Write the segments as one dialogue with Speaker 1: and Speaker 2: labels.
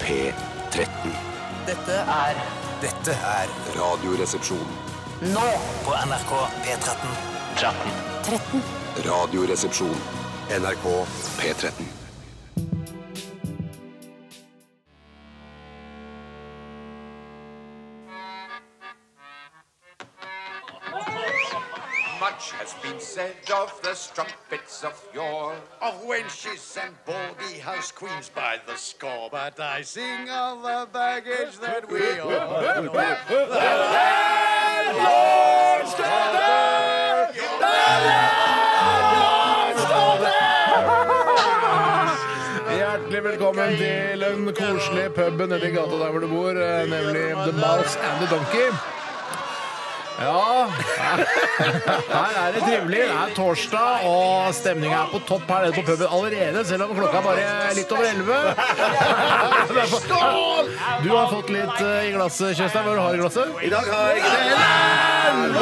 Speaker 1: P13.
Speaker 2: Dette er Dette er
Speaker 1: Radioresepsjon.
Speaker 2: Nå på NRK P13 13
Speaker 1: Radioresepsjon. NRK P13.
Speaker 3: Much has been said of the strumpets of yore, of wenches and baldy house queens by the score. But I sing of the baggage that we are.
Speaker 4: Hjertelig velkommen til den koselige puben nede i gata der hvor du bor, eh, nemlig The Mouse and the Donkey. Ja Her er det trivelig. Det er torsdag, og stemninga er på topp her nede på puben allerede, selv om klokka er bare er litt over elleve. Skål! Du har fått litt eh, i glasset, Kjøstheim. Hva du har du i glasset? I dag har jeg det.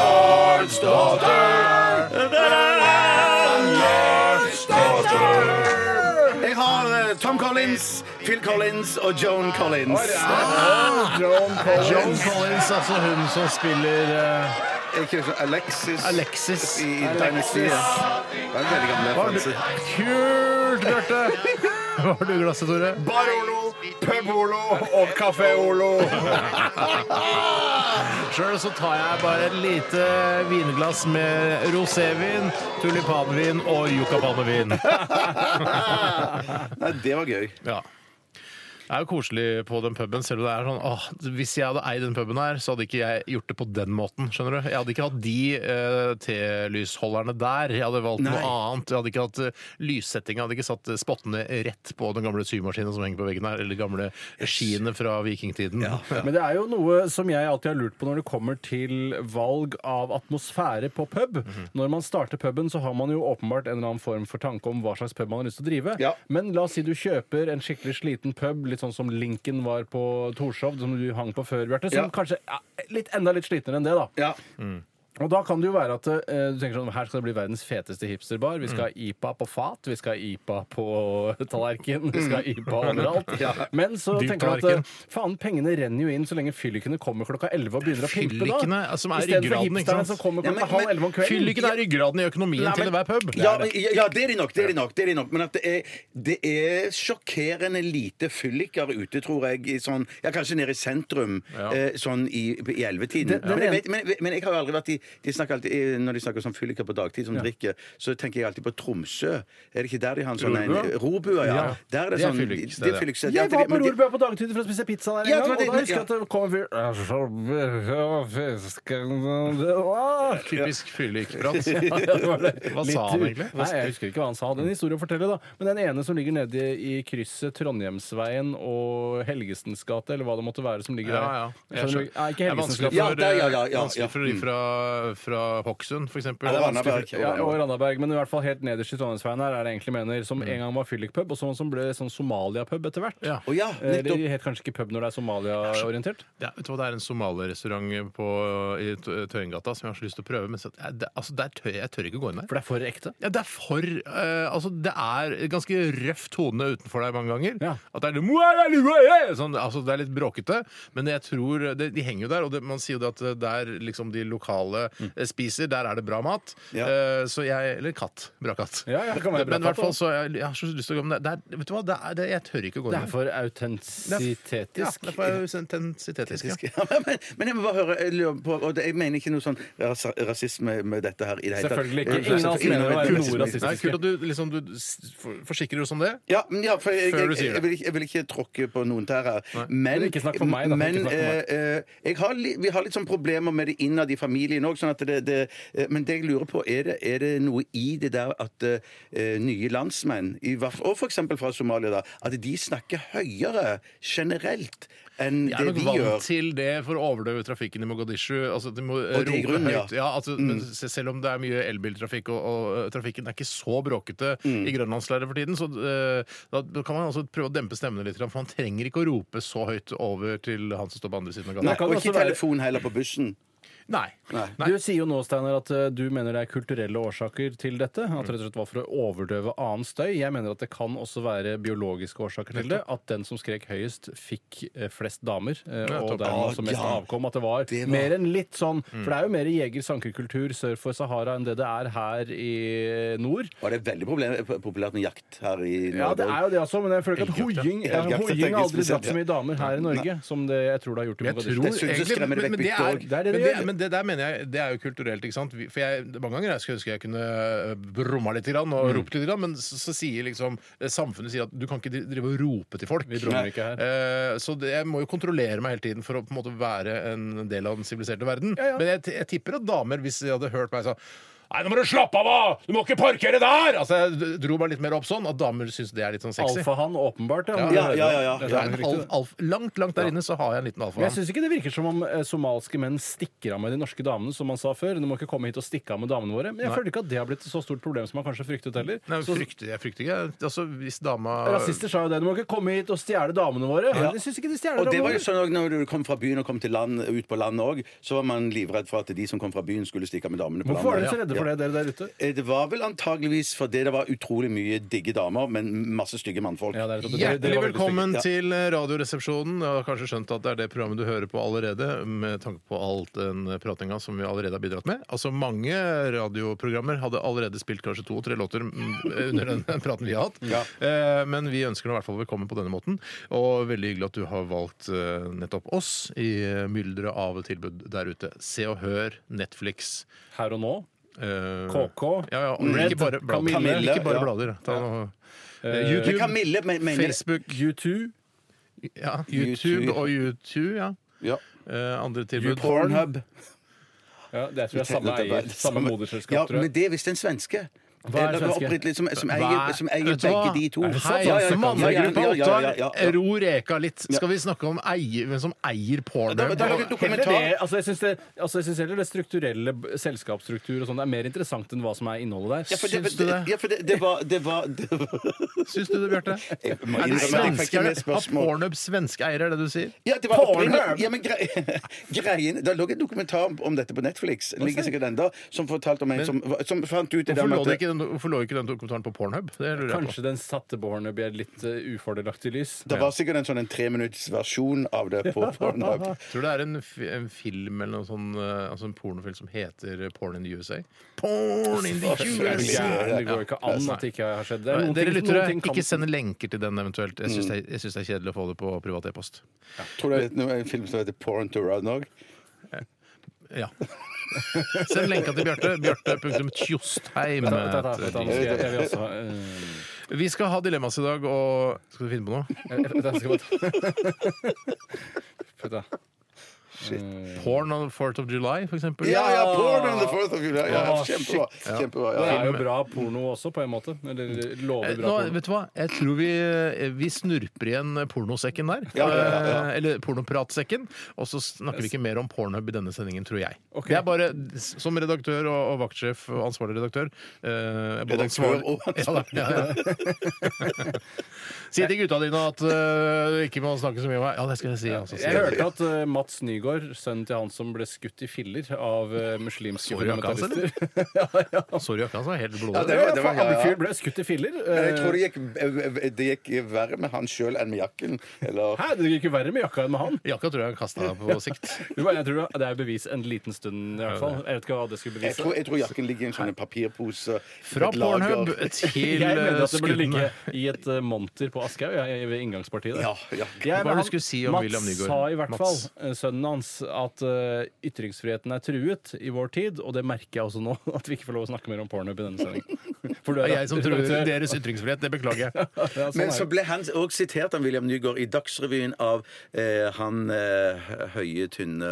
Speaker 5: Jeg har eh, Tom Collins, Phil Collins og Joan Collins.
Speaker 4: Joan Collins. altså hun som spiller eh,
Speaker 5: Ikke så- Alexis,
Speaker 4: Alexis.
Speaker 5: i i Dynasty. ja. Det er en veldig gammel
Speaker 4: Hva har du-
Speaker 5: referanse.
Speaker 4: Kult, Bjarte! Hva har du i glasset, Tore?
Speaker 5: Bar-Olo, Pub-Olo og Kafé-Olo.
Speaker 4: Sjøl så tar jeg bare et lite vinglass med rosévin, tulipanvin og yucapanevin.
Speaker 5: Nei, det var gøy.
Speaker 4: Ja. Det er jo koselig på den puben, selv om det er sånn åh, Hvis jeg hadde eid den puben her, så hadde ikke jeg gjort det på den måten. skjønner du? Jeg hadde ikke hatt de eh, telysholderne der. Jeg hadde valgt
Speaker 5: Nei.
Speaker 4: noe annet. Jeg hadde ikke hatt uh, lyssettinga. Hadde ikke satt eh, spottene rett på den gamle symaskinen som henger på veggen her, eller de gamle skiene fra vikingtiden.
Speaker 6: Men det er jo noe som jeg alltid har lurt på når det kommer til valg av atmosfære på pub.
Speaker 5: Mhm.
Speaker 6: Når man starter puben, så har man jo åpenbart en eller annen form for tanke om hva slags pub man har lyst til å drive.
Speaker 5: Ja.
Speaker 6: Men la oss si du kjøper en skikkelig sliten pub, litt sånn som Lincoln var på Torshov, som du hang på før, Bjarte, som
Speaker 5: Ja.
Speaker 6: kanskje er litt, enda litt slitnere enn det, da.
Speaker 5: Ja.
Speaker 6: Og da kan det jo være at eh, du tenker sånn, her skal det bli verdens feteste hipsterbar. Vi
Speaker 5: Mm.
Speaker 6: skal ha IPA på fat, vi skal ha IPA på tallerken, vi
Speaker 5: Mm.
Speaker 6: skal ha IPA overalt. Men så
Speaker 4: Dyr
Speaker 6: tenker du at
Speaker 4: tallerken.
Speaker 6: eh, faen, pengene renner jo inn så lenge fyllikene kommer klokka 11 og begynner å pimpe da.
Speaker 4: Fyllikene, som er
Speaker 6: I stedet for
Speaker 4: ryggraden, ikke sant?
Speaker 6: hipsterne som kommer
Speaker 5: Ja,
Speaker 6: klokka
Speaker 5: men- men
Speaker 6: halv 11 om kvelden.
Speaker 4: Fyll ikke det er ryggraden i økonomien
Speaker 6: Nei, men-
Speaker 4: til enhver pub.
Speaker 5: Ja, men- ja, det er de nok. det er de nok, det er de nok. Men at det er, det er sjokkerende lite fylliker ute, tror jeg. I sånn, ja, Kanskje nede i sentrum,
Speaker 4: Ja.
Speaker 5: eh, sånn i, i ellevetiden.
Speaker 6: Det- det
Speaker 5: Men, jeg
Speaker 6: er-
Speaker 5: vet- men, men jeg har jo aldri vært i de snakker alltid, eh, Når de snakker om sånn fylliker på dagtid som drikker, så tenker jeg alltid på Tromsø. Er det ikke der de har en sånn en
Speaker 6: Rorbua?
Speaker 5: Robua, ja. Der
Speaker 6: Ja.
Speaker 5: er det,
Speaker 4: Det er
Speaker 5: sånn
Speaker 4: fylliksted,
Speaker 5: det er
Speaker 4: ja.
Speaker 5: fylliksted. Ja,
Speaker 6: Jeg
Speaker 5: det-
Speaker 6: var på
Speaker 5: men det-
Speaker 6: Rorbua på dagtid for å spise pizza der
Speaker 5: Ja,
Speaker 6: en
Speaker 5: det var
Speaker 6: gang, og
Speaker 5: det-
Speaker 6: da husker jeg
Speaker 5: ja.
Speaker 6: at det kom en fyr «Jeg skal fiske».
Speaker 4: Typisk fyllikprat. Hva
Speaker 6: Litt
Speaker 4: sa han
Speaker 6: u-
Speaker 4: egentlig?
Speaker 6: Nei, Jeg husker ikke hva han sa. Den historien forteller, da. Men den ene som ligger nede i krysset Trondheimsveien og Helgesens gate, eller hva det måtte være som ligger
Speaker 4: Ja,
Speaker 6: der.
Speaker 4: ja. Jeg
Speaker 6: Skjønner du?
Speaker 4: skjønner.
Speaker 6: Nei,
Speaker 4: Det
Speaker 6: ikke
Speaker 4: er
Speaker 6: Helgesens
Speaker 4: vanskelig
Speaker 6: gate.
Speaker 5: Ja,
Speaker 4: for,
Speaker 5: der, ja, ja, ja,
Speaker 4: vanskelig for de
Speaker 5: ja. Mm.
Speaker 4: fra, fra Hoggsund, for eksempel.
Speaker 5: Eller
Speaker 4: vanskelig
Speaker 5: Randaberg.
Speaker 4: for-
Speaker 6: Ja, og Randaberg, men i hvert fall helt nederst i Trondheimsveien her er det egentlig mener, som en gang var fyllikpub, og som, som ble sånn Somalia-pub etter hvert.
Speaker 4: Mm. Ja.
Speaker 5: Å ja,
Speaker 6: Eh,
Speaker 5: nettopp.
Speaker 6: De het kanskje ikke pub når det er Somalia-orientert.
Speaker 4: Ja, vet du hva, Det er en somalierrestaurant på- i Tø- Tøyengata som jeg har så lyst til å prøve, men så, jeg- det, altså, der tør, jeg tør ikke å gå inn der.
Speaker 6: For det er for ekte.
Speaker 4: Ja, det er for eh, Altså, det er et ganske røft tone utenfor deg mange ganger.
Speaker 6: Ja.
Speaker 4: At det er litt «Mualalua», sånn, altså, Det er litt bråkete, men jeg tror det, De henger jo der, og det, man sier jo det at der liksom de lokale
Speaker 6: Mm.
Speaker 4: eh, spiser, der er det bra mat.
Speaker 5: Ja.
Speaker 4: Eh, så jeg Eller katt. Bra katt.
Speaker 6: Ja, ja, det kan være bra
Speaker 4: men i hvert
Speaker 6: katt,
Speaker 4: fall så jeg, jeg har så lyst til å gå men det, er- Vet du hva, det er, det, jeg tør ikke å gå
Speaker 6: Det
Speaker 4: inn
Speaker 6: er
Speaker 4: der.
Speaker 6: for
Speaker 4: Ja,
Speaker 6: autentitetisk.
Speaker 4: det er for autentitetisk. Ja.
Speaker 5: Ja, men, men jeg må bare høre jeg lurer på, og det, Jeg mener ikke noe sånn ras rasisme med dette her. I det hele tatt.
Speaker 6: Selvfølgelig ikke.
Speaker 5: Eh,
Speaker 6: Ingen av oss
Speaker 5: selvfølgelig-
Speaker 6: mener å være
Speaker 5: Kult.
Speaker 6: noe rasistisk.
Speaker 4: Det er kult at du, liksom, du s- for- forsikrer oss om det.
Speaker 5: Ja, men ja, for jeg,
Speaker 4: Før du
Speaker 5: jeg,
Speaker 4: sier
Speaker 5: jeg,
Speaker 4: det.
Speaker 5: vil ikke, jeg vil ikke tråkke på noen tær her. Men,
Speaker 6: Men ikke snakk for meg, da. Ikke
Speaker 5: men
Speaker 6: snakk for meg.
Speaker 5: eh, eh, jeg har li, vi har litt sånn problemer med det innad i familien òg. Sånn at det, det, eh, men det jeg lurer på, er det, er det noe i det der at eh, eh, nye landsmenn, i, hvert- og f.eks. fra Somalia, da, at de snakker høyere generelt enn
Speaker 4: Jeg er
Speaker 5: det
Speaker 4: nok
Speaker 5: vi
Speaker 4: vant
Speaker 5: gjør?
Speaker 4: til det for å overdøve trafikken i Mogadishu. Altså, de må eh,
Speaker 5: Og det i
Speaker 4: rope
Speaker 5: grunnen, ja. Mm.
Speaker 4: høyt. Ja, altså, men se- selv om det er mye elbiltrafikk, og, og eh, trafikken er ikke så bråkete
Speaker 5: Mm.
Speaker 4: i grønlandsleiret for tiden, så eh, da da kan man altså prøve å dempe stemmene litt, for man trenger ikke å rope så høyt over til han som står på andre siden av
Speaker 5: Nei,
Speaker 4: gata.
Speaker 6: kan
Speaker 5: og
Speaker 6: også
Speaker 5: ikke
Speaker 6: være-
Speaker 5: telefon heller på bussen.
Speaker 4: Nei.
Speaker 6: Du sier jo nå, Steinar, at eh, du mener det er kulturelle årsaker til dette.
Speaker 5: Mm.
Speaker 6: At det rett og slett var for å overdøve annen støy. Jeg mener at det kan også være biologiske årsaker til det. At den som skrek høyest, fikk eh, flest damer. eh, Og
Speaker 4: Nettopp.
Speaker 6: dermed også mest
Speaker 5: ja.
Speaker 6: avkom. At det var,
Speaker 5: Det var- Mm.
Speaker 6: mer enn litt sånn For det er jo mer jeger-sankerkultur sør for Sahara enn det det er her i nord.
Speaker 5: Og det er veldig problem, eh, populært med jakt her i Norge.
Speaker 6: Ja, det er jo det også, men jeg føler ikke at
Speaker 4: Elgjakt, ja.
Speaker 6: hoiing ja,
Speaker 5: Elgjakt,
Speaker 6: hoiing
Speaker 5: tenker jeg
Speaker 6: har aldri
Speaker 5: spesielt,
Speaker 6: dratt så mye damer her i Norge som det jeg tror det har gjort i
Speaker 4: Jeg tror
Speaker 6: Mogadishu.
Speaker 5: Det synes jeg
Speaker 4: egentlig,
Speaker 5: skremmer
Speaker 4: men, men,
Speaker 5: vekk
Speaker 4: det
Speaker 5: bytte
Speaker 4: er,
Speaker 5: også.
Speaker 6: Det er det
Speaker 4: men,
Speaker 6: det
Speaker 4: det,
Speaker 6: gjør.
Speaker 4: men det der mener jeg Det er jo kulturelt, ikke sant? Vi- For jeg, mange ganger jeg skulle ønske jeg kunne øh, brumma litt grann,
Speaker 5: Mm.
Speaker 4: og ropt litt, grann, men så, så sier liksom eh, samfunnet sier at du kan ikke dri- drive og rope til folk.
Speaker 6: Vi brummer ikke her.
Speaker 4: Eh, Så det, jeg må jo kontrollere meg hele tiden for å på en måte være en del av den siviliserte verden. Men jeg, t- jeg tipper at damer, hvis de hadde hørt meg sånn Nei, nå må du slappe av! da! Du må ikke parkere der! Altså, Jeg d- dro meg litt mer opp sånn at damer syns det er litt sånn sexy.
Speaker 6: Alfahann, åpenbart.
Speaker 5: Ja, ja, ja, ja.
Speaker 6: Det er
Speaker 4: Ja, en
Speaker 6: riktig,
Speaker 4: alf,
Speaker 6: det.
Speaker 4: alf, langt, langt der inne så har jeg en liten
Speaker 6: Men jeg
Speaker 4: alfahann.
Speaker 6: syns ikke det virker som om eh, somaliske menn stikker av med de norske damene, som man sa før. Du må ikke komme hit og stikke av med damene våre. Men jeg føler ikke at det har blitt et så stort problem som man kanskje fryktet heller.
Speaker 4: Nei, men
Speaker 6: Så-
Speaker 4: frykter, jeg frykter ikke. Altså, hvis dama
Speaker 6: Rasister sa jo det. Du må ikke komme hit og stjele damene våre.
Speaker 5: Ja.
Speaker 6: Jeg syns ikke de stjeler
Speaker 5: Og det var jo
Speaker 6: damene våre.
Speaker 5: sånn også når du kom fra byen og kom til land, ut på landet òg, så var man livredd for at de som kom fra byen, skulle stikke av med damene på
Speaker 6: Hvorfor var dere
Speaker 5: landet.
Speaker 6: så redde for det, dere der ute?
Speaker 5: Eh, Det var vel antageligvis fordi det var utrolig mye digge damer, men masse stygge mannfolk.
Speaker 6: Ja, det er, dere- dere
Speaker 4: Hjertelig
Speaker 6: var veldig
Speaker 4: velkommen
Speaker 5: stygge.
Speaker 4: til eh, Radioresepsjonen. Jeg har kanskje skjønt at det er det programmet du hører på allerede, med tanke på alt den pratinga som vi allerede har bidratt med. Altså Mange radioprogrammer hadde allerede spilt kanskje to-tre låter mm, under den praten vi har hatt. Eh, Men vi ønsker deg i hvert fall velkommen på denne måten, og veldig hyggelig at du har valgt eh, nettopp oss i mylderet av tilbud der ute. Se og Hør, Netflix
Speaker 6: Her og nå.
Speaker 4: eh,
Speaker 6: KK.
Speaker 4: Ja, ja, og
Speaker 6: Red.
Speaker 4: ikke bare blader.
Speaker 6: Camille.
Speaker 4: ikke bare
Speaker 5: ja.
Speaker 4: blader. Ta noe- Eh,
Speaker 5: Men
Speaker 4: YouTube,
Speaker 5: Camille men, mener
Speaker 4: Facebook
Speaker 6: U2.
Speaker 4: ja, YouTube
Speaker 5: YouTube.
Speaker 4: og YouTube, ja.
Speaker 5: ja.
Speaker 4: Eh, andre tilbud.
Speaker 5: Pornhub.
Speaker 6: Ja, det tror jeg er samme eier. Samme
Speaker 5: Ja,
Speaker 6: moderselskap, tror
Speaker 5: men
Speaker 6: jeg.
Speaker 5: det er visst en svenske.
Speaker 6: Hva er
Speaker 5: Eller det var
Speaker 6: svenske?
Speaker 5: opprettet Som, som
Speaker 4: Hva-
Speaker 5: eier, som eier
Speaker 4: Vet du hva? altså,
Speaker 5: begge de to.
Speaker 4: Er det sant?
Speaker 5: Ja, ja, ja,
Speaker 4: Mannegruppa
Speaker 5: ja, ja, ja, ja, ja, ja.
Speaker 4: Ottar, ro reka litt. Skal vi snakke om eier, hvem som eier
Speaker 5: Da- da- da-
Speaker 4: pornhub?
Speaker 5: da-
Speaker 6: Heller
Speaker 5: dokumentar.
Speaker 6: det, altså jeg syns det, altså jeg synes heller det strukturelle b- selskapsstruktur og sånn det er mer interessant enn hva som er innholdet der.
Speaker 5: Ja, for det,
Speaker 4: Syns du det?
Speaker 5: Ja, for det, det var, det var, det var
Speaker 4: Syns du det, Bjarte?
Speaker 5: Jeg må
Speaker 4: Er det
Speaker 5: innrømme at jeg fikk ikke
Speaker 4: svenskerne?
Speaker 5: med
Speaker 4: Har
Speaker 5: spørsmål.
Speaker 4: pornhub svenske eiere, er det du sier?
Speaker 5: Ja, det var opprinnelig-
Speaker 6: Pornhub!
Speaker 5: ja, men grei, greien, Det lå en dokumentar om- om dette på Netflix, den ligger sikkert enda, som fortalte om en som, som fant ut det
Speaker 4: Hvorfor
Speaker 5: der med
Speaker 4: lå,
Speaker 5: at-
Speaker 4: det ikke den, hvorfor lå ikke den dokumentaren på pornhub? Det lurer jeg på.
Speaker 6: Kanskje den satte Borneby i et litt eh, ufordelaktig lys.
Speaker 5: Det var sikkert en sånn en treminuttsversjon av det på Pornhub.
Speaker 4: Tror du det er en, fi- en film eller noe sånn, eh, altså en pornofilm som heter eh, Porn in the USA? Porn in the
Speaker 6: Er du
Speaker 4: USA!
Speaker 6: gæren? Det går jo ikke an at det ikke har skjedd. Det er noen
Speaker 4: Dere
Speaker 6: ting-
Speaker 4: lyttere,
Speaker 6: noen ting kan- Mm.
Speaker 4: ikke send lenker til den eventuelt. Jeg syns det, er- jeg synes det er kjedelig å få det på privat e-post.
Speaker 5: Tror du det er en film som heter Porn to Run òg?
Speaker 4: Ja. Send lenka til Bjarte. Bjarte.tjostheim.
Speaker 6: Vent da, vent da, vent da, nå skal jeg- jeg vil også ha, eh,
Speaker 4: Vi skal ha dilemmas i dag, og Skal du finne på noe?
Speaker 6: Jeg, jeg, jeg skal bare ta Vent da.
Speaker 4: Porn on 4th of July, for eksempel.
Speaker 5: Ja, ja! Porn on the Fourth of July! Ja,
Speaker 6: Å,
Speaker 5: kjempebra. kjempebra
Speaker 6: Det
Speaker 5: ja.
Speaker 6: er jo bra porno også, på en måte. Eller
Speaker 4: Eh,
Speaker 6: lover bra
Speaker 4: Nå,
Speaker 6: porno.
Speaker 4: vet du hva? Jeg tror vi, eh, vi snurper igjen pornosekken der.
Speaker 5: Ja, ja, ja, ja.
Speaker 4: Eh, Eller pornopratsekken. Og så snakker vi ikke mer om pornhub i denne sendingen, tror jeg.
Speaker 6: Ok.
Speaker 4: Det er bare s- som redaktør og, og vaktsjef og ansvarlig redaktør eh, både
Speaker 5: Redaktør
Speaker 4: ansvarlig-
Speaker 5: og ansvarlig.
Speaker 4: Ja, da, ja, ja. Si til gutta dine at eh, du ikke må snakke så mye om meg. Ja, det skal jeg si. Altså,
Speaker 6: Jeg hørte at eh, Mats Nygaard, sønnen til han som ble skutt i filler av eh, muslimske
Speaker 4: Sorry, jakka hans,
Speaker 6: fundamentalister
Speaker 4: eller? Sorry, jakka hans var helt blodig.
Speaker 5: Ja, det var-
Speaker 6: Ja,
Speaker 5: det var-
Speaker 6: faen,
Speaker 5: ja,
Speaker 6: han
Speaker 5: ja.
Speaker 6: fyren ble skutt i filler.
Speaker 5: Men jeg tror det
Speaker 6: Eh,
Speaker 5: gikk, det gikk verre med han sjøl enn med jakken. Eller
Speaker 6: Hæ, det gikk jo verre med jakka enn med han.
Speaker 4: Jakka tror jeg han kasta på sikt.
Speaker 6: Du, jeg tror det er bevis en liten stund, i hvert fall. Jeg vet ikke hva det skulle
Speaker 5: jeg
Speaker 6: bevise.
Speaker 5: tror, jeg tror jakken ligger i en sånn papirpose.
Speaker 4: Fra
Speaker 5: et lager.
Speaker 4: Pornhub til
Speaker 6: altså. Jeg mener
Speaker 4: eh,
Speaker 6: at det burde ligge
Speaker 4: skuddene.
Speaker 6: i et eh, monter på Aschehoug, jeg- jeg- ved inngangspartiet der.
Speaker 5: Ja, ja.
Speaker 6: Jeg-
Speaker 4: Hva var det
Speaker 6: han-
Speaker 4: du skulle si om
Speaker 6: Mats
Speaker 4: William Nygaard?
Speaker 6: sa i hvert fall,
Speaker 4: Mats.
Speaker 6: eh, sønnen hans, at eh, ytringsfriheten er truet i vår tid, og det merker jeg også nå, at vi ikke får lov å snakke mer om porno i denne sendingen. For du
Speaker 4: Det er jeg som truer
Speaker 6: redaktør.
Speaker 4: deres ytringsfrihet. Det beklager jeg.
Speaker 6: Ja, sånn
Speaker 5: Men
Speaker 6: er
Speaker 5: så
Speaker 6: det.
Speaker 5: ble han òg sitert av William Nygaard i Dagsrevyen av eh, han eh, høye, tynne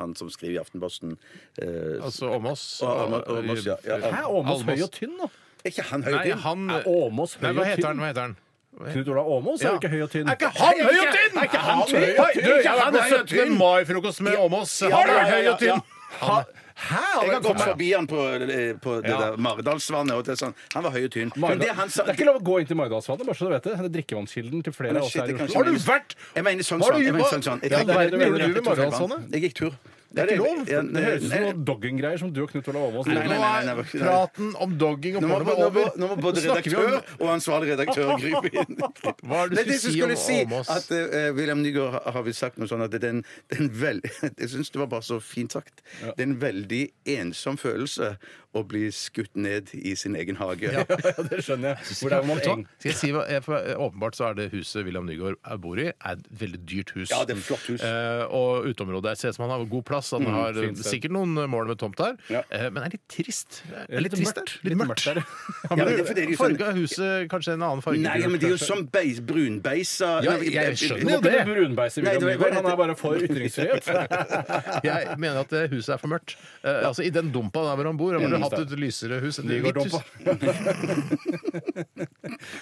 Speaker 5: Han som skriver i Aftenposten. Eh,
Speaker 4: Altså om oss.
Speaker 5: Ja, om- om oss, ja. Ja, ja.
Speaker 6: Hæ, Åmås
Speaker 4: Almås.
Speaker 6: høy og tynn, da?
Speaker 5: er ikke han høy
Speaker 4: Nei,
Speaker 5: og tynn?
Speaker 4: han
Speaker 6: Er Åmås høy
Speaker 4: Nei, hva
Speaker 6: og
Speaker 4: heter han?
Speaker 6: tynn?
Speaker 4: Hva heter han?
Speaker 6: Knut Olav Åmås er jo ikke høy og tynn.
Speaker 4: Er ikke han høy og tynn?!
Speaker 6: Er ikke han høy og
Speaker 4: Hei,
Speaker 6: tynn?
Speaker 4: Du, jeg
Speaker 6: Er
Speaker 4: var
Speaker 6: han
Speaker 4: på
Speaker 6: høy og
Speaker 4: 17. mai-frokost med Åmås. Han
Speaker 5: ja,
Speaker 4: er
Speaker 5: ja,
Speaker 4: høy
Speaker 5: ja,
Speaker 4: og tynn!
Speaker 5: ja.
Speaker 4: Han- Hæ?
Speaker 5: Jeg har gått
Speaker 4: Kom her.
Speaker 5: forbi han på, eh, på det der Maridalsvannet. Og det er sånn. Han var høy og tynn. Men det han sa
Speaker 6: Det er ikke lov å gå inn til Maridalsvannet, bare så du vet det. Det er drikkevannskilden til flere
Speaker 5: Men
Speaker 6: av oss
Speaker 5: shit,
Speaker 6: her i
Speaker 5: det kan
Speaker 6: Oslo.
Speaker 5: ikke-
Speaker 4: Har du vært
Speaker 5: Jeg mener sånn
Speaker 4: Har du
Speaker 5: sånn. Jeg mener
Speaker 4: gjort-
Speaker 5: sånn, sånn. Jeg
Speaker 4: Ja,
Speaker 5: tenker-
Speaker 4: det er det du mener,
Speaker 5: Jeg
Speaker 4: du ved
Speaker 5: tror jeg vant.
Speaker 4: Maridalsvannet?
Speaker 5: Jeg gikk tur.
Speaker 6: Det er ikke lov!
Speaker 5: Ja,
Speaker 6: Det høres ut som
Speaker 5: nei,
Speaker 6: noen dogging-greier som du og Knut Olav Åmås
Speaker 5: Nei,
Speaker 6: driver
Speaker 5: nei,
Speaker 6: med.
Speaker 4: Nå
Speaker 5: nei, nei,
Speaker 4: er
Speaker 5: nei, nei.
Speaker 4: praten om dogging og
Speaker 5: Nå må,
Speaker 4: porno
Speaker 5: nå, må,
Speaker 4: over.
Speaker 5: nå må både
Speaker 6: Nå snakker vi om-
Speaker 5: redaktør og ansvarlig redaktør gripe inn.
Speaker 4: Hva er det
Speaker 5: Nei,
Speaker 4: du
Speaker 5: det som
Speaker 4: skulle
Speaker 5: skulle si
Speaker 4: si om Åmås?
Speaker 5: at eh, William Nygaard har- har vel sagt noe sånn at den, den vel, Jeg syns det var bare så fint sagt. Det er en veldig ensom følelse å bli skutt ned i sin egen hage.
Speaker 6: Ja, det skjønner jeg. Hvor det er man
Speaker 4: Vet du hva?
Speaker 6: eng...
Speaker 4: Skal jeg si hva, eh, for eh, Åpenbart så er det huset William Nygaard er- bor i, er et veldig dyrt hus.
Speaker 5: Ja, det er et flott hus.
Speaker 4: Eh, og uteområdet jeg ser ut som han har god plass. Han har eh,
Speaker 6: fint sted.
Speaker 4: sikkert noen eh, mål med tomt der,
Speaker 5: Ja.
Speaker 4: eh, men er litt trist. Eh, Er
Speaker 6: Litt
Speaker 4: trist,
Speaker 6: mørkt.
Speaker 4: det. Litt
Speaker 6: Litt
Speaker 4: mørkt.
Speaker 6: mørkt er det.
Speaker 4: Ja,
Speaker 5: Ja, men det er fordi det er
Speaker 4: men
Speaker 5: jo
Speaker 4: farge
Speaker 5: sånn-
Speaker 4: av huset kanskje en annen farge.
Speaker 5: Nei, ja, men det er jo sånn beis, brunbeisa
Speaker 4: Ja, jeg skjønner
Speaker 6: Nå
Speaker 4: jo
Speaker 6: må ikke
Speaker 4: det.
Speaker 6: du brunbeise William
Speaker 5: Nei, det var-
Speaker 6: Nygaard, han er bare for ytringsfrihet.
Speaker 4: Jeg mener at det huset er for mørkt. Eh, altså I den dumpa der hvor han bor, han burde
Speaker 6: Mm.
Speaker 4: hatt et lysere hus. et hvitt hus.
Speaker 6: Nygaard-dumpa.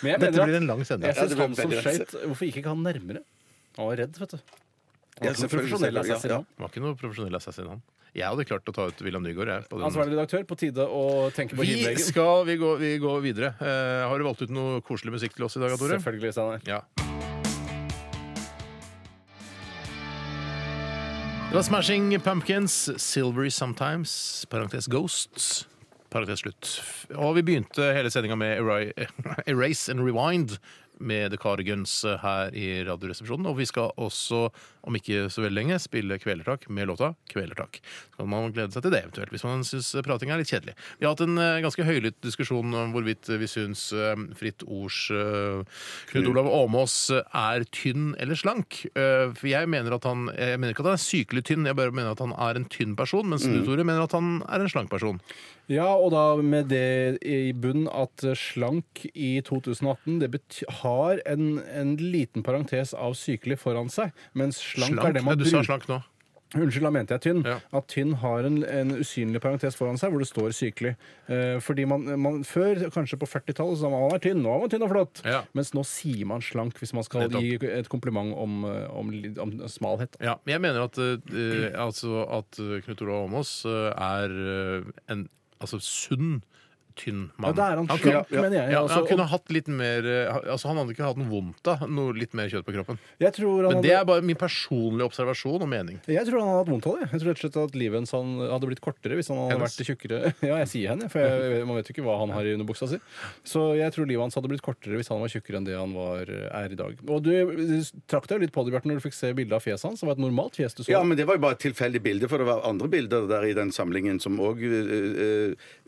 Speaker 6: Men
Speaker 4: Dette
Speaker 6: jeg mener at-
Speaker 4: blir en lang sending.
Speaker 6: Jeg
Speaker 5: Ja, det
Speaker 6: synes
Speaker 5: blir
Speaker 6: han som
Speaker 5: veldig rett.
Speaker 6: skjøt Hvorfor gikk ikke han nærmere? Han var redd, vet du. Han
Speaker 5: Ja,
Speaker 6: var ikke noen
Speaker 5: selvfølgelig,
Speaker 6: profesjonell
Speaker 5: selvfølgelig, ja,
Speaker 6: assassin.
Speaker 5: ja.
Speaker 6: han.
Speaker 4: Han var ikke noe profesjonell assassin, han. Jeg hadde klart å ta ut William Nygaard. Jeg, på den.
Speaker 6: Ansvarlig redaktør, på tide å tenke på
Speaker 4: Vi
Speaker 6: Hindveggen.
Speaker 4: skal vi går, vi går videre. Eh, har du valgt ut noe koselig musikk til oss i dag, Tore?
Speaker 6: Selvfølgelig, Steinar.
Speaker 4: Ja. Det var Smashing Pumpkins, Silvery Sometimes, parentes Ghosts. Parentes slutt. Og vi begynte hele sendinga med Eri- Erase and Rewind med The Cardigans her i Radioresepsjonen. Og vi skal også, om ikke så veldig lenge, spille Kvelertak med låta Kvelertak. Så kan man glede seg til det, eventuelt, hvis man syns prating er litt kjedelig. Vi har hatt en eh, ganske høylytt diskusjon om hvorvidt vi syns eh, Fritt Ords eh, Knut Olav Åmås eh, er tynn eller slank. Eh, For jeg mener at han eh, Jeg mener ikke at han er sykelig tynn, jeg bare mener at han er en tynn person, mens
Speaker 6: Mm.
Speaker 4: du, Tore, mener at han er en slank person.
Speaker 6: Ja, og da med det i bunn at slank i 2018 det bety- har en, en liten parentes av sykelig foran seg, mens slank, er det
Speaker 4: Nei,
Speaker 6: man
Speaker 4: du sa
Speaker 6: bruker
Speaker 4: slank nå.
Speaker 6: Unnskyld, da mente jeg tynn.
Speaker 4: Ja.
Speaker 6: At tynn har en, en usynlig parentes foran seg hvor det står sykelig. Eh, fordi man, man før, kanskje på 40-tallet, så sa man man er tynn, nå er man tynn og flott.
Speaker 4: Ja.
Speaker 6: Mens nå sier man slank hvis man skal
Speaker 4: Nettopp.
Speaker 6: gi et kompliment om, eh, om, li- om smalhet.
Speaker 4: Ja, men jeg mener at, eh, altså at eh, Knut Olav Åmås eh, er eh, en altså sunn tynn mann.
Speaker 6: Ja, det er han
Speaker 4: kunne-
Speaker 6: slank, mener jeg.
Speaker 4: Ja,
Speaker 6: Altså,
Speaker 4: han kunne
Speaker 6: og-
Speaker 4: hatt litt mer eh, altså Han hadde ikke hatt noe vondt av noe litt mer kjøtt på kroppen.
Speaker 6: Jeg tror han
Speaker 4: Men det
Speaker 6: hadde
Speaker 4: er bare min personlige observasjon og mening.
Speaker 6: jeg tror han hadde hatt vondt av det. Jeg tror rett og slett at livet hans han hadde blitt kortere hvis han hadde
Speaker 4: Hennes.
Speaker 6: vært tjukkere. Ja, jeg sier henne, for jeg, man vet jo ikke hva han har i underbuksa si. Så jeg tror livet hans hadde blitt kortere hvis han var tjukkere enn det han var, eh, er i dag. Og du, du trakk deg jo litt på det, Bjarte, når du fikk se bildet av fjeset hans. Det var et normalt fjes du så.
Speaker 5: Ja, men det var jo bare et tilfeldig bilde, for det var andre bilder der i den samlingen som òg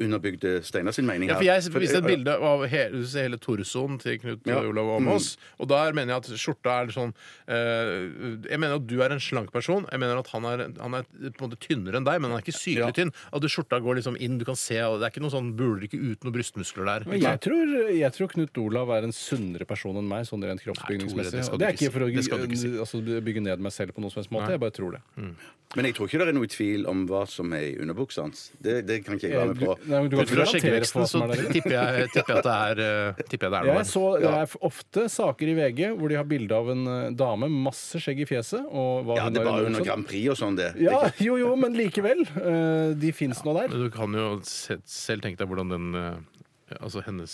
Speaker 5: underbygde Steinar sin mening
Speaker 4: Ja,
Speaker 5: her.
Speaker 4: for jeg viste et
Speaker 5: eh,
Speaker 4: bilde av hele, du ser hele torsoen til Knut
Speaker 5: Ja.
Speaker 4: Olav Åmås. Og der mener jeg at skjorta er sånn eh, Jeg mener at du er en slank person. Jeg mener at han er, han er på en måte tynnere enn deg, men han er ikke sykelig tynn. At du, skjorta går liksom inn, du kan se og Det er ikke noe sånn buler ikke ut noen brystmuskler der.
Speaker 6: Men
Speaker 4: Ikke
Speaker 6: jeg
Speaker 4: sant?
Speaker 6: tror, jeg tror Knut Olav er en sunnere person enn meg, sånn
Speaker 4: Nei,
Speaker 6: rent
Speaker 4: Tore, det
Speaker 6: kroppsbygningsmessig.
Speaker 4: skal
Speaker 6: Og Det er
Speaker 4: du ikke
Speaker 6: ikke for å
Speaker 4: si. Det skal du ikke si.
Speaker 6: altså, bygge ned meg selv på noen som helst måte. Jeg bare tror det.
Speaker 5: Men jeg tror ikke det er noe tvil om hva som er i underbuksa hans. Det, det kan ikke jeg være med på.
Speaker 6: Nei, men du kan
Speaker 4: Ut
Speaker 6: ikke
Speaker 4: fra
Speaker 6: garantere for hva
Speaker 4: skjeggeveksten så
Speaker 6: som er der.
Speaker 4: tipper jeg, tipper jeg at det er, eh, tipper jeg det er noe
Speaker 6: Jeg
Speaker 4: der.
Speaker 6: så, det er ofte saker i VG hvor de har bilde av en eh, dame med masse skjegg i fjeset. Og hva
Speaker 5: Ja,
Speaker 6: hun
Speaker 5: det
Speaker 6: har i
Speaker 5: var under
Speaker 6: underbuksa.
Speaker 5: Grand Prix og sånn, det.
Speaker 6: Ja, jo, jo, men likevel. eh, De fins nå der.
Speaker 4: Men Du kan jo se, selv tenke deg hvordan den eh, Altså hennes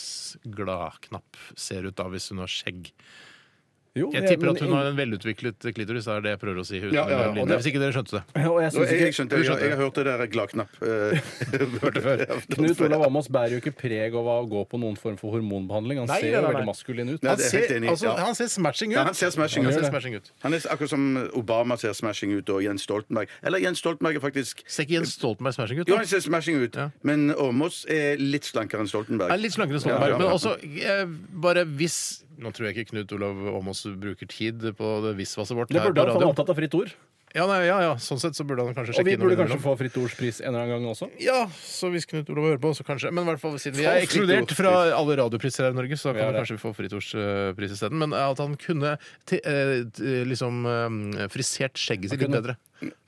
Speaker 4: gladknapp ser ut da hvis hun har skjegg.
Speaker 6: Jo,
Speaker 4: Jeg
Speaker 6: men-
Speaker 4: tipper at
Speaker 6: men
Speaker 4: hun har
Speaker 6: ingen-
Speaker 4: en velutviklet klitoris. Det er det jeg prøver å si. uten
Speaker 5: Ja, ja, ja.
Speaker 4: den linjen.
Speaker 5: Og det-
Speaker 4: Hvis ikke dere skjønte det.
Speaker 6: Og jeg
Speaker 5: Nå,
Speaker 6: synes
Speaker 5: jeg, jeg
Speaker 6: ikke
Speaker 5: skjønte, jeg, jeg, hørte det der gladknapp. eh, Hørte
Speaker 6: Knut Olav Almås bærer jo ikke preg av å gå på noen form for hormonbehandling. Han
Speaker 4: Nei,
Speaker 6: ser
Speaker 4: nei,
Speaker 6: jo
Speaker 4: nei,
Speaker 6: veldig
Speaker 4: nei.
Speaker 6: maskulin ut.
Speaker 5: Nei, det- er jeg helt enig i,
Speaker 4: altså,
Speaker 5: ja.
Speaker 4: han ser smashing ut.
Speaker 5: Ja, han ser smashing
Speaker 4: Han
Speaker 5: ut.
Speaker 4: ser smashing ut.
Speaker 5: Han er akkurat som Obama ser smashing ut, og Jens Stoltenberg. Eller Jens Stoltenberg er faktisk
Speaker 4: Ser ikke Jens Stoltenberg smashing ut?
Speaker 5: Jo,
Speaker 4: da?
Speaker 5: han ser smashing ut,
Speaker 4: Ja.
Speaker 5: men Åmås er litt slankere enn Stoltenberg.
Speaker 4: Er litt slankere enn Stoltenberg.
Speaker 5: Ja, ja.
Speaker 4: Men også, eh, bare hvis Nå tror jeg ikke Knut Olav Åmås bruker tid på det visvaset vårt
Speaker 6: Det
Speaker 4: her
Speaker 6: burde
Speaker 4: på
Speaker 6: han, for han er
Speaker 4: radioen.
Speaker 6: opptatt av fritt ord.
Speaker 4: Ja, nei, ja, ja, sånn sett så burde han kanskje
Speaker 6: Og
Speaker 4: sjekke
Speaker 6: vi
Speaker 4: innom
Speaker 6: burde kanskje
Speaker 4: innimellom.
Speaker 6: få Fritt Ords pris en eller annen gang også.
Speaker 4: Ja, så hvis Knut Olav hører på, så kanskje. Men i hvert fall siden vi
Speaker 6: Få
Speaker 4: er
Speaker 6: fritt
Speaker 4: ekskludert
Speaker 6: ordspris.
Speaker 4: fra alle radiopriser her i Norge, så da
Speaker 6: Ja,
Speaker 4: kan vi
Speaker 6: det.
Speaker 4: kanskje få frittordspris isteden. Men eh, at han kunne te- eh, t- liksom eh, frisert skjegget sitt litt
Speaker 6: kunne.
Speaker 4: bedre.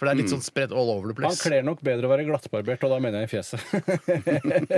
Speaker 4: For det er litt sånn spredt all over the
Speaker 6: Han
Speaker 4: place.
Speaker 6: kler nok bedre å være glattbarbert, og da mener jeg i fjeset.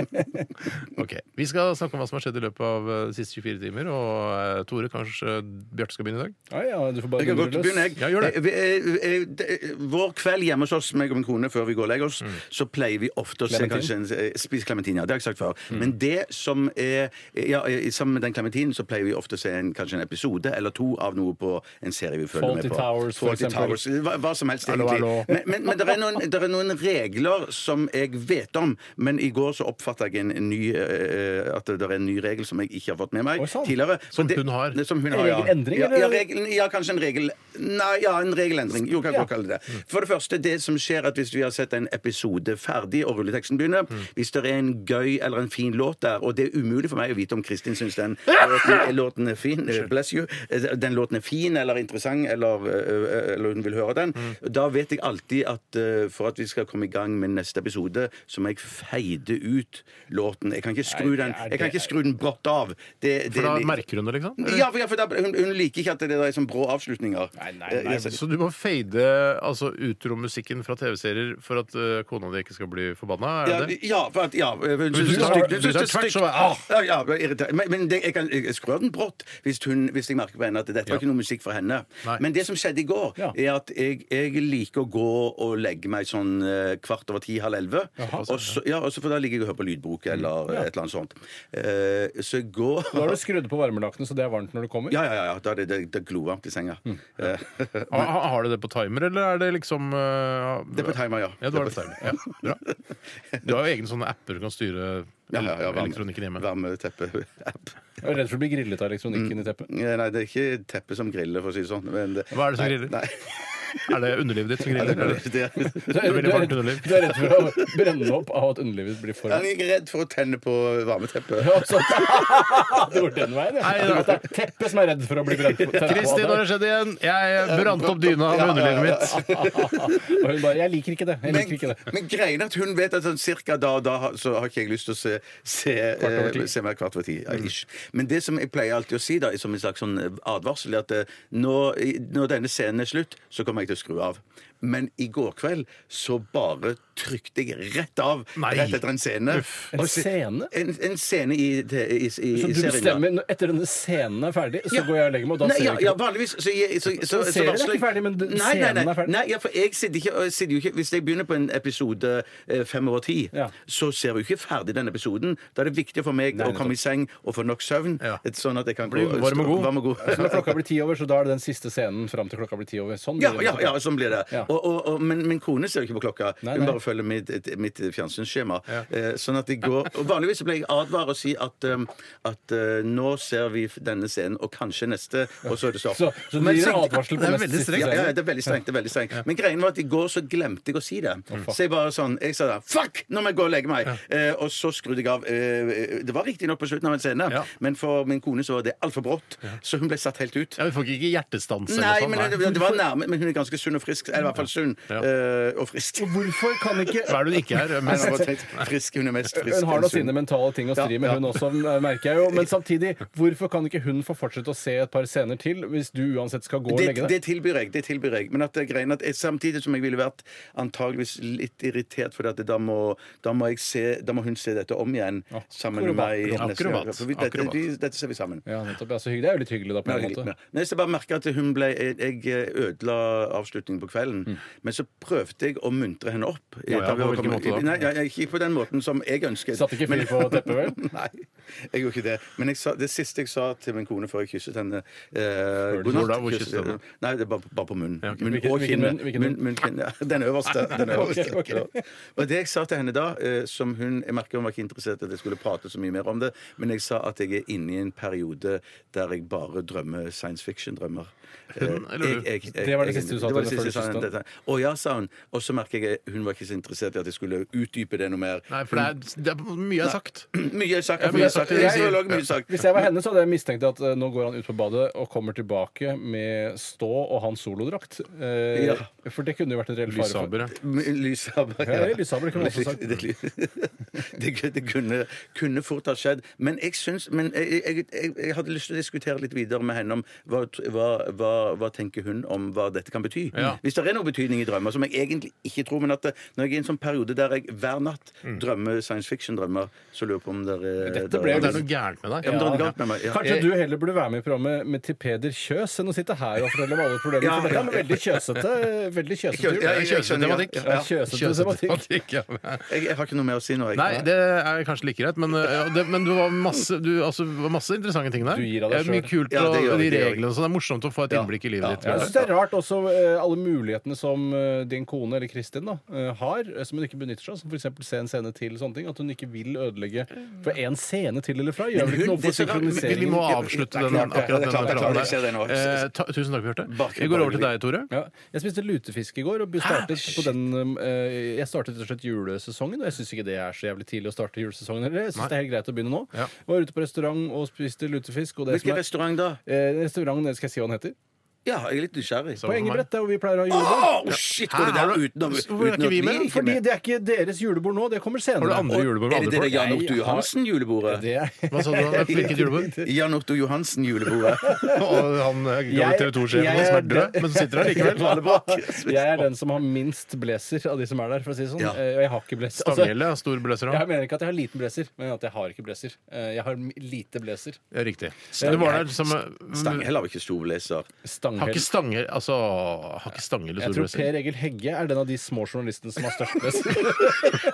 Speaker 4: Ok, Vi skal snakke om hva som har skjedd i løpet av eh, de siste 24 timer. Og eh, Tore, kanskje Bjarte skal begynne i dag?
Speaker 6: Ja, Ah, ja, du får bare
Speaker 5: Jeg kan godt
Speaker 6: dundre løs.
Speaker 5: begynne, jeg.
Speaker 4: Ja, gjør det.
Speaker 5: Eh, vi, eh, eh, det- Vår kveld hjemme hos oss, meg og min kone, før vi går og legger oss, så pleier vi ofte å se
Speaker 6: Clementin?
Speaker 5: kanskje en eh, Spise klementin, ja. Det har jeg sagt før. Men det som er ja, eh, Sammen med den klementinen så pleier vi ofte å se en, kanskje en episode eller to av noe på en serie vi følger
Speaker 6: Fawlty
Speaker 5: med på.
Speaker 6: Towers, for
Speaker 5: Fawlty
Speaker 6: eksempel.
Speaker 5: Towers, hva, hva som helst.
Speaker 4: Ja,
Speaker 6: lov, er
Speaker 5: egentlig.
Speaker 6: lov.
Speaker 5: Men, men, men det, er noen, der er noen regler som jeg vet om, men i går så oppfatta jeg en ny, eh, at det er en ny regel som jeg ikke har fått med meg
Speaker 6: Oi, sant.
Speaker 5: tidligere. For
Speaker 7: Som
Speaker 5: det-
Speaker 7: hun har.
Speaker 5: Som hun
Speaker 6: En
Speaker 5: har, ja.
Speaker 6: regelendring,
Speaker 5: ja,
Speaker 6: eller?
Speaker 5: ja, regelen, ja, kanskje en regel... Nei, ja, en regelendring. Jo, kan jeg
Speaker 6: Ja.
Speaker 5: godt kalle det det. For det første, det som skjer at hvis vi har sett en episode ferdig, og rulleteksten begynner,
Speaker 6: Mm.
Speaker 5: hvis det er en gøy eller en fin låt der, og det er umulig for meg å vite om Kristin syns den låten, låten er fin, eh, bless you, eh, den låten er fin eller interessant, eller, eh, eller hun vil høre den,
Speaker 6: Mm.
Speaker 5: da vet jeg alltid at eh, for at vi skal komme i gang med neste episode, så må jeg feide ut låten. Jeg kan ikke skru
Speaker 6: Nei, det
Speaker 5: den,
Speaker 6: er-
Speaker 5: jeg kan
Speaker 6: det
Speaker 5: ikke skru den brått av. Det, det
Speaker 7: For da
Speaker 5: lik-
Speaker 7: merker hun det, liksom?
Speaker 5: ja, for, ja, for da, hun, hun liker ikke at det er sånn brå avslutninger.
Speaker 6: Nei, nei,
Speaker 5: Eh,
Speaker 6: nei,
Speaker 5: så-
Speaker 7: Så du må fade altså, utromusikken fra TV-serier for at eh, kona di ikke skal bli forbanna? Er det
Speaker 5: ja,
Speaker 7: det?
Speaker 5: ja, for at, ja eh, Hun
Speaker 7: du
Speaker 5: syns det er
Speaker 7: tar-
Speaker 5: stygt.
Speaker 7: du
Speaker 5: Hun syns
Speaker 7: tar
Speaker 5: det er
Speaker 7: tvert,
Speaker 5: stygt.
Speaker 7: så er- ah!
Speaker 5: Ja, ja, det er irriterende. Men, men det, jeg kan jeg skrur den brått hvis, hun, hvis jeg merker på henne at dette var ikke noe musikk for henne.
Speaker 7: Nei.
Speaker 5: Men det som skjedde i går,
Speaker 6: Ja.
Speaker 5: er at jeg, jeg liker å gå og legge meg sånn eh, kvart over ti, halv elleve.
Speaker 7: sånn,
Speaker 5: Og så, ja, og så- for da ligger jeg og hører på lydbok
Speaker 7: Mm,
Speaker 5: eller et eller annet sånt. Eh, så i går
Speaker 6: Da har du skrudd på varmelakenet, så det er varmt når du kommer.
Speaker 5: Ja, ja, ja. ja, Da er det, det, det er glovarmt i senga.
Speaker 7: Mm,
Speaker 5: Eh,
Speaker 7: Ha- ha- Har du det på timer, eller er det liksom eh,
Speaker 5: det er på timer, ja.
Speaker 7: Ja, du har det på timer. Ja, bra. Du har jo egne sånne apper du kan styre
Speaker 5: Ja, ja, ja, varme-
Speaker 7: elektronikken hjemme.
Speaker 5: Varmeteppe-app.
Speaker 6: Jeg er redd for å bli grillet av elektronikken i teppet.
Speaker 5: Ja, Nei, det er ikke teppet som griller, for å si det sånn. Men det,
Speaker 7: Hva er det som
Speaker 5: nei,
Speaker 7: griller?
Speaker 5: Nei,
Speaker 7: Er det underlivet ditt som
Speaker 5: nei,
Speaker 7: griller?
Speaker 5: det,
Speaker 7: eller?
Speaker 5: det, det,
Speaker 6: Du er,
Speaker 7: veldig
Speaker 6: du, er
Speaker 7: varmt
Speaker 6: redd,
Speaker 7: underliv.
Speaker 6: du er redd for å brenne opp av at underlivet blir for
Speaker 5: jeg er ikke redd for å tenne på varmeteppet.
Speaker 6: Ja, så- Det går den veien,
Speaker 7: Nei,
Speaker 6: ja. Det er teppet som er redd for å bli brent. på- tent på
Speaker 7: Kristin, nå har
Speaker 6: av
Speaker 7: det skjedd igjen! Jeg eh, brant opp dyna med underlivet mitt.
Speaker 6: deg. Og hun bare 'Jeg liker ikke det'. Jeg liker ikke
Speaker 5: Men,
Speaker 6: det.
Speaker 5: men greien er at hun vet at sånn cirka da og da har- så har ikke jeg lyst til å se, se,
Speaker 6: over ti. Mm.
Speaker 5: eh, se mer kvart over ti. Ja, ish. Men det som jeg pleier alltid å si da, som en slags sånn advarsel, er at eh, når, i- når denne scenen er slutt, så kommer jeg til å skru av. Men i går kveld så bare trykte jeg rett av
Speaker 7: Nei.
Speaker 5: rett etter en scene.
Speaker 7: Uff.
Speaker 6: En
Speaker 5: Og se-
Speaker 6: scene?
Speaker 5: En, en scene i, i, i, i
Speaker 6: Så du
Speaker 5: serien, ja.
Speaker 6: bestemmer når- etter denne scenen er ferdig, så
Speaker 5: Ja.
Speaker 6: går jeg og legger meg, og da
Speaker 5: nei,
Speaker 6: ser
Speaker 5: ja, ja,
Speaker 6: jeg ikke noe.
Speaker 5: vanligvis så, jeg- så, så,
Speaker 6: Så serien er
Speaker 5: varsler jeg-
Speaker 6: ikke ferdig, men du-
Speaker 5: nei, nei, nei,
Speaker 6: scenen er ferdig.
Speaker 5: Nei, ja, for jeg sitter, ikke, og jeg sitter jo ikke Hvis jeg begynner på en episode eh, fem over ti,
Speaker 6: Ja.
Speaker 5: så ser vi jo ikke ferdig den episoden. Da er det viktig for meg å komme i seng og få nok søvn,
Speaker 7: Ja.
Speaker 5: et- sånn at jeg kan
Speaker 7: Blir
Speaker 5: gå-
Speaker 7: varm og god.
Speaker 5: Varm og
Speaker 6: Så
Speaker 5: god.
Speaker 6: når klokka blir ti over, så da er det den siste scenen fram til klokka blir ti over. Sånn
Speaker 5: Ja,
Speaker 6: blir det.
Speaker 5: ja, ja, sånn blir det.
Speaker 6: Ja.
Speaker 5: Og, og, og, men min kone ser jo ikke på klokka.
Speaker 6: Nei,
Speaker 5: Hun
Speaker 6: nei.
Speaker 5: bare følger mitt, et- mitt fjernsynsskjema. Eh, sånn at det går og Vanligvis så pleier jeg advare og si at, um, at eh, nå ser vi denne scenen, og kanskje neste, og så er det stopp.
Speaker 6: Så, så du
Speaker 7: Men
Speaker 6: gir en
Speaker 7: så-
Speaker 6: advarsel på
Speaker 7: det er
Speaker 6: neste
Speaker 7: veldig
Speaker 6: siste
Speaker 7: strengt.
Speaker 5: Ja, ja,
Speaker 6: scene.
Speaker 5: det er veldig strengt. det er veldig strengt Men greien var at i går så glemte jeg å si det. Så jeg bare sånn Jeg sa da Fuck! Nå må jeg gå og legge meg! Eh, og så skrudde jeg av. Eh, det var riktignok på slutten av en scene,
Speaker 7: Ja.
Speaker 5: men for min kone så var det altfor brått, så hun ble satt helt ut.
Speaker 7: Ja, vi får ikke hjertestans
Speaker 5: Nei, men
Speaker 7: eller sånn,
Speaker 5: det,
Speaker 7: noe sånt.
Speaker 5: det var nærme, men hun er ganske sunn og frisk. Eller i hvert fall sunn
Speaker 7: Ja.
Speaker 5: eh, og frisk.
Speaker 6: Hvorfor kan ikke
Speaker 7: Hva er det du ikke er?
Speaker 5: Men
Speaker 7: Men,
Speaker 5: jeg bare tenkte, frisk, Hun er mest frisk.
Speaker 6: Hun har
Speaker 5: enn
Speaker 6: da
Speaker 5: sunn.
Speaker 6: sine mentale ting å stri med, hun også, merker jeg jo. Men samtidig, hvorfor kan ikke hun få fortsette å se et par scener til, hvis du uansett skal gå og
Speaker 5: det,
Speaker 6: legge
Speaker 5: det
Speaker 6: deg?
Speaker 5: tilbyr jeg. det tilbyr jeg Men at det er greien at jeg, samtidig som jeg ville vært antageligvis litt irritert, for at da, må, da, må jeg se, da må hun se dette om igjen sammen med meg.
Speaker 7: Akrobat.
Speaker 5: neste gang.
Speaker 7: Akrobat.
Speaker 5: For vi, dette,
Speaker 7: Akrobat.
Speaker 5: vi, dette ser vi sammen.
Speaker 6: Ja, nettopp. Ja, så hyggelig. Det er jo litt hyggelig, da, på
Speaker 5: Ja,
Speaker 6: en
Speaker 5: hyggelig.
Speaker 6: måte.
Speaker 5: Men jeg skal bare merke at hun ble, jeg, jeg ødela avslutningen på kvelden. Men så prøvde jeg å muntre henne opp.
Speaker 7: Mm. ja,
Speaker 5: Da vi
Speaker 7: på
Speaker 5: var
Speaker 7: hvilken
Speaker 5: kommet-
Speaker 7: måte da?
Speaker 5: Nei, jeg, jeg, ikke på den måten som jeg ønsket.
Speaker 6: Satt ikke fyr
Speaker 5: Men-
Speaker 6: på teppet, vel?
Speaker 5: Nei, jeg gjorde ikke det. Men jeg sa, det siste jeg sa til min kone før jeg kysset henne
Speaker 7: du-
Speaker 5: eh,
Speaker 7: Hvor da? Hvor
Speaker 5: kysset-
Speaker 7: kysset du henne?
Speaker 5: Nei, det var bare, bare på munnen.
Speaker 7: Ja, ok.
Speaker 5: Munn
Speaker 6: Hvilken-
Speaker 5: og
Speaker 6: hvilken
Speaker 5: kinnet.
Speaker 6: munn? Hvilken
Speaker 5: Munn, munn, kinnet. Ja, Den øverste. Den øverste.
Speaker 6: Ok, ok.
Speaker 5: Ja. Og det jeg sa til henne da, eh, som hun Jeg merker hun var ikke interessert i at jeg skulle prate så mye mer om det, men jeg sa at jeg er inne i en periode der jeg bare drømmer science fiction-drømmer. Eh,
Speaker 7: Hun, eller du?
Speaker 6: Det var det siste du sa
Speaker 5: det var
Speaker 6: til henne
Speaker 5: det siste jeg sa
Speaker 6: før du
Speaker 5: til
Speaker 6: kysset
Speaker 5: henne. Å ja, sa hun. Og så merker jeg hun var ikke så interessert i at jeg skulle utdype det noe mer.
Speaker 7: nei, for det er, det er mye er sagt.
Speaker 5: Mye er sagt.
Speaker 7: Ja, mye er sagt, det
Speaker 5: Jeg
Speaker 7: du sier.
Speaker 5: er zoolog, mye er sagt.
Speaker 6: Hvis jeg var henne, så hadde jeg mistenkt at eh, nå går han ut på badet og kommer tilbake med stå og hans solodrakt. Eh,
Speaker 5: Ja.
Speaker 6: For det kunne jo vært en reell fare. For.
Speaker 7: Lyssaber, ja.
Speaker 5: Lyshaber.
Speaker 6: Ja, ja, lyshaber kunne man også sagt.
Speaker 5: Det, det, det kunne, kunne fort ha skjedd. Men jeg syns men jeg, jeg, jeg, jeg hadde lyst til å diskutere litt videre med henne om hva, hva, hva, hva tenker hun om hva dette kan bety.
Speaker 7: Ja.
Speaker 5: Hvis det er noe betydning i drømmer, som jeg egentlig ikke tror, men at det, når jeg er i en sånn periode der jeg hver natt drømmer science fiction-drømmer, så lurer jeg på om dere
Speaker 6: Mm. Dette ble jo
Speaker 7: Det
Speaker 5: dere-
Speaker 7: er noe gærent med
Speaker 5: Ja,
Speaker 7: deg.
Speaker 5: men dere ga opp med meg. Ja.
Speaker 6: Kanskje du heller burde være med i programmet med til Peder Kjøs enn å sitte her og fortelle om alle problemer.
Speaker 5: Ja,
Speaker 6: for dette er en
Speaker 5: ja, ja.
Speaker 6: veldig kjøsete. Veldig kjøsete
Speaker 5: Ja,
Speaker 6: jul.
Speaker 5: jeg- jeg skjønner, ja.
Speaker 7: Tematikk.
Speaker 5: Ja,
Speaker 6: Ja, kjøsete tematikk.
Speaker 7: Tematikk, ja.
Speaker 5: Jeg, jeg har ikke noe mer å si nå. Jeg.
Speaker 7: Nei, det er kanskje like greit, men, eh, ja, det, men det var masse, du, altså, det var masse interessante ting der.
Speaker 6: Du gir av deg
Speaker 7: Det er mye
Speaker 6: selv.
Speaker 7: kult,
Speaker 5: Ja,
Speaker 7: og
Speaker 5: det gjør jeg,
Speaker 7: de
Speaker 5: det gjør jeg.
Speaker 7: reglene og sånn. Det er morsomt å få et innblikk i livet ditt.
Speaker 6: Ja,
Speaker 7: tror
Speaker 6: jeg
Speaker 7: jeg.
Speaker 6: syns det er rart også eh, alle mulighetene mulighetene som eh, din kone eller Kristin da, eh, har, eh, som hun ikke benytter seg av, som f.eks. se en scene til, sånne ting, at hun ikke vil ødelegge for én scene til eller fra. Gjør vel ikke
Speaker 5: hun-
Speaker 6: noe
Speaker 5: det er
Speaker 6: for
Speaker 5: så rart, men
Speaker 4: Vi
Speaker 6: synkroniseringen?
Speaker 4: må avslutte den, akkurat den paraden der. Eh, ta, tusen takk, Bjarte. Vi går over til deg, Tore.
Speaker 6: Ja, jeg spiste lutefisk i går, og startet på den eh, Jeg startet rett og slett julesesongen. Og jeg syns ikke det er så jævlig tidlig å starte julesesongen heller. Jeg
Speaker 4: Nei.
Speaker 6: synes det er helt greit å begynne nå.
Speaker 4: Ja.
Speaker 6: Var ute på restaurant og spiste lutefisk. Og det som
Speaker 5: Hvilken
Speaker 6: er,
Speaker 5: restaurant da?
Speaker 6: eh, restaurant, det skal jeg si hva den heter.
Speaker 5: Ja, jeg er litt nysgjerrig.
Speaker 4: Så-
Speaker 6: På Engebrett, der hvor vi pleier å ha
Speaker 5: Å,
Speaker 6: julebord.
Speaker 5: shit! Går det
Speaker 4: Hæ, er
Speaker 5: der
Speaker 4: du-
Speaker 5: utenom
Speaker 4: Hvorfor er ikke vi med?
Speaker 5: vi ikke
Speaker 6: Fordi det er ikke deres julebord nå. Det kommer
Speaker 4: Har du
Speaker 6: senere.
Speaker 4: andre julebord med
Speaker 5: Er det
Speaker 4: andre
Speaker 5: det der
Speaker 4: folk?
Speaker 5: Jan Otto
Speaker 6: Jeg har-
Speaker 5: Johansen-julebordet?
Speaker 6: Det er-
Speaker 4: Hva sa du? da? Hvilket julebord?
Speaker 5: Jan Otto Johansen-julebordet.
Speaker 4: Og han eh, gamle
Speaker 6: Jeg-
Speaker 4: TV 2-sjefen
Speaker 6: jeg-
Speaker 4: som er død, men som sitter her likevel.
Speaker 6: Jeg er den som har minst blazer av de som er der, for å si det sånn.
Speaker 5: Ja.
Speaker 6: Eh, Og jeg har ikke blazer. Altså,
Speaker 4: Stanghelle, stor bløser
Speaker 6: jeg
Speaker 4: han.
Speaker 6: mener ikke at jeg har liten blazer, men at jeg har ikke blazer. Eh, Jeg har m- lite blazer.
Speaker 4: Ja, riktig. Du var der som eh,
Speaker 5: Stanghelle har jo ikke stor leser.
Speaker 6: Stanghell.
Speaker 4: Har ikke stanger Altså, har ikke Stanghelle
Speaker 6: Jeg
Speaker 4: stor
Speaker 6: tror
Speaker 4: bløser?
Speaker 6: Per Egil Hegge er den av de små journalistene som har størst blazer.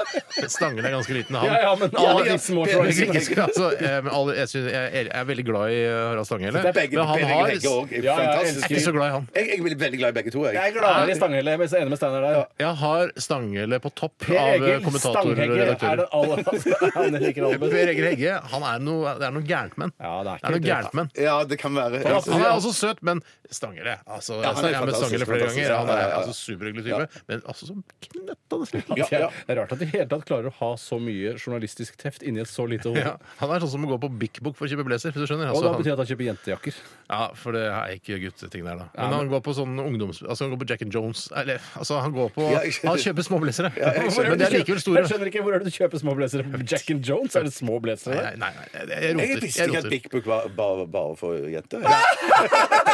Speaker 4: Stanghelle er ganske liten, han.
Speaker 6: ja, ja, men alle de små journalistene.
Speaker 4: Jeg, altså, eh, men alle, jeg, synes, jeg, er- jeg er veldig glad i eh, Harald Stanghelle.
Speaker 6: Det er begge-
Speaker 4: Men han
Speaker 5: Begge
Speaker 4: har
Speaker 5: legger også.
Speaker 6: Ja, jeg
Speaker 5: Fantastisk.
Speaker 4: Jeg er ikke så glad i han.
Speaker 5: Jeg, jeg blir veldig glad i begge to. Jeg.
Speaker 6: Jeg er gladere i Stanghelle, men jeg er enig med Steinar der.
Speaker 4: Jeg har Stanghelle på topp
Speaker 6: Per
Speaker 4: av eh,
Speaker 6: Egil
Speaker 4: kommentatorer og
Speaker 6: Stanghegge er
Speaker 4: redaktører.
Speaker 6: den aller Altså, Han liker alle best.
Speaker 4: Per Egil Hegge han er noe, det er noe gærent med han.
Speaker 6: Ja, det er
Speaker 4: Det
Speaker 6: ikke
Speaker 4: er noe
Speaker 6: helt rett,
Speaker 4: gærent med han.
Speaker 5: Ja, det kan være.
Speaker 6: Ja,
Speaker 4: Han er altså søt, men Stanghelle altså,
Speaker 5: Ja, han er
Speaker 4: Jeg har møtt
Speaker 5: fantastisk,
Speaker 4: Stanghelle flere
Speaker 5: fantastisk.
Speaker 4: ganger. Han
Speaker 5: Ja, ja,
Speaker 4: er
Speaker 5: ja.
Speaker 4: altså superhyggelig type, men altså så knøttende sliten.
Speaker 5: Ja, ja.
Speaker 6: Det er rart at de i hele tatt klarer å ha så mye journalistisk teft inni et så lite hode.
Speaker 4: Ja, han er sånn som å gå på Big Book for å kjøpe blazer. hvis du skjønner
Speaker 6: Og
Speaker 4: altså,
Speaker 6: da
Speaker 4: han,
Speaker 6: betyr det at han kjøper jentejakker.
Speaker 4: ja, For det er ikke gutteting der, da. Men,
Speaker 6: men-
Speaker 4: han går på sånn ungdoms... Altså han går på Jack and Jones eller, altså, Han går på
Speaker 5: Ja, jeg skjønner.
Speaker 4: Han kjøper småblazere.
Speaker 5: jeg skjønner.
Speaker 4: men det er likevel store.
Speaker 6: Jeg skjønner ikke hvor er det du kjøper små blazere. På Jack and Jones? Er det små blazere
Speaker 4: Nei,
Speaker 6: der?
Speaker 4: nei, nei, jeg- jeg roter.
Speaker 5: Jeg visste ikke at
Speaker 4: roter.
Speaker 5: Big Book var bare, bare for jenter.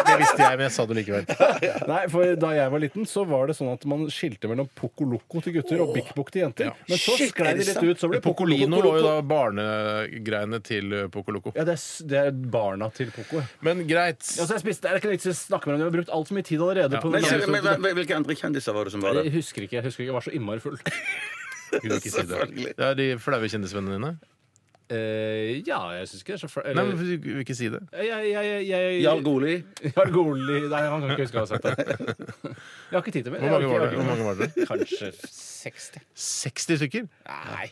Speaker 4: Det visste jeg, men jeg sa det likevel.
Speaker 6: Nei, for da jeg var liten, så var det sånn at man skilte mellom Poco Loco til gutter og Bik Bok til jenter. Men så
Speaker 5: Shit,
Speaker 6: sklei
Speaker 5: er
Speaker 6: de
Speaker 5: det
Speaker 6: litt
Speaker 5: sant?
Speaker 6: ut, så ble det Poco
Speaker 4: Pocolino lå jo
Speaker 6: Loco.
Speaker 4: da barnegreiene til eh, Pocoloko.
Speaker 6: Ja, det er, s- det er barna til Poco. ja.
Speaker 4: Men greit.
Speaker 6: Altså, jeg spiste, det er ikke noe vits i å snakke med dem. Vi har brukt altfor mye tid allerede. på
Speaker 5: Men,
Speaker 6: den
Speaker 5: men,
Speaker 6: gangen.
Speaker 5: men hvilke andre kjendiser var det som var
Speaker 6: Jeg
Speaker 5: der?
Speaker 6: husker ikke. Jeg husker ikke, jeg var så innmari full.
Speaker 4: Kunne ikke si det.
Speaker 5: Selvfølgelig.
Speaker 4: det er de flaue kjendisvennene dine.
Speaker 6: Eh, ja, jeg syns ikke det er så fl-
Speaker 4: Nei,
Speaker 6: eller-
Speaker 4: men du vil ikke si det.
Speaker 6: Jeg- jeg- jeg- jeg-
Speaker 5: Jarl Goli.
Speaker 6: Jargoli Nei, han kan ikke huske å ha sagt det. Jeg har ikke tid til mer.
Speaker 4: Hvor mange var det? Hvor mange var det?
Speaker 6: Kanskje 60.
Speaker 4: 60 stykker?
Speaker 6: Nei.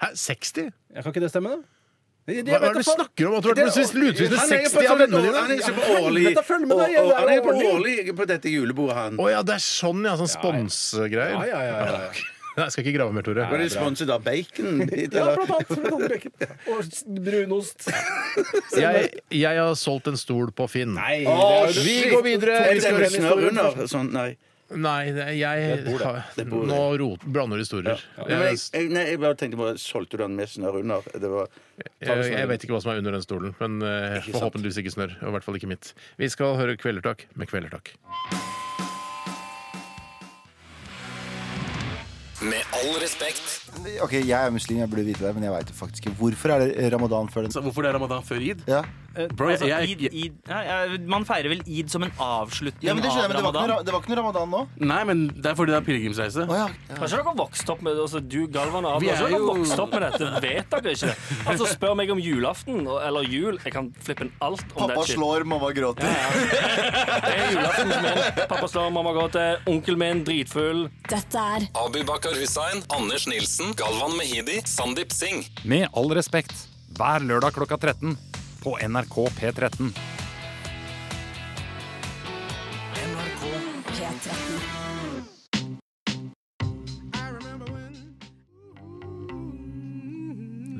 Speaker 4: Hæ, 60?
Speaker 6: Jeg kan ikke det stemme, da? Jeg- jeg
Speaker 4: Hva, hva er det
Speaker 6: vet
Speaker 4: du
Speaker 6: da faen.
Speaker 4: snakker om? At du har vært på spist lutefisk med
Speaker 5: Han er jo
Speaker 4: 60 av
Speaker 5: sånn et
Speaker 4: vennene
Speaker 5: år-
Speaker 4: dine?
Speaker 5: han er jo
Speaker 6: Ja,
Speaker 5: på årlig
Speaker 6: helvete, følg med
Speaker 5: og-
Speaker 6: deg, jeg
Speaker 5: og-
Speaker 6: er
Speaker 5: Han er på
Speaker 6: årlig.
Speaker 5: årlig på dette julebordet, han.
Speaker 4: Å ja, det er sånn, ja. Sånn
Speaker 6: Ja,
Speaker 4: sponsgreier.
Speaker 6: ja, ja, ja, ja.
Speaker 4: Nei, Jeg skal ikke grave mer, Tore.
Speaker 5: Var det sponset av bacon?
Speaker 6: ja
Speaker 5: eller?
Speaker 6: blant annet. Blant annet bacon. Og s- brunost.
Speaker 4: Jeg, jeg har solgt en stol på Finn.
Speaker 6: Nei,
Speaker 5: Å,
Speaker 6: det er jo-
Speaker 4: Vi
Speaker 5: shit.
Speaker 4: går videre.
Speaker 5: Er
Speaker 4: Vi
Speaker 5: det
Speaker 4: skal høre
Speaker 5: den med snørr
Speaker 4: historien
Speaker 5: under? Sånn, nei.
Speaker 4: Nei, det- jeg
Speaker 6: bor, det.
Speaker 4: har- Nå rot, blander du historier.
Speaker 5: Nei, men
Speaker 4: Jeg,
Speaker 5: jeg, jeg, nei, jeg bare tenkte bare Solgte du den med snørr under? Det var
Speaker 4: jeg, jeg vet ikke hva som er under den stolen, men eh,
Speaker 5: Ikke sant.
Speaker 4: forhåpentligvis ikke snørr. Og i hvert fall ikke mitt. Vi skal høre Kvelertak med Kvelertak.
Speaker 8: Med all respekt.
Speaker 9: Ok, jeg er muslim, jeg burde vite det, men jeg veit faktisk ikke. Hvorfor er det ramadan før den?
Speaker 10: Så hvorfor det er ramadan før id?
Speaker 9: Ja.
Speaker 10: Bro, jeg, jeg,
Speaker 11: Altså, Eid, Eid, ja, ja, man feirer vel id som en avslutning
Speaker 9: ja, men det skjønner jeg,
Speaker 11: av
Speaker 9: men det var, ikke
Speaker 11: ramadan.
Speaker 9: noe, ra- det var ikke noe ramadan nå.
Speaker 10: nei, men det er fordi det er pilegrimsreise.
Speaker 9: Å ja.
Speaker 12: Kanskje dere har vokst opp med altså, Du, Galvan og
Speaker 10: Vi
Speaker 12: Abel, kanskje
Speaker 10: er
Speaker 12: dere
Speaker 10: jo-
Speaker 12: har vokst opp med dette? Vet dere ikke det? Altså, spør meg om julaften og- eller jul. Jeg kan flippe en alt om
Speaker 9: Pappa
Speaker 12: det shit.
Speaker 9: slår, mamma gråter.
Speaker 12: Det er julaften som er. Pappa slår, mamma gråter, onkelen min dritfull.
Speaker 13: Dette er
Speaker 8: Abubakar Hussein, Anders Nilsen, Galvan Mehidi, Sandeep Singh.
Speaker 1: Med all respekt, hver lørdag klokka 13 på NRK P13.
Speaker 13: P13.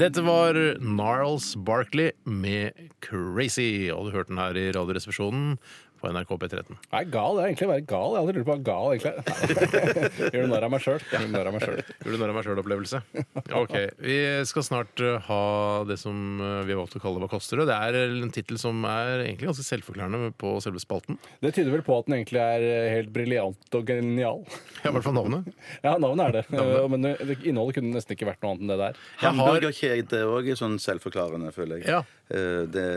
Speaker 4: Dette var Narls Barkley med Crazy. Og du hørte den her i Radioresepsjonen på NRK P13.
Speaker 6: Jeg er gal. Jeg er egentlig å være gal. Jeg har aldri lurt på hva gal egentlig er. Gjør du narr av meg sjøl? Gjør du narr av meg sjøl.
Speaker 4: Gjorde narr av meg sjøl-opplevelse. Ok, Vi skal snart uh, ha det som uh, vi har valgt å kalle Hva koster det? Det er en tittel som er egentlig ganske selvforklarende på selve spalten.
Speaker 6: Det tyder vel på at den egentlig er eh, helt briljant og genial.
Speaker 4: Ja, I hvert fall navnet.
Speaker 6: Ja, navnet er det. Eh, Men det- det- innholdet kunne nesten ikke vært noe annet enn det der.
Speaker 4: Jeg har
Speaker 5: Hamburgerkjede òg er sånn selvforklarende, føler jeg.
Speaker 4: Ja.
Speaker 5: Eh, Det,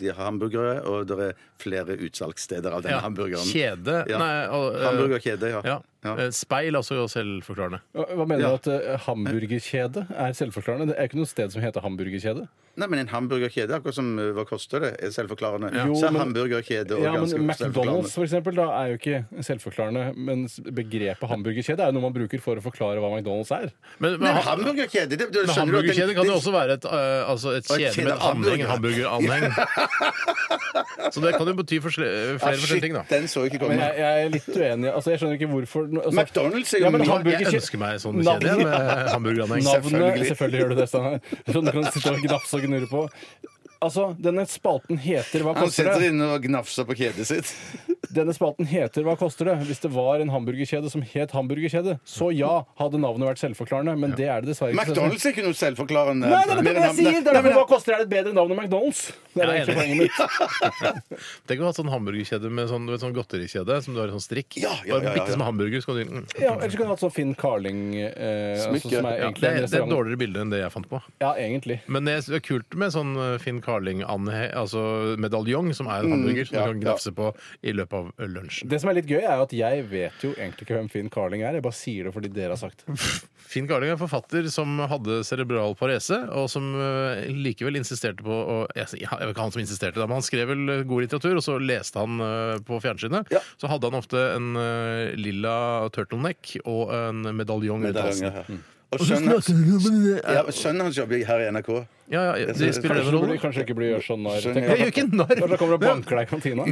Speaker 5: de har hamburgere, og det er flere utsalgssteder av denne
Speaker 4: ja,
Speaker 5: hamburgeren.
Speaker 4: kjede
Speaker 5: Ja.
Speaker 4: Nei, og, uh,
Speaker 5: Hamburgerkjede, ja.
Speaker 4: ja.
Speaker 6: Eh, Speil altså jo selvforklarende.
Speaker 5: Hva
Speaker 6: mener du at eh, hamburgerkjede er selvforklarende? Det er ikke noe sted som heter hamburgerkjede.
Speaker 5: Nei, men en hamburgerkjede, akkurat som eh, hva koster det, er selvforklarende.
Speaker 6: Ja. Jo,
Speaker 5: Så er
Speaker 6: men-
Speaker 5: hamburgerkjede og
Speaker 6: Ja,
Speaker 5: ganske
Speaker 6: men
Speaker 5: selvforklarende.
Speaker 6: McDonald's for eksempel, da, er jo ikke selvforklarende. Mens begrepet hamburgerkjede er jo noe man bruker for å forklare hva McDonald's er.
Speaker 5: Men, hamburgerkjede det,
Speaker 6: Men hamburgerkjede kan jo også være et, eh, altså et
Speaker 5: Og et
Speaker 6: kjede med
Speaker 5: kjede
Speaker 6: et
Speaker 5: av
Speaker 6: anheng.
Speaker 5: hamburgere.
Speaker 6: Hamburgeranheng. Så det kan jo bety forsle- flere
Speaker 5: Ah, shit,
Speaker 6: forskjellige ting, da.
Speaker 5: den så jeg ikke komme.
Speaker 6: Men jeg, jeg er litt uenig. Altså, jeg skjønner ikke hvorfor no- altså,
Speaker 5: McDonald's er jo
Speaker 6: men
Speaker 5: min-
Speaker 6: hamburgerkjede-
Speaker 5: Jeg ønsker meg sånn
Speaker 6: Navnet-
Speaker 5: kjede, jeg, med hamburgeranlegg.
Speaker 6: Navnet- Selvfølgelig.
Speaker 5: Selvfølgelig.
Speaker 6: gjør du det, Steinar. Sånn du kan sitte og gnafse og gnurre på. Altså, denne spalten heter Hva
Speaker 5: Han
Speaker 6: koster
Speaker 5: sitter
Speaker 6: det?
Speaker 5: inne og gnafser på kjedet sitt.
Speaker 6: Denne spalten heter Hva koster det? Hvis det var en hamburgerkjede som het hamburgerkjede, så ja, hadde navnet vært selvforklarende, men det er det dessverre ikke.
Speaker 5: McDonald's er ikke noe selvforklarende.
Speaker 6: Nei, det er det
Speaker 5: Mer enn
Speaker 6: jeg
Speaker 5: ham-
Speaker 6: sier! Det
Speaker 5: Nei,
Speaker 6: er
Speaker 5: men
Speaker 6: derfor Hva koster det er et bedre navn enn McDonald's. Det er det
Speaker 5: Jeg er
Speaker 6: egentlig poenget
Speaker 5: enig.
Speaker 6: mitt.
Speaker 4: Tenk å ha sånn hamburgerkjede med sånn, du vet, sånn godterikjede som du har i sånn strikk.
Speaker 6: Ja, ja, ja,
Speaker 4: Bare
Speaker 6: ja,
Speaker 4: bitte
Speaker 6: ja.
Speaker 4: som hamburger. Så kan du, mm.
Speaker 6: Ja, Ellers kunne du hatt sånn Finn Carling eh, altså, som er
Speaker 4: Ja,
Speaker 6: egentlig
Speaker 4: det, er- det
Speaker 6: en
Speaker 4: er et
Speaker 6: restaurant.
Speaker 4: dårligere bilde enn det jeg fant på.
Speaker 6: Ja, egentlig.
Speaker 4: Men det er kult med sånn Finn Carling-medaljong, altså medaljong, som er
Speaker 6: Mm,
Speaker 4: en hamburger som
Speaker 6: ja,
Speaker 4: du kan gnafse på i løpet av lunsjen.
Speaker 6: Det som er litt gøy, er jo at jeg vet jo egentlig ikke hvem Finn Carling er. Jeg bare sier det fordi dere har sagt det.
Speaker 4: Finn Carling er en forfatter som hadde cerebral parese, og som eh, likevel insisterte på å, jeg, jeg vet ikke han som insisterte da, men han skrev vel god litteratur, og så leste han eh, på fjernsynet. Så hadde han ofte en eh, lilla turtleneck og en medaljong rundt halsen.
Speaker 5: Medaljong, ja, ja. Og sønnen hans- Ja, men sønnen hans jobber her i NRK.
Speaker 4: Ja, ja, det spiller
Speaker 6: kanskje,
Speaker 4: en rolle.
Speaker 6: blir- kanskje ikke blir gjort sånn narr.
Speaker 5: Skjønner
Speaker 6: Tenk
Speaker 5: jeg.
Speaker 6: at-
Speaker 5: Jeg gjør ikke narr.
Speaker 6: Kanskje kommer og banker deg i kantina.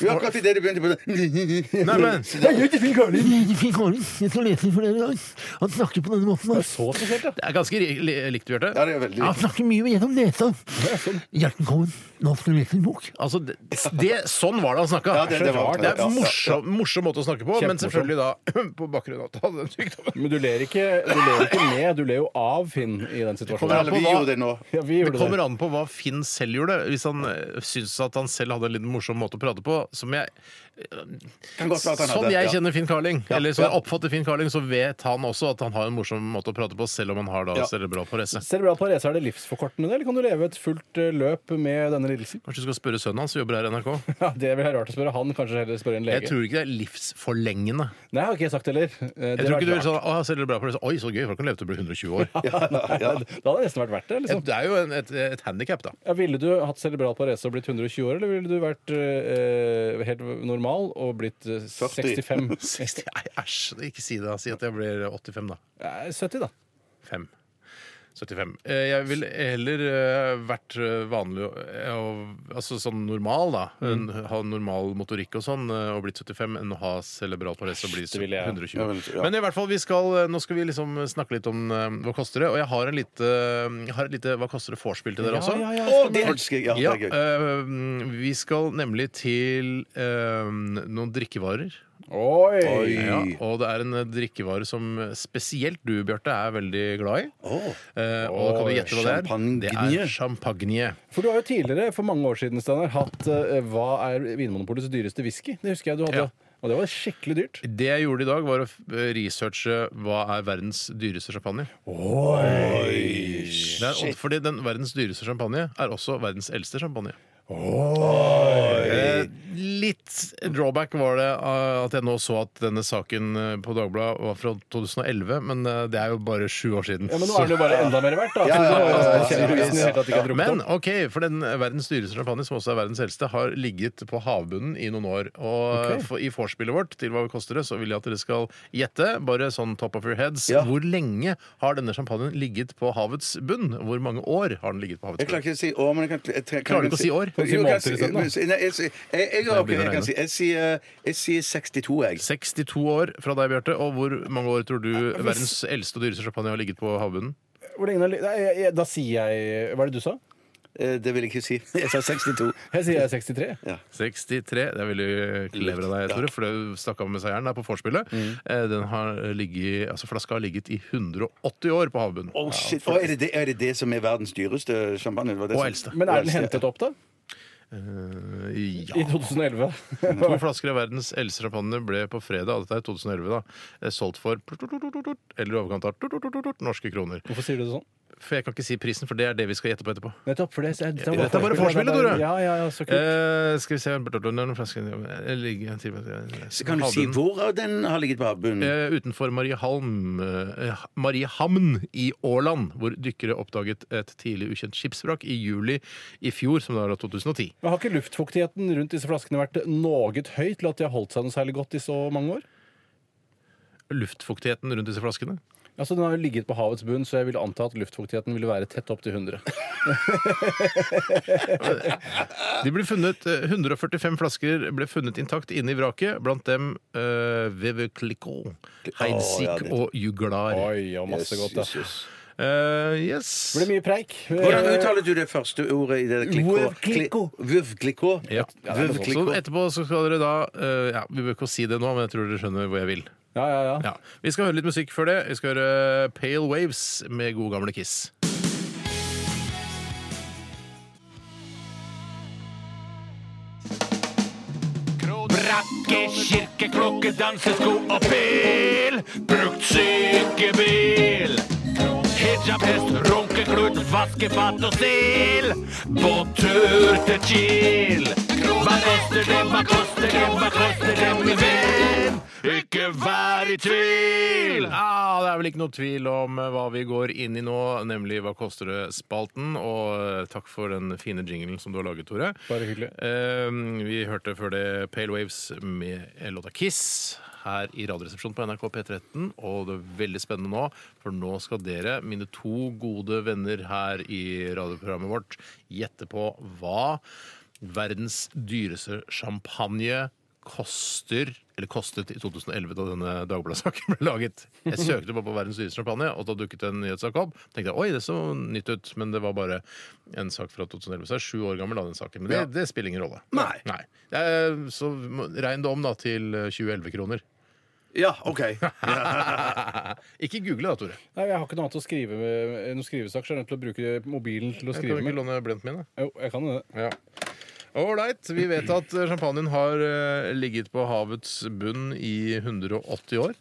Speaker 5: Jo, akkurat idet de begynte på det
Speaker 4: Nei, men
Speaker 5: Jeg gjør ikke Finn Carling!
Speaker 4: Finn Carling, jeg skal lese for dere i dag. Han snakker på denne måten. Det er så spesielt, ja. Det er ganske ri- li- likt, Bjarte. Ja, det er veldig likt. snakker mye gjennom nesa. sånn. Hjerten kommer. Nå skal du lese en bok. Altså, det, det, sånn var det han snakka.
Speaker 6: Ja, det- det var-
Speaker 4: det er en morsom, morsom måte å snakke på, men
Speaker 6: Kjempemorsom.
Speaker 4: selvfølgelig da på bakgrunn av at han hadde den sykdommen.
Speaker 6: Men du ler, ikke, du ler ikke med, du ler jo av Finn i den situasjonen.
Speaker 4: an på hva-
Speaker 6: Ja, vi
Speaker 4: det
Speaker 6: gjorde
Speaker 4: kommer
Speaker 6: det.
Speaker 4: an på hva Finn selv gjorde. Hvis han eh, syntes at han selv hadde en litt morsom måte å prate på, som jeg
Speaker 5: Kan godt være at han
Speaker 4: Sånn
Speaker 5: hadde,
Speaker 4: jeg
Speaker 5: ja.
Speaker 4: kjenner Finn Carling,
Speaker 5: Ja,
Speaker 4: eller som jeg
Speaker 5: ja.
Speaker 4: oppfatter Finn Carling, så vet han også at han har en morsom måte å prate på, selv om han har da
Speaker 6: Ja.
Speaker 4: cerebral parese.
Speaker 6: Cerebral parese, er det livsforkortende, eller kan du leve et fullt eh, løp med denne lidelsen?
Speaker 4: Kanskje du skal spørre sønnen hans som jobber her i NRK?
Speaker 6: Ja, Det vil være rart å spørre han, kanskje heller spørre en lege.
Speaker 4: Jeg tror ikke det er livsforlengende.
Speaker 6: Nei, har ikke jeg sagt det heller. Eh,
Speaker 4: Jeg
Speaker 6: det
Speaker 4: tror
Speaker 6: hadde
Speaker 4: ikke du
Speaker 6: vært
Speaker 4: vil sånn, å, cerebral parese. Oi, så gøy, folk kan leve til å bli 120 år.
Speaker 6: rart. Nei, Det hadde nesten vært verdt det. liksom.
Speaker 4: Det er jo en, et, et handikap, da.
Speaker 6: Ja, ville du hatt cerebral parese og blitt 120 år, eller ville du vært eh, helt normal og blitt eh, 65?
Speaker 4: 60, nei, æsj, ikke si det. da. Si at jeg blir 85, da.
Speaker 6: 70, Eh, da.
Speaker 4: 5. 75. Eh, Jeg ville heller eh, vært eh, vanlig og- eh, og altså sånn normal, da. En-
Speaker 6: Mm.
Speaker 4: Ha normal motorikk og sånn eh, og blitt 75 enn å ha cerebral parese og bli
Speaker 6: det ville jeg.
Speaker 4: 120.
Speaker 6: Ja, vel, ja.
Speaker 4: Men i hvert fall, vi skal, eh, nå skal vi liksom snakke litt om eh, hva koster det. Og jeg har, en lite, eh, jeg har et lite hva koster det-vorspiel til dere
Speaker 6: Ja,
Speaker 4: også.
Speaker 6: ja, ja, Å, stemmer. det
Speaker 5: elsker jeg. Ja, det er gøy.
Speaker 4: eh, vi skal nemlig til eh, noen drikkevarer.
Speaker 6: Oi!
Speaker 4: Ja, og det er en eh, drikkevare som spesielt du, Bjarte, er veldig glad i. Eh, og kan du
Speaker 6: Oi,
Speaker 4: gjette hva det er? Det er champagne.
Speaker 6: For du har jo tidligere, for mange år siden, Steinar, hatt eh, Hva er Vinmonopolets dyreste whisky? Det husker jeg du hadde.
Speaker 4: Ja.
Speaker 6: Og det var skikkelig dyrt.
Speaker 4: Det jeg gjorde i dag, var å f- researche hva er verdens dyreste champagne.
Speaker 6: Oi!
Speaker 4: Det er, odd- fordi den verdens dyreste champagne er også verdens eldste champagne. Eh, Litt drawback var det eh, at jeg nå så at denne saken eh, på Dagbladet var fra 2011, men eh, det er jo bare sju år siden.
Speaker 6: Ja, Men nå er det jo bare enda mer verdt, da.
Speaker 4: Ja, ja, ja, ja, ja.
Speaker 6: Kjenner bevisen i det hele tatt ikke har drukket
Speaker 4: Men
Speaker 6: opp.
Speaker 4: ok, for den verdens dyreste champagne, som også er verdens eldste, har ligget på havbunnen i noen år. Og
Speaker 6: Ok.
Speaker 4: for, i vorspielet vårt til hva det koster det, så vil jeg at dere skal gjette, bare sånn top of your heads, hvor lenge har denne champagnen ligget på havets bunn? Hvor mange år har den ligget på havets
Speaker 5: Jeg klarer
Speaker 4: bunn?
Speaker 5: ikke å si år, men jeg kan, jeg, jeg,
Speaker 4: Klarer du ikke å si år?
Speaker 5: Jo,
Speaker 4: Kan du si
Speaker 5: jeg kan
Speaker 4: måneder
Speaker 5: si-
Speaker 4: isteden, da?
Speaker 5: men- nei, jeg, jeg, jeg, jeg,
Speaker 4: Nei, jeg
Speaker 5: ok,
Speaker 4: begynner å
Speaker 5: jeg,
Speaker 4: regne.
Speaker 5: kan si- jeg, sier, eh, jeg sier 62, jeg.
Speaker 4: 62 år fra deg, Bjarte. Og hvor mange år tror du verdens eldste og dyreste champagne har ligget på havbunnen?
Speaker 6: Hvor lenge har li- Nei, jeg- jeg- Da sier jeg Hva er det du sa?
Speaker 5: Eh, Det vil jeg ikke si. Jeg sa 62.
Speaker 6: Jeg sier jeg er 63.
Speaker 4: 63. Det er veldig clever av deg, Tore, for du stakk av med seieren der på vorspielet. Eh, Den har ligget, altså flaska har ligget i 180 år på havbunnen.
Speaker 5: Oh, shit. Å, er, det det, er det det som er verdens dyreste champagne? Det var det
Speaker 4: Og
Speaker 5: som-
Speaker 4: eldste.
Speaker 6: Men er den
Speaker 5: Og eldste,
Speaker 6: hentet opp, da?
Speaker 4: Eh,
Speaker 6: I
Speaker 4: ja.
Speaker 6: 2011?
Speaker 4: To flasker av verdens eldste champagne ble på fredag og dette er 2011 da, eh, solgt for eller i overkant av norske kroner.
Speaker 6: Hvorfor sier du det sånn?
Speaker 4: For jeg kan ikke si prisen, for det er det vi skal gjette på etterpå.
Speaker 6: Nettopp, for det, det, det,
Speaker 4: Dette er bare vorspielet, Tore.
Speaker 6: Ja, ja, ja, så kult.
Speaker 4: Eh, skal vi se eh, Flasken
Speaker 5: Så kan du si hvor av den har ligget på havbunnen?
Speaker 4: Eh, utenfor Mariehamn, eh, Mariehamn i Åland, hvor dykkere oppdaget et tidlig ukjent skipsvrak i juli i fjor, som da er 2010.
Speaker 6: Men Har ikke luftfuktigheten rundt disse flaskene vært noe høy til at de har holdt seg noe særlig godt i så mange år?
Speaker 4: Luftfuktigheten rundt disse flaskene.
Speaker 6: Altså, Den har jo ligget på havets bunn, så jeg ville anta at luftfuktigheten ville være tett opp til 100.
Speaker 4: De ble funnet, eh, 145 flasker ble funnet intakt inne i vraket, blant dem uh, Veve Clicquot, Heidsieck
Speaker 5: ja, det-
Speaker 4: og Juglar.
Speaker 6: Oi, og masse godt, da.
Speaker 5: Yes, yes,
Speaker 4: Eh, yes.
Speaker 6: Det ble mye preik.
Speaker 5: Hvordan uttaler du det første ordet i det
Speaker 6: Vuv klikko.
Speaker 5: Vuvklikko?
Speaker 4: Ja. Så etterpå så skal dere da eh, ja, Vi bør ikke si det nå, men jeg tror dere skjønner hvor jeg vil.
Speaker 6: Ja, ja, ja.
Speaker 4: Ja. Vi skal høre litt musikk før det. Vi skal høre Pale Waves med gode gamle Kiss.
Speaker 13: Brakke, kirke, klokke, dansesko og pil. Brukt sykebil. Hijab, hest, runkeklut, vaskefat og stil. På tur til Kiel. Hva koster det, hva koster det, hva koster det, min venn? Ikke vær i tvil!
Speaker 4: Ah, det er vel ikke noe tvil om eh, hva vi går inn i nå, nemlig Hva koster det?-spalten. Og eh, takk for den fine jinglen som du har laget, Tore.
Speaker 6: Bare hyggelig.
Speaker 4: Eh, vi hørte før det Pale Waves med låta Kiss her i Radioresepsjonen på NRK P13. Og det er veldig spennende nå, for nå skal dere, mine to gode venner her i radioprogrammet vårt, gjette på hva verdens dyreste champagne koster eller kostet i 2011 da denne Dagbladet-saken ble laget. Jeg søkte bare på verdens dyreste champagne, og da dukket en nyhetssak opp. tenkte jeg, oi, det så nytt ut, men det var bare en sak fra 2011. Så jeg er sju år gammel da, den saken. Men det, det spiller ingen rolle.
Speaker 5: Nei.
Speaker 4: Eh, Så må- regn det om da til eh, 2011-kroner.
Speaker 5: Ja, OK.
Speaker 4: ikke google da, Tore.
Speaker 6: Nei, Jeg har ikke noe annet å skrive med noen skrivesak, så jeg er nødt til å bruke mobilen til å
Speaker 4: Jeg kan
Speaker 6: skrive
Speaker 4: ikke
Speaker 6: med.
Speaker 4: låne blenten min, da.
Speaker 6: Jo, jeg kan jo det.
Speaker 4: Ja. Ålreit. Vi vet at champagnen har eh, ligget på havets bunn i 180 år.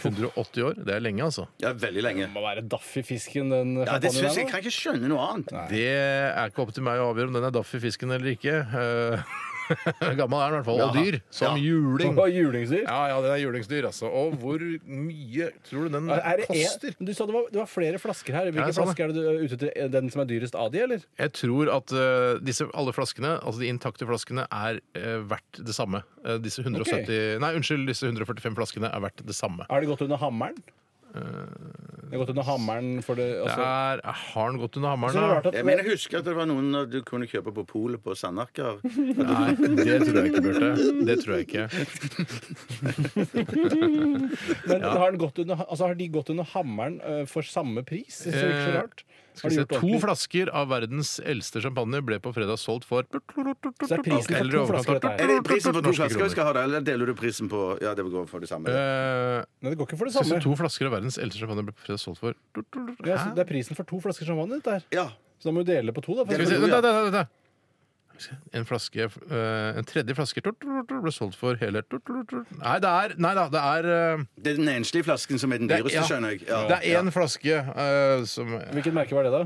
Speaker 4: 180 år, Det er lenge, altså.
Speaker 5: Ja, veldig lenge.
Speaker 6: Det må være daff i fisken, den
Speaker 5: Ja, det synes
Speaker 6: champagnen
Speaker 5: jeg,
Speaker 6: der.
Speaker 5: jeg
Speaker 6: da.
Speaker 5: kan ikke skjønne noe annet.
Speaker 4: Det er ikke opp til meg å avgjøre om den er daff i fisken eller ikke. Eh, Gammel er den i hvert fall. Og dyr. Som juling.
Speaker 6: Hva, julingsdyr?
Speaker 4: Ja, ja, den er julingsdyr, altså. Og hvor mye tror du den
Speaker 6: Er det en-
Speaker 4: koster?
Speaker 6: Men Du sa det var, det var flere flasker her.
Speaker 4: Ja,
Speaker 6: Hvilke
Speaker 4: jeg sa det.
Speaker 6: flasker er det du er ute etter? Er det Den som er dyrest av de, eller?
Speaker 4: Jeg tror at eh, disse, alle flaskene, altså de intakte flaskene, er eh, verdt det samme. Eh, disse 170 Nei, unnskyld, disse 145 flaskene er verdt det samme.
Speaker 6: Er det gått under hammeren? Det er gått under hammeren for det altså,
Speaker 4: Der har den gått under
Speaker 6: Så er det
Speaker 4: hammeren,
Speaker 6: rart
Speaker 4: da.
Speaker 6: at
Speaker 5: Jeg mener, jeg husker at det var noen du kunne kjøpe på polet på Sandaker.
Speaker 4: Nei, det tror jeg ikke, Bjarte. Det tror jeg ikke.
Speaker 6: Men har, den gått under, altså, har de gått under hammeren eh, for samme pris? Det er ikke så rart. Har
Speaker 4: Eh, Skal
Speaker 6: de
Speaker 4: vi se,
Speaker 6: gjort
Speaker 4: to
Speaker 6: ordentlig?
Speaker 4: flasker av verdens eldste champagne ble på fredag solgt for
Speaker 6: Så det er prisen for to flasker, dette her.
Speaker 5: Er det prisen på to
Speaker 4: Norske
Speaker 5: flasker
Speaker 4: kroner.
Speaker 5: vi skal ha, da? Eller deler du prisen på Ja, det går for det samme.
Speaker 4: Eh,
Speaker 6: Nei, det går ikke for det
Speaker 4: skal vi se,
Speaker 6: samme.
Speaker 4: to flasker av verdens eldste champagne ble på fredag solgt for
Speaker 6: Ja, så det er prisen for to flasker champagne, dette her.
Speaker 5: Ja.
Speaker 6: Så da må du dele på to, da. For
Speaker 4: Skal vi se,
Speaker 6: eksempel.
Speaker 4: vent, vent, vent, vent. En flaske eh, En tredje flaske ble solgt for hele Nei, det er Nei da, det er eh,
Speaker 5: Det er den enslige flasken som er den
Speaker 4: det er-
Speaker 5: dyreste,
Speaker 4: ja.
Speaker 5: skjønner jeg.
Speaker 4: Det er én flaske eh, som Nei,
Speaker 6: Hvilket merke var det, da?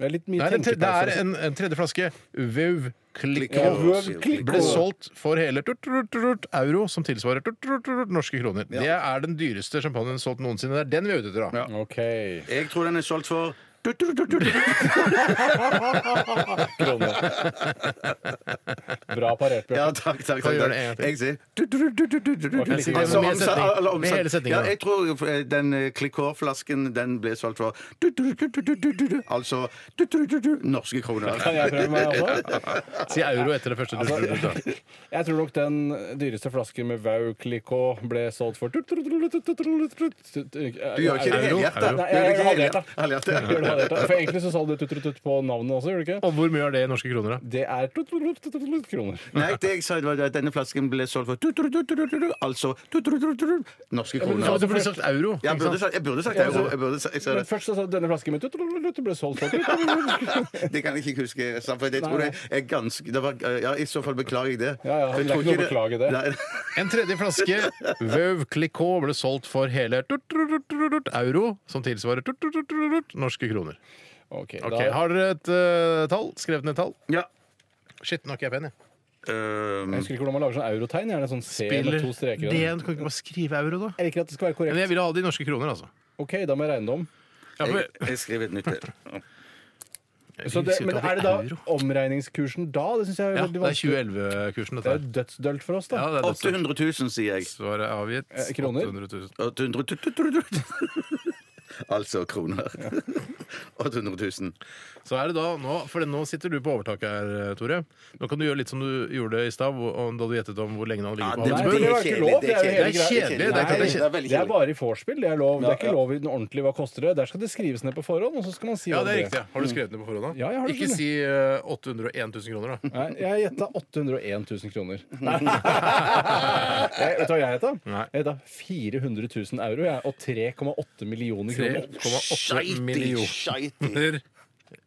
Speaker 6: Det er litt mye
Speaker 4: den tre- det er
Speaker 6: tenkepause.
Speaker 4: en, en tredje flaske Veuve
Speaker 6: Ja,
Speaker 4: Clicquot.
Speaker 6: høv, klikk,
Speaker 4: ble
Speaker 6: og-
Speaker 4: solgt for hele tut, tut, tut, euro, som tilsvarer tut, tut, tut, norske kroner. Det er den dyreste champagnen solgt noensinne. Det er den vi er ute etter. da.
Speaker 6: OK.
Speaker 5: Jeg tror den er solgt for
Speaker 6: Krone. Bra parert,
Speaker 5: Ja,
Speaker 6: Bjørn.
Speaker 5: takk, takk.
Speaker 4: Kan
Speaker 5: takk,
Speaker 4: du gjøre det en gang til?
Speaker 5: takk. Jeg sier
Speaker 4: Jeg sier det
Speaker 5: Altså,
Speaker 4: med hele
Speaker 5: omsatt-
Speaker 4: setningen.
Speaker 5: alle omsatt-
Speaker 4: Med hele setningen,
Speaker 5: Ja,
Speaker 4: da.
Speaker 5: jeg tror jo, eh, den Clicquot-flasken den ble solgt for Altså norske kroner.
Speaker 6: Kan jeg prøve meg også?
Speaker 4: Si euro etter det første. tut, tut, tut, da.
Speaker 6: Jeg tror nok den dyreste flasken med Vau Clicquot ble solgt for Du gjør
Speaker 5: Du gjør ikke det
Speaker 4: Euro,
Speaker 5: helhjertet.
Speaker 4: euro.
Speaker 5: Du gjør det ikke helhjertet.
Speaker 6: klarert det. For egentlig så sa du tutt-tutt på navnet også, gjorde du ikke?
Speaker 4: Og hvor mye er det i norske kroner, da?
Speaker 6: Det er tut-tut-tut kroner.
Speaker 5: Nei, det jeg sa det var at denne flasken ble solgt for tutrututututu, altså tutrututututu, norske
Speaker 6: Ja, men
Speaker 5: kroner.
Speaker 6: du sa- du burde sagt euro,
Speaker 5: Ja, Jeg
Speaker 6: ikke
Speaker 5: burde
Speaker 6: sant?
Speaker 5: sagt, jeg burde sagt
Speaker 6: Ja,
Speaker 5: euro.
Speaker 6: så-
Speaker 5: Jeg burde, sa- jeg sa
Speaker 6: Men
Speaker 5: det.
Speaker 6: først så sa du denne flasken min tut-tut-tut ble solgt for tut-tut-tut.
Speaker 5: det kan jeg ikke huske. sant, For det
Speaker 6: Nei,
Speaker 5: tror jeg
Speaker 6: nei.
Speaker 5: er ganske det var, eh, Ja, I så fall beklager jeg det.
Speaker 6: Ja, ja,
Speaker 5: For jeg
Speaker 6: det er
Speaker 5: tror
Speaker 6: ikke noe å beklage det.
Speaker 4: En tredje flaske Veuve Clicquot ble solgt for hele tut-tut-tut-tut euro, som tilsvarer tut-tut-tut-tut norske kroner.
Speaker 6: Ok,
Speaker 4: Ok, Har dere et eh, tall? Skrevet ned et tall?
Speaker 5: Ja.
Speaker 4: Shit, nå er ikke jeg pen, jeg.
Speaker 5: Ehm,
Speaker 6: Jeg husker ikke hvordan man lager sånn eurotegn. Gjerne sånn C med to streker.
Speaker 4: det, du kan ikke bare skrive euro, da.
Speaker 6: Jeg liker at det skal være korrekt.
Speaker 4: Men jeg vil ha det i norske kroner, altså.
Speaker 6: OK, da må jeg regne det om.
Speaker 4: Ja, for-
Speaker 5: Jeg skriver et nytt her.
Speaker 6: Så det, men er det da omregningskursen da? Det synes jeg er
Speaker 4: Ja, det
Speaker 6: veldig
Speaker 4: er
Speaker 6: vanskelig.
Speaker 4: 2011-kursen,
Speaker 6: Det
Speaker 4: dette
Speaker 6: er jo dødsdølt for oss, da.
Speaker 4: Ja, det er dødsdølt.
Speaker 5: 800 000, sier jeg.
Speaker 4: Svaret er avgitt.
Speaker 6: Eh, kroner?
Speaker 4: 800 000.
Speaker 5: 800 000. Altså kroner. 800 000.
Speaker 4: Så er det da nå, for nå sitter du på overtaket her, eh, Tore. Nå kan du gjøre litt som du gjorde i stad, hvor- og da du gjettet om hvor lenge han hadde ligget
Speaker 5: Ja,
Speaker 4: på
Speaker 5: det-
Speaker 6: Nei, det
Speaker 4: Havnsbø.
Speaker 6: var ikke lov. Det er jo hele
Speaker 4: Det er
Speaker 6: greia.
Speaker 4: kjedelig, det er klart det er
Speaker 6: Nei,
Speaker 5: kjedelig.
Speaker 6: Det er bare i vorspiel. Det er lov. Det er
Speaker 5: Ja,
Speaker 6: ikke lov i den ordentlige Hva koster det? Der skal det skrives ned på forhånd, og så skal man si
Speaker 4: Ja,
Speaker 6: hva
Speaker 4: det er riktig. Har du skrevet det på forhånd, da?
Speaker 6: Ja, jeg har det
Speaker 4: Ikke
Speaker 6: skrevet.
Speaker 4: si eh, 801 000 kroner, da.
Speaker 6: Nei, jeg gjetta 801 000 kroner. Jeg, vet du hva jeg gjetta?
Speaker 4: Nei.
Speaker 6: Jeg gjetta 400 000 euro jeg, og 3,8 millioner kroner.
Speaker 4: 3,8
Speaker 5: Scheiti.
Speaker 4: millioner.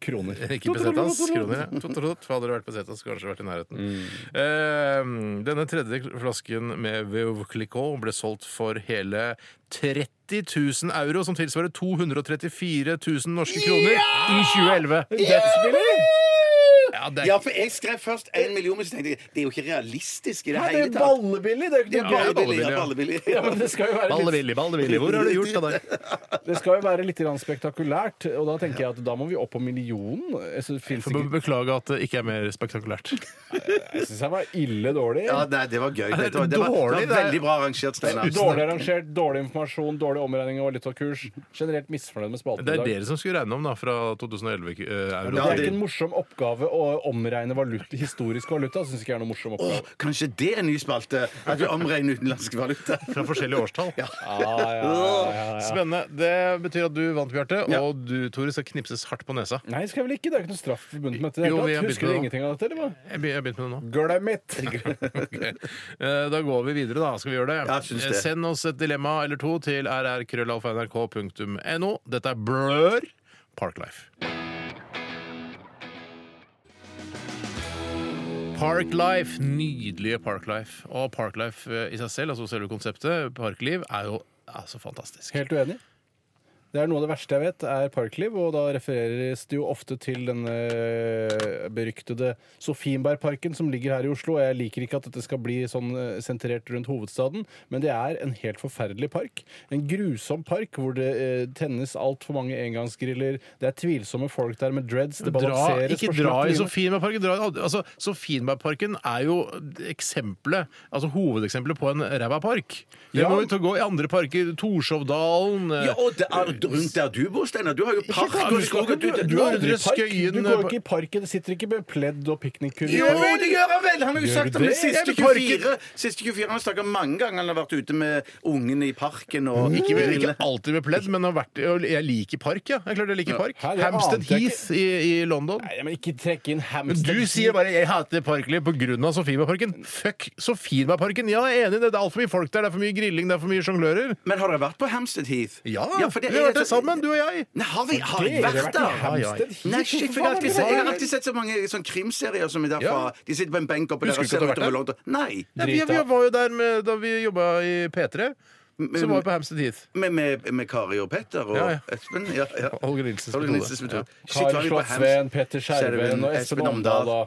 Speaker 6: kroner.
Speaker 4: Ikke pesetas, kroner. ja. Tototot. Hadde det vært pesetas, skulle kanskje vært i nærheten.
Speaker 6: Mm.
Speaker 4: Eh, denne tredje flasken med Veuve Clicquot ble solgt for hele 30 000 euro, som tilsvarer 234 000 norske kroner i 2011.
Speaker 6: Dødsbillig!
Speaker 4: Ja, det
Speaker 5: Ja,
Speaker 4: er,
Speaker 5: for jeg skrev først en million, men så tenkte jeg det er jo ikke realistisk i det
Speaker 6: Nei, Det er
Speaker 5: hele
Speaker 6: jo
Speaker 5: tatt.
Speaker 6: ballebillig! Det er jo
Speaker 5: Det
Speaker 6: ikke
Speaker 5: er
Speaker 6: noe gøy.
Speaker 5: ballebillig, ja,
Speaker 4: ja.
Speaker 5: ballebillig.
Speaker 6: Ja, men det skal jo være litt
Speaker 4: Ballevillig, ballevillig, hvor har du gjort av deg?
Speaker 6: Det skal jo være litt grann spektakulært, og da tenker jeg at da må vi opp på millionen. Altså, Jeg synes, finnes
Speaker 4: Får
Speaker 6: ikke,
Speaker 4: be- Beklage at det ikke er mer spektakulært.
Speaker 6: jeg synes jeg var ille dårlig.
Speaker 5: Ja, nei, det var gøy.
Speaker 4: det er
Speaker 5: Det var, det var,
Speaker 4: dårlig, det
Speaker 5: det var
Speaker 4: er-
Speaker 5: veldig bra arrangert, Steinar.
Speaker 6: Dårlig arrangert, dårlig informasjon, dårlig omregning og litt av kurs. Generelt misfornøyd med spalten
Speaker 4: Det er
Speaker 6: i dag.
Speaker 4: dere som skulle regne om da, fra eh, 2011-euro.
Speaker 6: Det
Speaker 5: Ja,
Speaker 6: er
Speaker 5: det-
Speaker 6: ikke en morsom oppgave å omregne valuta, historisk valuta. Synes ikke jeg er noen morsom
Speaker 5: Åh,
Speaker 6: oppgave.
Speaker 5: kanskje det er en ny spalte? At vi omregner utenlandsk valuta?
Speaker 4: Fra forskjellige årstall.
Speaker 6: Ah, ja, ja, ja, ja.
Speaker 4: Spennende. Det betyr at du vant, Bjarte,
Speaker 5: Ja.
Speaker 4: og du, Tore, skal knipses hardt på nesa.
Speaker 6: Nei, skal jeg vel ikke? Det er ikke noe straff forbundet med dette. i det
Speaker 4: Jo,
Speaker 6: hele
Speaker 4: vi
Speaker 6: tatt.
Speaker 4: har begynt
Speaker 6: Husker du
Speaker 4: med det
Speaker 6: ingenting av dette, eller hva?
Speaker 4: Jeg be- jeg begynte med det nå.
Speaker 6: Glem it!
Speaker 4: Ok. Eh, Da går vi videre, da. Skal vi gjøre det?
Speaker 5: Ja, jeg synes det.
Speaker 4: Eh, Send oss et dilemma eller to til rrkrøllalfa.nrk.no. Dette er Blør Parklife. Parklife, Nydelige Parklife. Og Parklife eh, i seg selv, altså selve konseptet, parkliv, er jo altså fantastisk.
Speaker 6: Helt uenig. Det er Noe av det verste jeg vet, er parkliv, og da refereres det jo ofte til denne beryktede Sofienbergparken som ligger her i Oslo. Jeg liker ikke at dette skal bli sånn eh, sentrert rundt hovedstaden, men det er en helt forferdelig park. En grusom park hvor det eh, tennes altfor mange engangsgriller, det er tvilsomme folk der med dreads, det
Speaker 4: Dra,
Speaker 6: balanseres
Speaker 4: ikke
Speaker 6: på
Speaker 4: dra i
Speaker 6: slakterien.
Speaker 4: Sofienbergparken. Dra, altså, Sofienbergparken er jo eksempelet, altså hovedeksempelet på en ræva park. Det
Speaker 6: Ja.
Speaker 4: må vi ta gå i andre parker. Torshovdalen eh,
Speaker 5: Ja, og det er rundt der du bor, Steinar. Du har jo park
Speaker 4: park,
Speaker 5: og
Speaker 4: du skal
Speaker 5: skog. og
Speaker 4: ikke-
Speaker 5: Du,
Speaker 4: du
Speaker 6: Du
Speaker 4: har
Speaker 6: går aldri i park.
Speaker 4: Drøskøyen-
Speaker 6: Du går ikke i parken, det sitter ikke med pledd og piknikkurv. i
Speaker 5: Jo,
Speaker 6: parken.
Speaker 5: det gjør han vel! Han har jo sagt om
Speaker 6: du
Speaker 5: det
Speaker 6: det?
Speaker 5: siste
Speaker 4: Jeg vil parke-
Speaker 5: 24. Siste 24 Han har snakket mange ganger han har vært ute med ungene i parken og
Speaker 4: Ikke, ikke
Speaker 5: grille.
Speaker 4: alltid med pledd, men har vært, jeg liker park, ja. Jeg klart jeg liker park.
Speaker 6: Hæ, det
Speaker 4: Hampstead
Speaker 6: ante jeg ikke.
Speaker 4: Heath i, i London.
Speaker 6: Nei, men ikke trekke inn
Speaker 4: Men
Speaker 6: hamster.
Speaker 4: du sier bare 'jeg hater parkliv pga. Sofienbergparken'. Fuck Sofienbergparken! Ja, jeg er enig i det. Det er altfor mye folk der. Det er for mye grilling, det er for mye sjonglører.
Speaker 5: Men har dere vært på Hampstead Heath?
Speaker 4: Ja,
Speaker 5: for
Speaker 4: vi har vært
Speaker 5: er-
Speaker 4: der sammen, du og jeg.
Speaker 5: Nei, har vi har
Speaker 6: Dere
Speaker 5: jeg
Speaker 6: har
Speaker 5: vært
Speaker 6: vært i
Speaker 5: der?
Speaker 4: Hamstead.
Speaker 6: Hampstead Heath.
Speaker 5: Nei, shit, for jeg, har alltid sett, jeg har alltid sett så mange sånn krimserier som er derfra.
Speaker 4: Ja.
Speaker 5: De sitter på en benk oppe der
Speaker 4: Husker du ikke
Speaker 5: og
Speaker 4: at
Speaker 5: ser
Speaker 4: du har vært
Speaker 5: utover London. Nei.
Speaker 4: Nei, vi, vi var jo der med, da vi jobba i P3. Så var vi på Hampstead Heath.
Speaker 5: Med, med, med Kari og Petter og
Speaker 4: Ja, ja.
Speaker 5: Espen. Ja, ja.
Speaker 4: Holger Nilsens
Speaker 5: Holger
Speaker 4: metode.
Speaker 5: Nilsens metode. Shit, var
Speaker 6: Kari
Speaker 5: vi på Hams-
Speaker 6: Slottsveen, Petter Skjerven og Espen Omdal. da.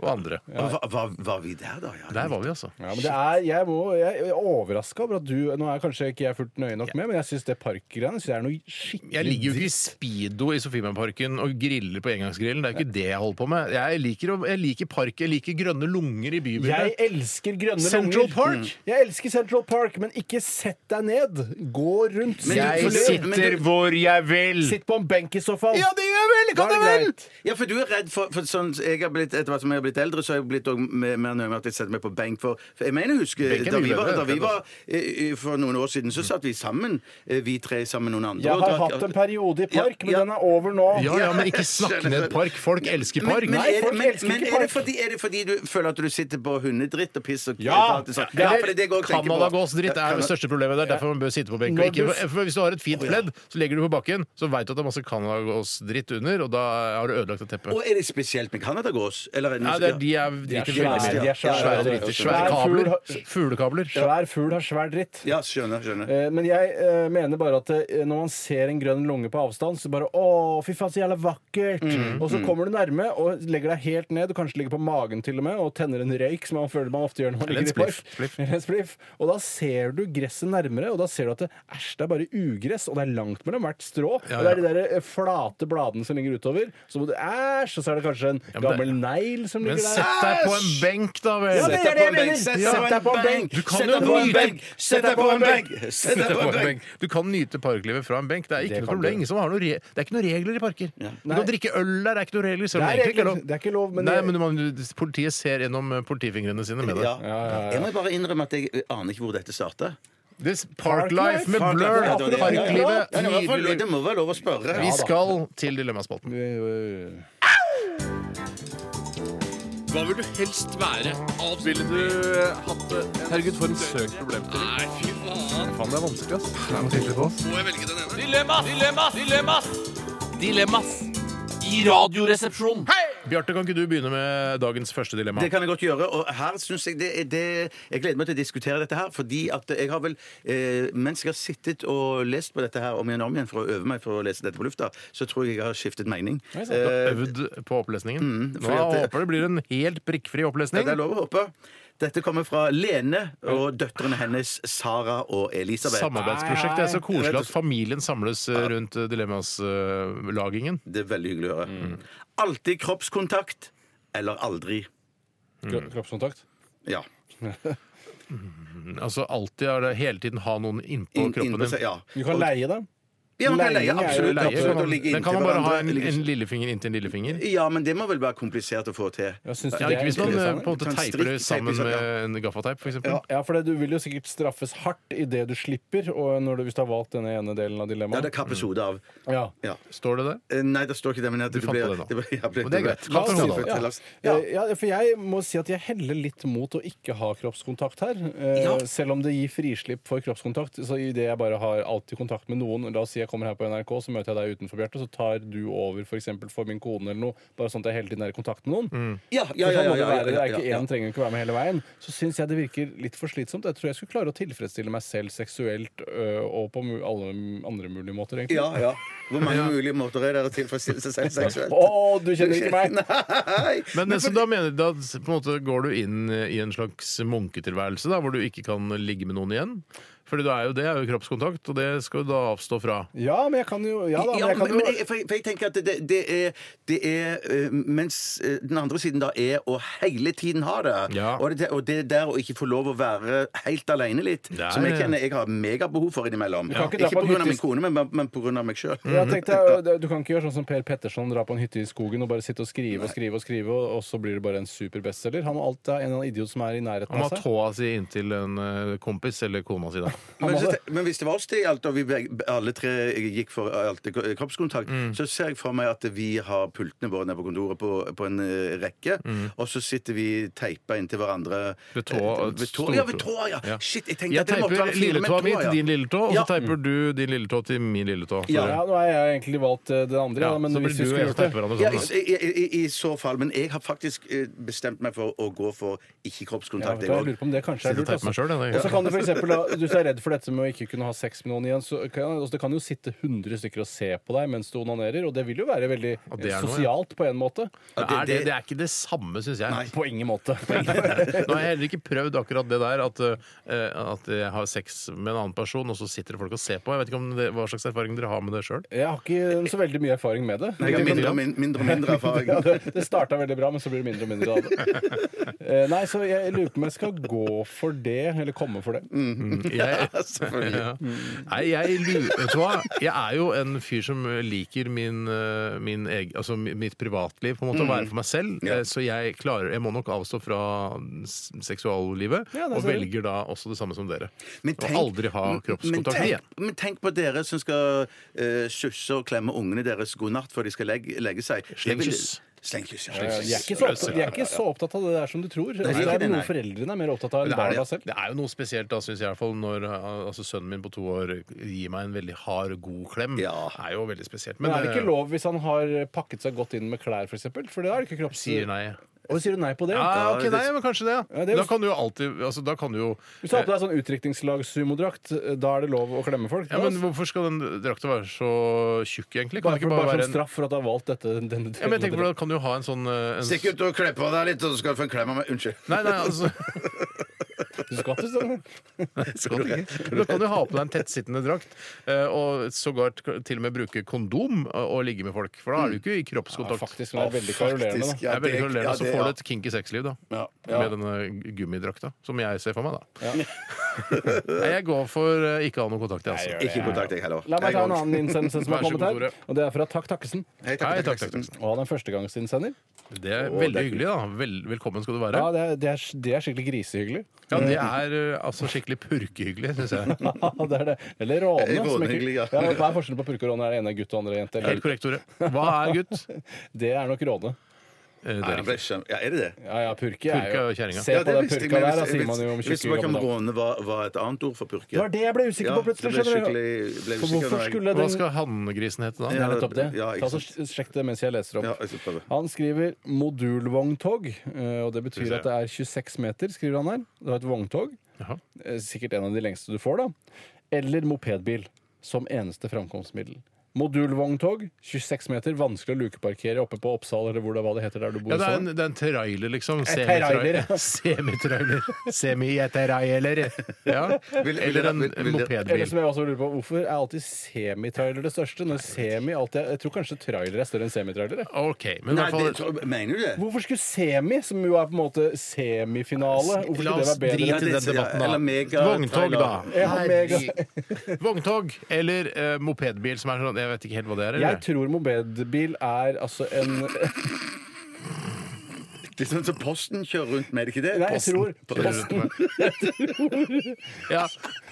Speaker 4: Og andre.
Speaker 5: Ja. Var, var, var vi der, da? Ja.
Speaker 4: Der var vi, altså.
Speaker 6: Ja, men det er, jeg, må, jeg jeg er overraska over at du Nå er kanskje ikke jeg fullt nøye nok med, men jeg syns det parkgreiene synes jeg er noe skikkelig
Speaker 4: Jeg ligger jo ikke i speedo i Sofienbergparken og griller på engangsgrillen. Det er jo ikke det jeg holder på med. Jeg liker, å- jeg liker park, jeg liker grønne lunger i
Speaker 6: Jeg
Speaker 4: bybildet.
Speaker 6: elsker grønne
Speaker 4: Central
Speaker 6: lunger.
Speaker 4: Park?
Speaker 6: Mm. Jeg elsker Central Park, men ikke sett deg ned. Gå rundt.
Speaker 5: Men du-
Speaker 6: Sitt for
Speaker 5: for
Speaker 6: det.
Speaker 5: sitter- men du-
Speaker 4: hvor jeg vil!
Speaker 6: Sitt på en benk i så fall.
Speaker 4: Ja, det gjør jeg vel!
Speaker 6: Da
Speaker 4: Kan
Speaker 6: er
Speaker 4: jeg vel!
Speaker 6: greit.
Speaker 5: Ja, for du er redd for, for sånn jeg har blitt, Etter hvert som jeg har blitt eldre, så har jeg blitt også mer mer nøye med at jeg setter meg på benk. For, for jeg mener, jeg husker
Speaker 7: Benk er
Speaker 5: da
Speaker 7: mye
Speaker 5: vi var,
Speaker 7: bedre,
Speaker 5: da vi
Speaker 7: kan
Speaker 5: var eh, eh, for noen år siden, så satt vi sammen, eh, vi tre sammen med noen andre.
Speaker 7: Jeg
Speaker 5: og
Speaker 7: har
Speaker 5: drakk-
Speaker 7: hatt en periode i park,
Speaker 5: Ja,
Speaker 7: men
Speaker 5: ja.
Speaker 7: den er over nå.
Speaker 5: Ja, ja, men ikke snakk ned park.
Speaker 7: Folk elsker
Speaker 5: Men, men,
Speaker 7: Nei,
Speaker 5: er,
Speaker 7: folk
Speaker 5: men,
Speaker 7: elsker
Speaker 5: men
Speaker 7: ikke
Speaker 5: er, det
Speaker 7: park.
Speaker 5: fordi, er det fordi du føler at du sitter på hundedritt og piss og
Speaker 7: Ja!
Speaker 5: og alt det sånt?
Speaker 7: Eller
Speaker 5: for det er det jeg også tenker på.
Speaker 4: Canadagåsdritt
Speaker 5: Ja,
Speaker 4: er det
Speaker 5: Canada-
Speaker 4: største problemet. Det er derfor man bør sitte på benk. Og
Speaker 5: Når
Speaker 4: ikke,
Speaker 5: du-
Speaker 4: for hvis du har et fint pledd, så legger du på bakken, så veit du at det er masse canadagåsdritt under, og da har du ødelagt et teppe.
Speaker 5: Og er det spesielt med canadagås? Eller det
Speaker 4: Nei,
Speaker 5: noe-
Speaker 4: det er, de er
Speaker 5: De er
Speaker 4: driter
Speaker 5: svære,
Speaker 4: veldig mye.
Speaker 5: de er svære.
Speaker 4: Svære driter. Svære
Speaker 5: Svær fugl
Speaker 4: kabler.
Speaker 5: har-
Speaker 4: Fuglekabler.
Speaker 6: Svær fugl har svær dritt.
Speaker 5: Ja, skjønner, skjønner.
Speaker 6: Eh, Men jeg eh, mener bare at eh, når man ser en grønn lunge på avstand, så bare Å, fy faen, så jævla vakkert!
Speaker 4: Mm,
Speaker 6: og så
Speaker 4: mm.
Speaker 6: kommer du nærme og legger deg helt ned, du kanskje ligger på magen til og med, og tenner en røyk, som man føler man ofte gjør når man
Speaker 4: Eller en
Speaker 6: ligger i park.
Speaker 4: spliff, spliff.
Speaker 6: Eller en spliff. Og da ser du gresset nærmere, og da ser du at det, æsj, det er bare ugress, og det er langt mellom hvert strå.
Speaker 4: Ja,
Speaker 6: Og det er
Speaker 4: ja.
Speaker 6: de der eh, flate bladene som ligger utover. Så må du æsj, og så er det kanskje en
Speaker 4: men det-
Speaker 6: gammel negl som
Speaker 4: Men
Speaker 6: ligger der.
Speaker 4: sett deg på en
Speaker 6: Æsj!
Speaker 4: benk, da vel!
Speaker 6: Ja, det er det jeg mener! Sett deg på en benk!
Speaker 4: Du kan
Speaker 6: Sett
Speaker 4: jo
Speaker 6: deg på en
Speaker 4: nyte-
Speaker 6: benk! Sett deg på en benk!
Speaker 4: Sett deg på en benk! Du kan nyte parklivet fra en benk. Det er ikke
Speaker 6: Det
Speaker 4: noe
Speaker 6: kan
Speaker 4: problem.
Speaker 6: du.
Speaker 4: Ingen som har noe re det er ikke noen regler i parker. Du
Speaker 6: Nei.
Speaker 4: kan drikke øl der, det er ikke noen regler. Selv om
Speaker 6: Det er
Speaker 4: det egentlig ikke er
Speaker 6: regler,
Speaker 4: lov.
Speaker 6: det er ikke lov, men
Speaker 4: Nei,
Speaker 6: det-
Speaker 4: men du, må- du- politiet ser gjennom eh, politifingrene sine med det.
Speaker 5: Ja. Jeg må bare innrømme at jeg aner ikke hvor dette starta.
Speaker 4: This Parklife med
Speaker 5: Parklife.
Speaker 4: Blur.
Speaker 5: Ja, det var det.
Speaker 4: Parklivet.
Speaker 5: Ja, det var i hvert fall-
Speaker 4: nydelig.
Speaker 5: Det må være lov å spørre.
Speaker 4: Vi skal til Dilemmaspalten.
Speaker 13: Hva vil du helst være? Ville du hatt det? Herregud, for en søk problemstilling. Nei, fy faen.
Speaker 4: Faen, det er vanskelig, ass.
Speaker 13: Må jeg velge den ene? Dilemmas! Dilemmas! Dilemmas! Dilemmas i Radioresepsjonen.
Speaker 4: Bjarte, kan ikke du begynne med dagens første dilemma?
Speaker 5: Det kan jeg godt gjøre. Og her synes jeg det, er- det Jeg gleder meg til å diskutere dette her, fordi at jeg har vel eh, Mens jeg har sittet og lest på dette her om igjen og om igjen for å øve meg for å lese dette på lufta, så tror jeg jeg har skiftet mening. Eh,
Speaker 4: Nei, sant. Du har øvd på opplesningen. Nå
Speaker 5: Mm, fordi at
Speaker 4: håper
Speaker 5: det-
Speaker 4: jeg det blir en helt prikkfri
Speaker 5: Ja,
Speaker 4: opplesning.
Speaker 5: det er lov å håpe. Dette kommer fra Lene og døtrene hennes Sara og Elisabeth.
Speaker 4: Samarbeidsprosjekt. Det er så koselig at familien samles eh, rundt eh, dilemmaslagingen.
Speaker 5: Det er veldig hyggelig å høre. Alltid kroppskontakt eller aldri.
Speaker 4: Mm.
Speaker 6: Kroppskontakt?
Speaker 5: Ja.
Speaker 4: Altså alltid er det hele tiden ha noen innpå
Speaker 5: Inn-
Speaker 4: kroppen
Speaker 5: innpå
Speaker 4: din.
Speaker 5: seg, ja.
Speaker 6: Du kan leie dem.
Speaker 5: Ja, man kan leie,
Speaker 6: Leiing er jo-
Speaker 5: absolutt.
Speaker 4: Leie,
Speaker 5: absolutt,
Speaker 4: kan
Speaker 5: å
Speaker 4: man-
Speaker 5: ligge
Speaker 4: Den
Speaker 5: inntil
Speaker 4: kan man bare ha
Speaker 5: hverandre,
Speaker 4: en,
Speaker 5: ligge-
Speaker 4: en lillefinger inntil en lillefinger.
Speaker 5: Ja, men det må vel være komplisert å få til.
Speaker 6: Ja, syns du
Speaker 4: Ja,
Speaker 6: det er
Speaker 4: ikke hvis man eh,
Speaker 6: interessant?
Speaker 4: på en måte
Speaker 5: Kan
Speaker 4: teiper det
Speaker 5: strikke-
Speaker 4: sammen
Speaker 5: teipe, ja.
Speaker 4: med en gaffateip, f.eks.
Speaker 6: Ja, ja, for det- du vil jo sikkert straffes hardt i det du slipper, og når du, hvis du har valgt denne ene delen av
Speaker 5: Ja,
Speaker 6: dilemmaet.
Speaker 5: det kappes hodet av.
Speaker 6: Ja.
Speaker 5: Ja.
Speaker 4: Står det der?
Speaker 5: Eh, Nei, det står ikke det, men at
Speaker 4: Du
Speaker 5: det
Speaker 4: fant
Speaker 5: ble-
Speaker 4: på det nå.
Speaker 5: Det ble, ja, ble,
Speaker 4: Og det er
Speaker 5: ble-
Speaker 4: greit. La oss
Speaker 5: La oss
Speaker 4: holde
Speaker 5: tilfelle-
Speaker 6: Altså,
Speaker 5: la
Speaker 6: Ja. Eh,
Speaker 5: oss-
Speaker 6: Ja. ja, for jeg må si at jeg heller litt mot å ikke ha kroppskontakt her. Eh,
Speaker 5: Ja.
Speaker 6: Selv om det gir frislipp for kroppskontakt. Så i det jeg bare har alltid kontakt med noen La oss si jeg kommer her på NRK, så møter jeg deg utenfor, Bjarte, så tar du over f.eks. for, for min kone eller noe, bare sånn at jeg hele tiden er i kontakt
Speaker 4: Mm.
Speaker 6: med noen.
Speaker 5: Ja, ja,
Speaker 6: For
Speaker 5: ja, ja,
Speaker 6: sånn må det
Speaker 5: ja,
Speaker 6: være.
Speaker 5: ja,
Speaker 6: Det er
Speaker 5: ja,
Speaker 6: ikke
Speaker 5: ja.
Speaker 6: én trenger ikke være med hele veien. Så syns jeg det virker litt for slitsomt. Jeg tror jeg skulle klare å tilfredsstille meg selv seksuelt ø, og på mu- alle andre mulige måter, egentlig.
Speaker 5: Ja, ja. Hvor mange mulige måter er det å tilfredsstille seg selv seksuelt?
Speaker 6: Å, du kjenner ikke meg!
Speaker 5: Nei!
Speaker 4: Men, så da, mener, da s- på en måte går du inn eh, i en slags munketilværelse, da, hvor du ikke kan ligge med noen igjen? Fordi du er jo, det er jo kroppskontakt, og det skal du da avstå fra.
Speaker 6: Ja, men jeg kan jo Ja da,
Speaker 5: Ja,
Speaker 6: men jeg kan
Speaker 5: men,
Speaker 6: jo
Speaker 5: men jeg, for, jeg, for jeg tenker at det, det er, det er eh, Mens eh, den andre siden da er å hele tiden ha det.
Speaker 4: Ja.
Speaker 5: Og, det og det der å ikke få lov å være helt aleine litt,
Speaker 4: Det er-
Speaker 5: som jeg kjenner jeg har megabehov for innimellom.
Speaker 6: Du kan ikke dra
Speaker 5: Ikke
Speaker 6: på en
Speaker 5: pga.
Speaker 6: hytte-
Speaker 5: min kone, men, men pga. meg sjøl.
Speaker 6: Jeg tenkte, ø, det- Du kan ikke gjøre sånn som Per Petterson, dra på en hytte i skogen og bare sitte og skrive og skrive, og skrive og og så blir det bare en super bestselger. Han er alltid en eller annen idiot som er i nærheten
Speaker 4: Han
Speaker 6: av
Speaker 4: har
Speaker 6: seg.
Speaker 4: tåa si inntil en eh, kompis eller kona si, da.
Speaker 5: Men,
Speaker 6: Han
Speaker 5: så,
Speaker 6: hadde-
Speaker 5: te- men hvis det var oss det gjaldt, og vi begge, alle tre gikk for eh, alt, det- kroppskontakt, så ser jeg for meg at vi har pultene våre nede på kontoret på, på en eh, rekke, og så sitter vi teipa inntil hverandre
Speaker 4: Ved tåa,
Speaker 5: Eh, ved tåa. Ja, ved
Speaker 4: stortå.
Speaker 5: tåa, ja.
Speaker 4: Ja.
Speaker 5: Shit, jeg tenkte
Speaker 4: Jeg
Speaker 5: at det måtte
Speaker 4: teiper
Speaker 5: være fire med
Speaker 4: lilletåa mi
Speaker 5: tåa,
Speaker 4: til
Speaker 5: ja.
Speaker 4: din lilletå, og
Speaker 5: Ja.
Speaker 4: så teiper du din lilletå til min lilletå.
Speaker 5: Ja.
Speaker 6: Ja, nå har jeg egentlig valgt ø, det andre,
Speaker 4: Ja,
Speaker 6: da, men
Speaker 4: så blir
Speaker 6: hvis
Speaker 4: du og
Speaker 6: vi skulle
Speaker 4: jeg
Speaker 6: gjort
Speaker 4: som teiper
Speaker 6: det
Speaker 4: hverandre
Speaker 5: Ja,
Speaker 4: sånn.
Speaker 5: i,
Speaker 4: da.
Speaker 5: i, i, I så fall. Men jeg har faktisk eh, bestemt meg for å gå for ikke
Speaker 6: Ja, vet
Speaker 5: kroppskontakt.
Speaker 6: du
Speaker 5: jeg
Speaker 6: hva, jeg
Speaker 5: også.
Speaker 6: lurer på om det kanskje
Speaker 4: Sitter
Speaker 6: er
Speaker 4: og
Speaker 6: lurt.
Speaker 4: teiper
Speaker 6: altså.
Speaker 4: meg selv, jeg, da.
Speaker 6: Og så kan du for eksempel, da, Hvis du er redd for dette med å ikke kunne ha sex med noen igjen, så kan, altså, det kan jo sitte 100 stykker og se på deg mens du onanerer, og det vil jo være veldig
Speaker 4: Og det er noe,
Speaker 6: sosialt på en måte.
Speaker 4: Men
Speaker 5: det-
Speaker 4: er det,
Speaker 5: det-
Speaker 4: det er ikke det samme, syns jeg.
Speaker 6: På ingen måte.
Speaker 4: Nå har jeg heller ikke prøvd akkurat det der, at, eh, at jeg har sex med en annen person, og så sitter det folk og ser på. Jeg vet ikke om det, hva slags erfaring dere har med det sjøl.
Speaker 6: Jeg har ikke så veldig mye erfaring med det.
Speaker 5: Nei, jeg har mindre og min- mindre, og mindre erfaring.
Speaker 6: Ja, det det starta veldig bra, men så blir det mindre og mindre av det. Eh, Nei, så jeg lurer på om jeg skal gå for det, eller komme for det.
Speaker 4: Jeg
Speaker 5: Ja, selvfølgelig. Mm.
Speaker 4: Ja. Nei, jeg lurer Vet du hva? Jeg er jo en fyr som liker min, eh, min eg, altså mi- mitt privatliv, på en måte, å
Speaker 5: Mm.
Speaker 4: være for meg selv. Eh, Så jeg klarer Jeg må nok avstå fra s- seksuallivet,
Speaker 5: Ja, der
Speaker 4: og
Speaker 5: ser du.
Speaker 4: velger da også det samme som dere.
Speaker 5: Men tenk-
Speaker 4: og aldri ha
Speaker 5: men-
Speaker 4: kroppskontakt
Speaker 5: men
Speaker 4: igjen.
Speaker 5: tenk, men tenk på dere som skal eh, susse og klemme ungene deres god natt før de skal legge, legge seg. Det vil-
Speaker 4: Slengkyss.
Speaker 5: Slengkyss, ja.
Speaker 6: Jeg er, ikke så opptatt, jeg er ikke så opptatt av det der som du tror.
Speaker 5: er
Speaker 6: Altså, det
Speaker 5: ikke
Speaker 6: er
Speaker 5: det, nei.
Speaker 6: noe foreldrene er mer opptatt av enn
Speaker 4: Det er,
Speaker 6: barna selv.
Speaker 4: det er jo noe spesielt da, synes jeg, i hvert fall når eh, altså, sønnen min på to år gir meg en veldig hard, god klem. Det er jo veldig spesielt.
Speaker 6: Men er det
Speaker 4: eh,
Speaker 6: ikke lov hvis han har pakket seg godt inn med klær, f.eks.? For, eksempel? for det er det ikke kropps...
Speaker 4: Sier nei.
Speaker 6: Og sier du nei på det?
Speaker 4: Ja, ok, nei, men kanskje det. Ja.
Speaker 6: Ja, det er jo-
Speaker 4: Da kan du jo alltid altså, Da kan du jo
Speaker 6: Hvis du har på deg sånn utdrikningslagssumodrakt, da er det lov å klemme folk? Altså,
Speaker 4: Ja, men Hvorfor skal den drakta være så tjukk, egentlig? Kan
Speaker 6: bare,
Speaker 4: det ikke
Speaker 6: for,
Speaker 4: bare,
Speaker 6: bare
Speaker 4: være
Speaker 6: som
Speaker 4: en
Speaker 6: straff for at du har valgt dette, denne
Speaker 4: ja, men jeg tenker på det, Kan du ha en sånn eh, en...
Speaker 5: Stikk ut og kle på deg litt, og så skal du få en klem av meg. Unnskyld.
Speaker 4: Nei, nei, altså
Speaker 6: Du skvatt i stedet.
Speaker 4: Skal du ikke? Men Da kan du ha på deg en tettsittende drakt, eh, og sågar t- til og med bruke kondom eh, og ligge med folk. For da er du ikke i kroppskontakt.
Speaker 6: Ja, faktisk, men det er veldig karolerende, da.
Speaker 4: Det er veldig
Speaker 6: Ja, det-
Speaker 4: karolerende,
Speaker 6: ja,
Speaker 4: Så
Speaker 6: det-
Speaker 4: får
Speaker 6: ja.
Speaker 4: du et kinky sexliv, da.
Speaker 6: Ja, ja.
Speaker 4: Med denne gummidrakta, som jeg ser for meg, da.
Speaker 6: Ja.
Speaker 4: Nei, jeg går for eh, ikke ha noe kontakt, jeg, altså.
Speaker 5: Ikke kontakt, jeg heller.
Speaker 6: La meg ta en annen innsendelse som har
Speaker 4: Vær så
Speaker 6: kommet
Speaker 4: god, Tore.
Speaker 6: her. Og det er fra Takk Takkesen.
Speaker 5: Hei, Takk Hei, Takk Takkesen.
Speaker 6: Og han er førstegangsinnsender.
Speaker 4: Det er veldig hyggelig, da. Vel, velkommen skal du være.
Speaker 6: Ja, det er, det er, det er skikkelig grisehyggelig.
Speaker 4: Ja, det er eh, altså skikkelig purkehyggelig, syns jeg.
Speaker 6: Ja, det er det. Eller råne.
Speaker 4: Eh,
Speaker 6: som
Speaker 4: rånehyggelig,
Speaker 6: ikke-
Speaker 4: ja.
Speaker 6: ja. Hva er forskjellen på purke og råne? Er det ene gutt og andre jente?
Speaker 4: Helt korrekt, Tore. Hva er gutt? Eh,
Speaker 6: Det er nok råne.
Speaker 4: Det
Speaker 5: Nei, jeg ble skjønt. Ja, er det det?
Speaker 6: Ja, ja, purke er
Speaker 5: Purke
Speaker 6: jo
Speaker 5: og kjerringa.
Speaker 6: Se
Speaker 5: Ja,
Speaker 6: på
Speaker 5: det
Speaker 6: den
Speaker 5: visste jeg,
Speaker 6: purka
Speaker 5: men
Speaker 6: der, da,
Speaker 5: hvis-
Speaker 6: sier man jo om
Speaker 5: Hvis
Speaker 6: tjukke gamle damer.
Speaker 5: makarone var, var et annet ord for purke.
Speaker 6: Det var det jeg ble usikker på plutselig,
Speaker 5: det ble
Speaker 6: skjønner du?
Speaker 5: skikkelig- ble
Speaker 6: For
Speaker 5: usikker
Speaker 6: hvorfor
Speaker 5: når jeg-
Speaker 6: skulle den-
Speaker 4: Hva skal hanngrisen hete da?
Speaker 6: Det er nettopp det.
Speaker 5: Ja,
Speaker 6: Ta
Speaker 5: ikke
Speaker 6: så
Speaker 5: sant.
Speaker 6: Sjekk det mens jeg leser opp.
Speaker 5: Ja, jeg skal prøve.
Speaker 6: Han skriver 'modulvogntog', eh, og det
Speaker 5: Skal vi
Speaker 6: betyr
Speaker 5: se.
Speaker 6: at det er 26 meter, skriver han her. Det er et vogntog. Eh, Sikkert en av de lengste du får, da. Eller mopedbil som eneste framkomstmiddel. Modulvogntog, 26 meter, vanskelig å lukeparkere oppe på Oppsal eller hvor det, hva det heter der du bor.
Speaker 4: Ja, det er
Speaker 6: i
Speaker 4: en,
Speaker 6: Sogn.
Speaker 4: det er en trailer, liksom.
Speaker 6: sånn. trailer, ja.
Speaker 4: Semitrailer. Semi-trailer. Ja.
Speaker 6: Vil- vil
Speaker 4: Eller
Speaker 6: dere-
Speaker 4: en
Speaker 6: vil- vil dere- Eller
Speaker 4: mopedbil.
Speaker 6: som jeg også lurer på, Hvorfor er alltid semitrailer det største? Når semi alltid, er- jeg tror kanskje trailer er større enn semitrailer. jeg.
Speaker 4: Ok, men i hvert fall-
Speaker 5: Mener du det?
Speaker 6: Hvorfor skulle semi, som jo er på en måte semifinale Hvorfor
Speaker 4: La
Speaker 6: skulle
Speaker 4: oss
Speaker 6: det være bedre?
Speaker 4: drite i den debatten, da. Vogntog, da.
Speaker 6: Ja, mega.
Speaker 4: Herregud. Vogntog eller eh, mopedbil, som er sånn Jeg vet ikke helt hva det er.
Speaker 6: Jeg
Speaker 4: Eller?
Speaker 6: tror mopedbil er altså en
Speaker 5: Det er sånn som Posten kjører rundt med, er det ikke det?
Speaker 6: Nei, jeg tror
Speaker 5: Posten.
Speaker 4: Ja,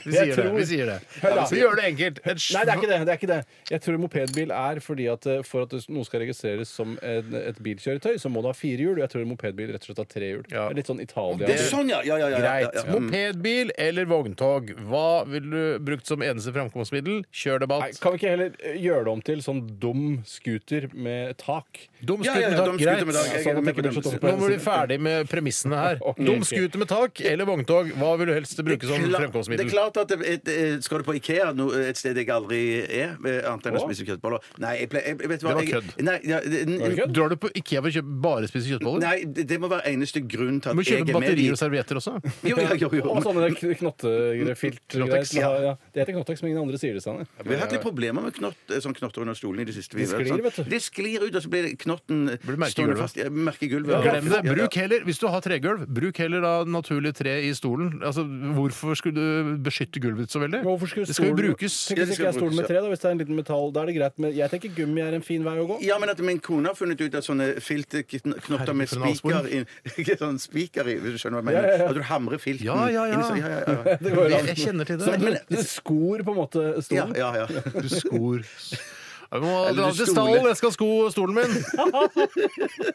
Speaker 4: vi
Speaker 6: Jeg
Speaker 4: sier det.
Speaker 6: tror-
Speaker 4: Vi sier det.
Speaker 6: Hør da.
Speaker 4: Vi gjør det enkelt. Et
Speaker 6: Nei, det er ikke det. det, er ikke det. Jeg tror mopedbil er fordi at eh, for at det- noe skal registreres som en, et bilkjøretøy, så må det ha fire hjul. Og jeg tror mopedbil rett og slett har tre hjul. Det er litt sånn Italia.
Speaker 4: Det er sånn,
Speaker 5: ja, ja, ja, ja, ja,
Speaker 4: Greit.
Speaker 5: ja. Mm.
Speaker 4: Mopedbil eller vogntog? Hva ville du brukt som eneste framkomstmiddel? Kjør
Speaker 6: Nei,
Speaker 4: debatt.
Speaker 6: kan vi ikke heller eh, gjøre det om til sånn dum scooter med tak?
Speaker 4: Dum scooter med tak, greit.
Speaker 6: Sånn at det ikke blir så tungt på
Speaker 4: Nå
Speaker 6: den
Speaker 4: må vi
Speaker 6: siden.
Speaker 4: ferdig med premissene her.
Speaker 6: Ok.
Speaker 4: Dum scooter med tak eller vogntog? Hva vil du helst bruke som
Speaker 5: Kla- Det er
Speaker 4: fremkomstmiddel?
Speaker 5: klart at det- et, eh, Skal du på Ikea, no, et sted jeg aldri er, eh, annet enn å
Speaker 4: Å?
Speaker 5: spise kjøttboller Nei, jeg, ple- jeg, jeg vet
Speaker 4: Det
Speaker 5: hva
Speaker 4: var
Speaker 5: jeg-
Speaker 4: kødd.
Speaker 5: Nei, ja, det-
Speaker 4: Drar du på IKEA for å kjøpe bare spise kjøttboller?
Speaker 5: Nei, det, det må være eneste grunn til
Speaker 4: Du må
Speaker 5: at jeg er
Speaker 4: kjøpe
Speaker 5: med
Speaker 4: batterier
Speaker 5: i-
Speaker 4: og sånn servietter også.
Speaker 5: Jo, ja, jo, jo.
Speaker 6: Og sånne knottefiltgreier.
Speaker 5: Knottex,
Speaker 6: til å ha- ja. Det heter Knottex, men ingen andre sier det. Sanne.
Speaker 5: Vi har hatt litt problemer med knott, eh, sånn knotter under stolen i det siste. vi
Speaker 6: De
Speaker 5: har vært
Speaker 6: sklir,
Speaker 5: sånn.
Speaker 6: vet du.
Speaker 5: De sklir ut, og så blir knotten
Speaker 4: merke i
Speaker 5: stående
Speaker 4: gulvet.
Speaker 5: fast. Ja, Merke i gulvet.
Speaker 4: Glem det. Bruk heller, hvis du har tregulv, bruk heller da naturlig tre i stolen. Altså, hvorfor skulle du beskytte gulvet så veldig? det skal jo
Speaker 6: Stolen-
Speaker 4: brukes.
Speaker 6: Tenk hvis ikke jeg er stolen med tre, da, hvis det er en liten metall. Da er det greit, men jeg tenker gummi er en fin vei å gå.
Speaker 5: Ja, men at min kone har funnet ut av sånne filtknotter med
Speaker 6: Herregud, for en
Speaker 5: spiker i, ikke sånn spiker i, hvis du skjønner hva jeg mener.
Speaker 6: Ja, ja, ja.
Speaker 5: At du hamrer filten
Speaker 6: Ja, ja, ja.
Speaker 5: inn i sånn- ja, ja, ja.
Speaker 6: Det går jo an. Så
Speaker 5: Men-
Speaker 6: du, du skor på en måte stolen?
Speaker 5: Ja, ja, ja.
Speaker 4: Du skor Jeg må
Speaker 6: Eller
Speaker 4: dra
Speaker 6: du
Speaker 4: til
Speaker 6: stoler.
Speaker 4: stallen, jeg skal sko stolen min!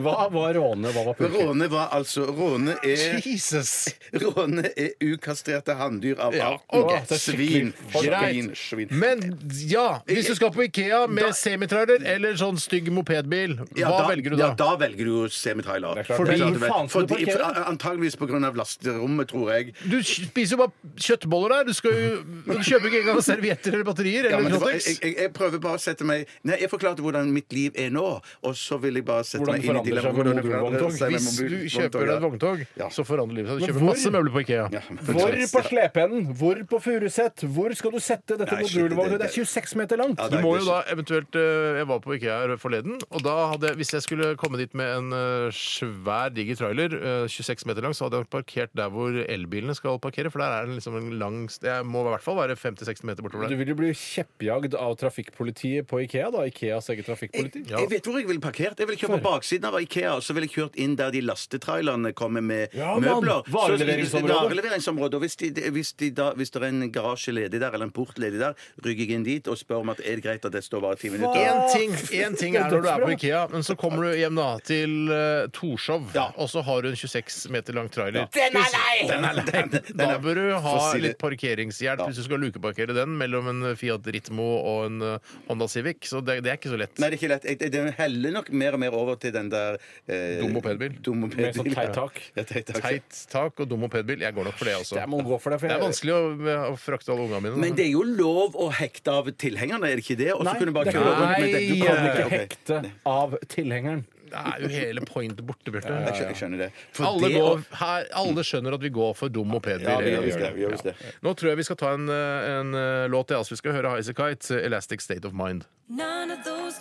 Speaker 6: Hva var råne? Hva var purke?
Speaker 5: Råne var altså Råne er
Speaker 4: Jesus!
Speaker 5: Råne er ukastrerte hanndyr av
Speaker 4: Ja,
Speaker 5: arten
Speaker 4: ok.
Speaker 5: svin. Svin,
Speaker 4: Greit.
Speaker 5: svin.
Speaker 4: Men ja, hvis du skal på Ikea med semitrailer eller sånn stygg mopedbil,
Speaker 5: Ja,
Speaker 4: hva velger du
Speaker 5: Ja,
Speaker 4: da?
Speaker 5: da velger du jo semitrailer.
Speaker 4: klart. Fordi-
Speaker 5: Fordi-
Speaker 4: Hvor faen skal du
Speaker 5: fordi-
Speaker 4: parkere?
Speaker 5: for- Antageligvis på grunn av lasterommet, tror jeg.
Speaker 4: Du spiser jo bare kjøttboller der. Du, skal jo, du kjøper ikke engang servietter eller batterier.
Speaker 5: Ja,
Speaker 4: Eller
Speaker 5: men det var,
Speaker 4: Knottex.
Speaker 5: jeg, jeg, jeg jeg prøver bare å sette meg Nei, jeg forklarte hvordan mitt liv er nå, og så vil jeg bare sette
Speaker 7: Hvordan
Speaker 5: meg inn i
Speaker 7: forandrer
Speaker 5: dilemmaet.
Speaker 7: seg med
Speaker 5: Hvordan det forandrer
Speaker 7: mobilvogntog?
Speaker 5: seg med
Speaker 7: Hvis du
Speaker 5: mobilvogntog,
Speaker 7: kjøper deg et
Speaker 5: ja.
Speaker 7: vogntog, så forandrer livet seg. Du
Speaker 6: Men
Speaker 7: kjøper
Speaker 6: hvor-
Speaker 7: masse møbler på Ikea.
Speaker 6: Hvor på slepeenden? Hvor på Furuset? Hvor skal du sette dette
Speaker 7: Nei, shit,
Speaker 6: modulvognet?
Speaker 7: det-
Speaker 6: Det er 26 meter langt!
Speaker 4: Du må jo da eventuelt eh, Jeg var på IKEA her forleden, og da hadde jeg Hvis jeg skulle komme dit med en eh, svær, diger trailer, eh, 26 meter lang, så hadde jeg parkert der hvor elbilene skal parkere, for der er det liksom en lang st- Jeg må i hvert fall være 50-60 meter bortover
Speaker 6: Du
Speaker 4: der.
Speaker 6: vil jo bli kjeppjagd av trafikkpolitiet på Ikea, da. Ikeas eget trafikkpoliti.
Speaker 5: Jeg vet hvor jeg ville parkert. Jeg ville kjørt på baksiden av Ikea, og så ville jeg kjørt inn der de lastetrailerne kommer med
Speaker 6: Ja, mann!
Speaker 5: møbler. Så-
Speaker 6: Vareleveringsområdet.
Speaker 5: Vareleveringsområdet. Og hvis, de, hvis, de da, hvis det er en garasje ledig der, eller en port ledig der, rygger jeg inn dit og spør om at er det greit at det står bare ti minutter.
Speaker 4: Én ting, en ting er når du er på
Speaker 5: Dødsbra.
Speaker 4: Ikea, men så kommer du hjem da til eh, Torshov, og så har du en 26 meter lang trailer.
Speaker 13: Den er lei!
Speaker 4: Den er lei! Da bør du ha
Speaker 13: For å si det-
Speaker 4: litt parkeringshjelp hvis du skal lukeparkere den mellom en Fiat Ritmo og en eh, Honda Civic. Så det, det er ikke så lett.
Speaker 5: Nei, det er ikke lett. Jeg- jeg- Det heller nok mer og mer over til den der eh,
Speaker 4: Dum mopedbil.
Speaker 5: dum mopedbil,
Speaker 4: Med sånn teit
Speaker 5: ja.
Speaker 4: tak.
Speaker 5: Ja, teit tak.
Speaker 4: Teit tak og dum mopedbil. Jeg går nok for det også.
Speaker 5: Jeg må gå for det, for
Speaker 4: det er
Speaker 5: jeg-
Speaker 4: vanskelig å, eh, å frakte alle ungene mine.
Speaker 5: Men det er jo lov å hekte av tilhengerne, er det ikke det? Og så
Speaker 4: Nei,
Speaker 5: kunne du bare
Speaker 4: det er
Speaker 5: kjøre
Speaker 4: ikke
Speaker 5: rundt
Speaker 4: lov.
Speaker 5: med det. Du
Speaker 4: Nei,
Speaker 5: kan
Speaker 4: eh,
Speaker 5: ikke
Speaker 4: ok.
Speaker 5: hekte.
Speaker 6: Av tilhengeren.
Speaker 4: Det er jo hele pointet borte, Bjarte.
Speaker 5: Jeg skjønner- jeg skjønner det. For
Speaker 4: Alle,
Speaker 5: det
Speaker 4: går,
Speaker 5: å-
Speaker 4: her, alle skjønner at vi går for dum mopedbil.
Speaker 5: Ja, vi gjør visst det, vi gjør visst det.
Speaker 4: Ja. Nå tror jeg vi skal ta en, eh, en eh, låt til. Altså, vi skal høre Highasakite, 'Elastic State of Mind'.
Speaker 13: None of those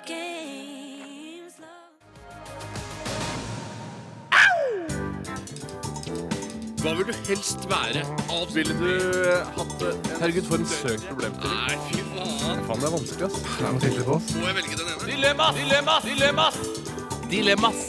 Speaker 13: games
Speaker 14: Hva vil du helst være? Ville du hatt det? Herregud, for en søk problemstilling. Nei, fy faen.
Speaker 4: Faen, det er vanskelig, ass.
Speaker 14: Det er noe tydelig på oss. Må jeg velge den ene?
Speaker 13: Dilemmas! Dilemmas! Dilemmas!
Speaker 15: Dilemmas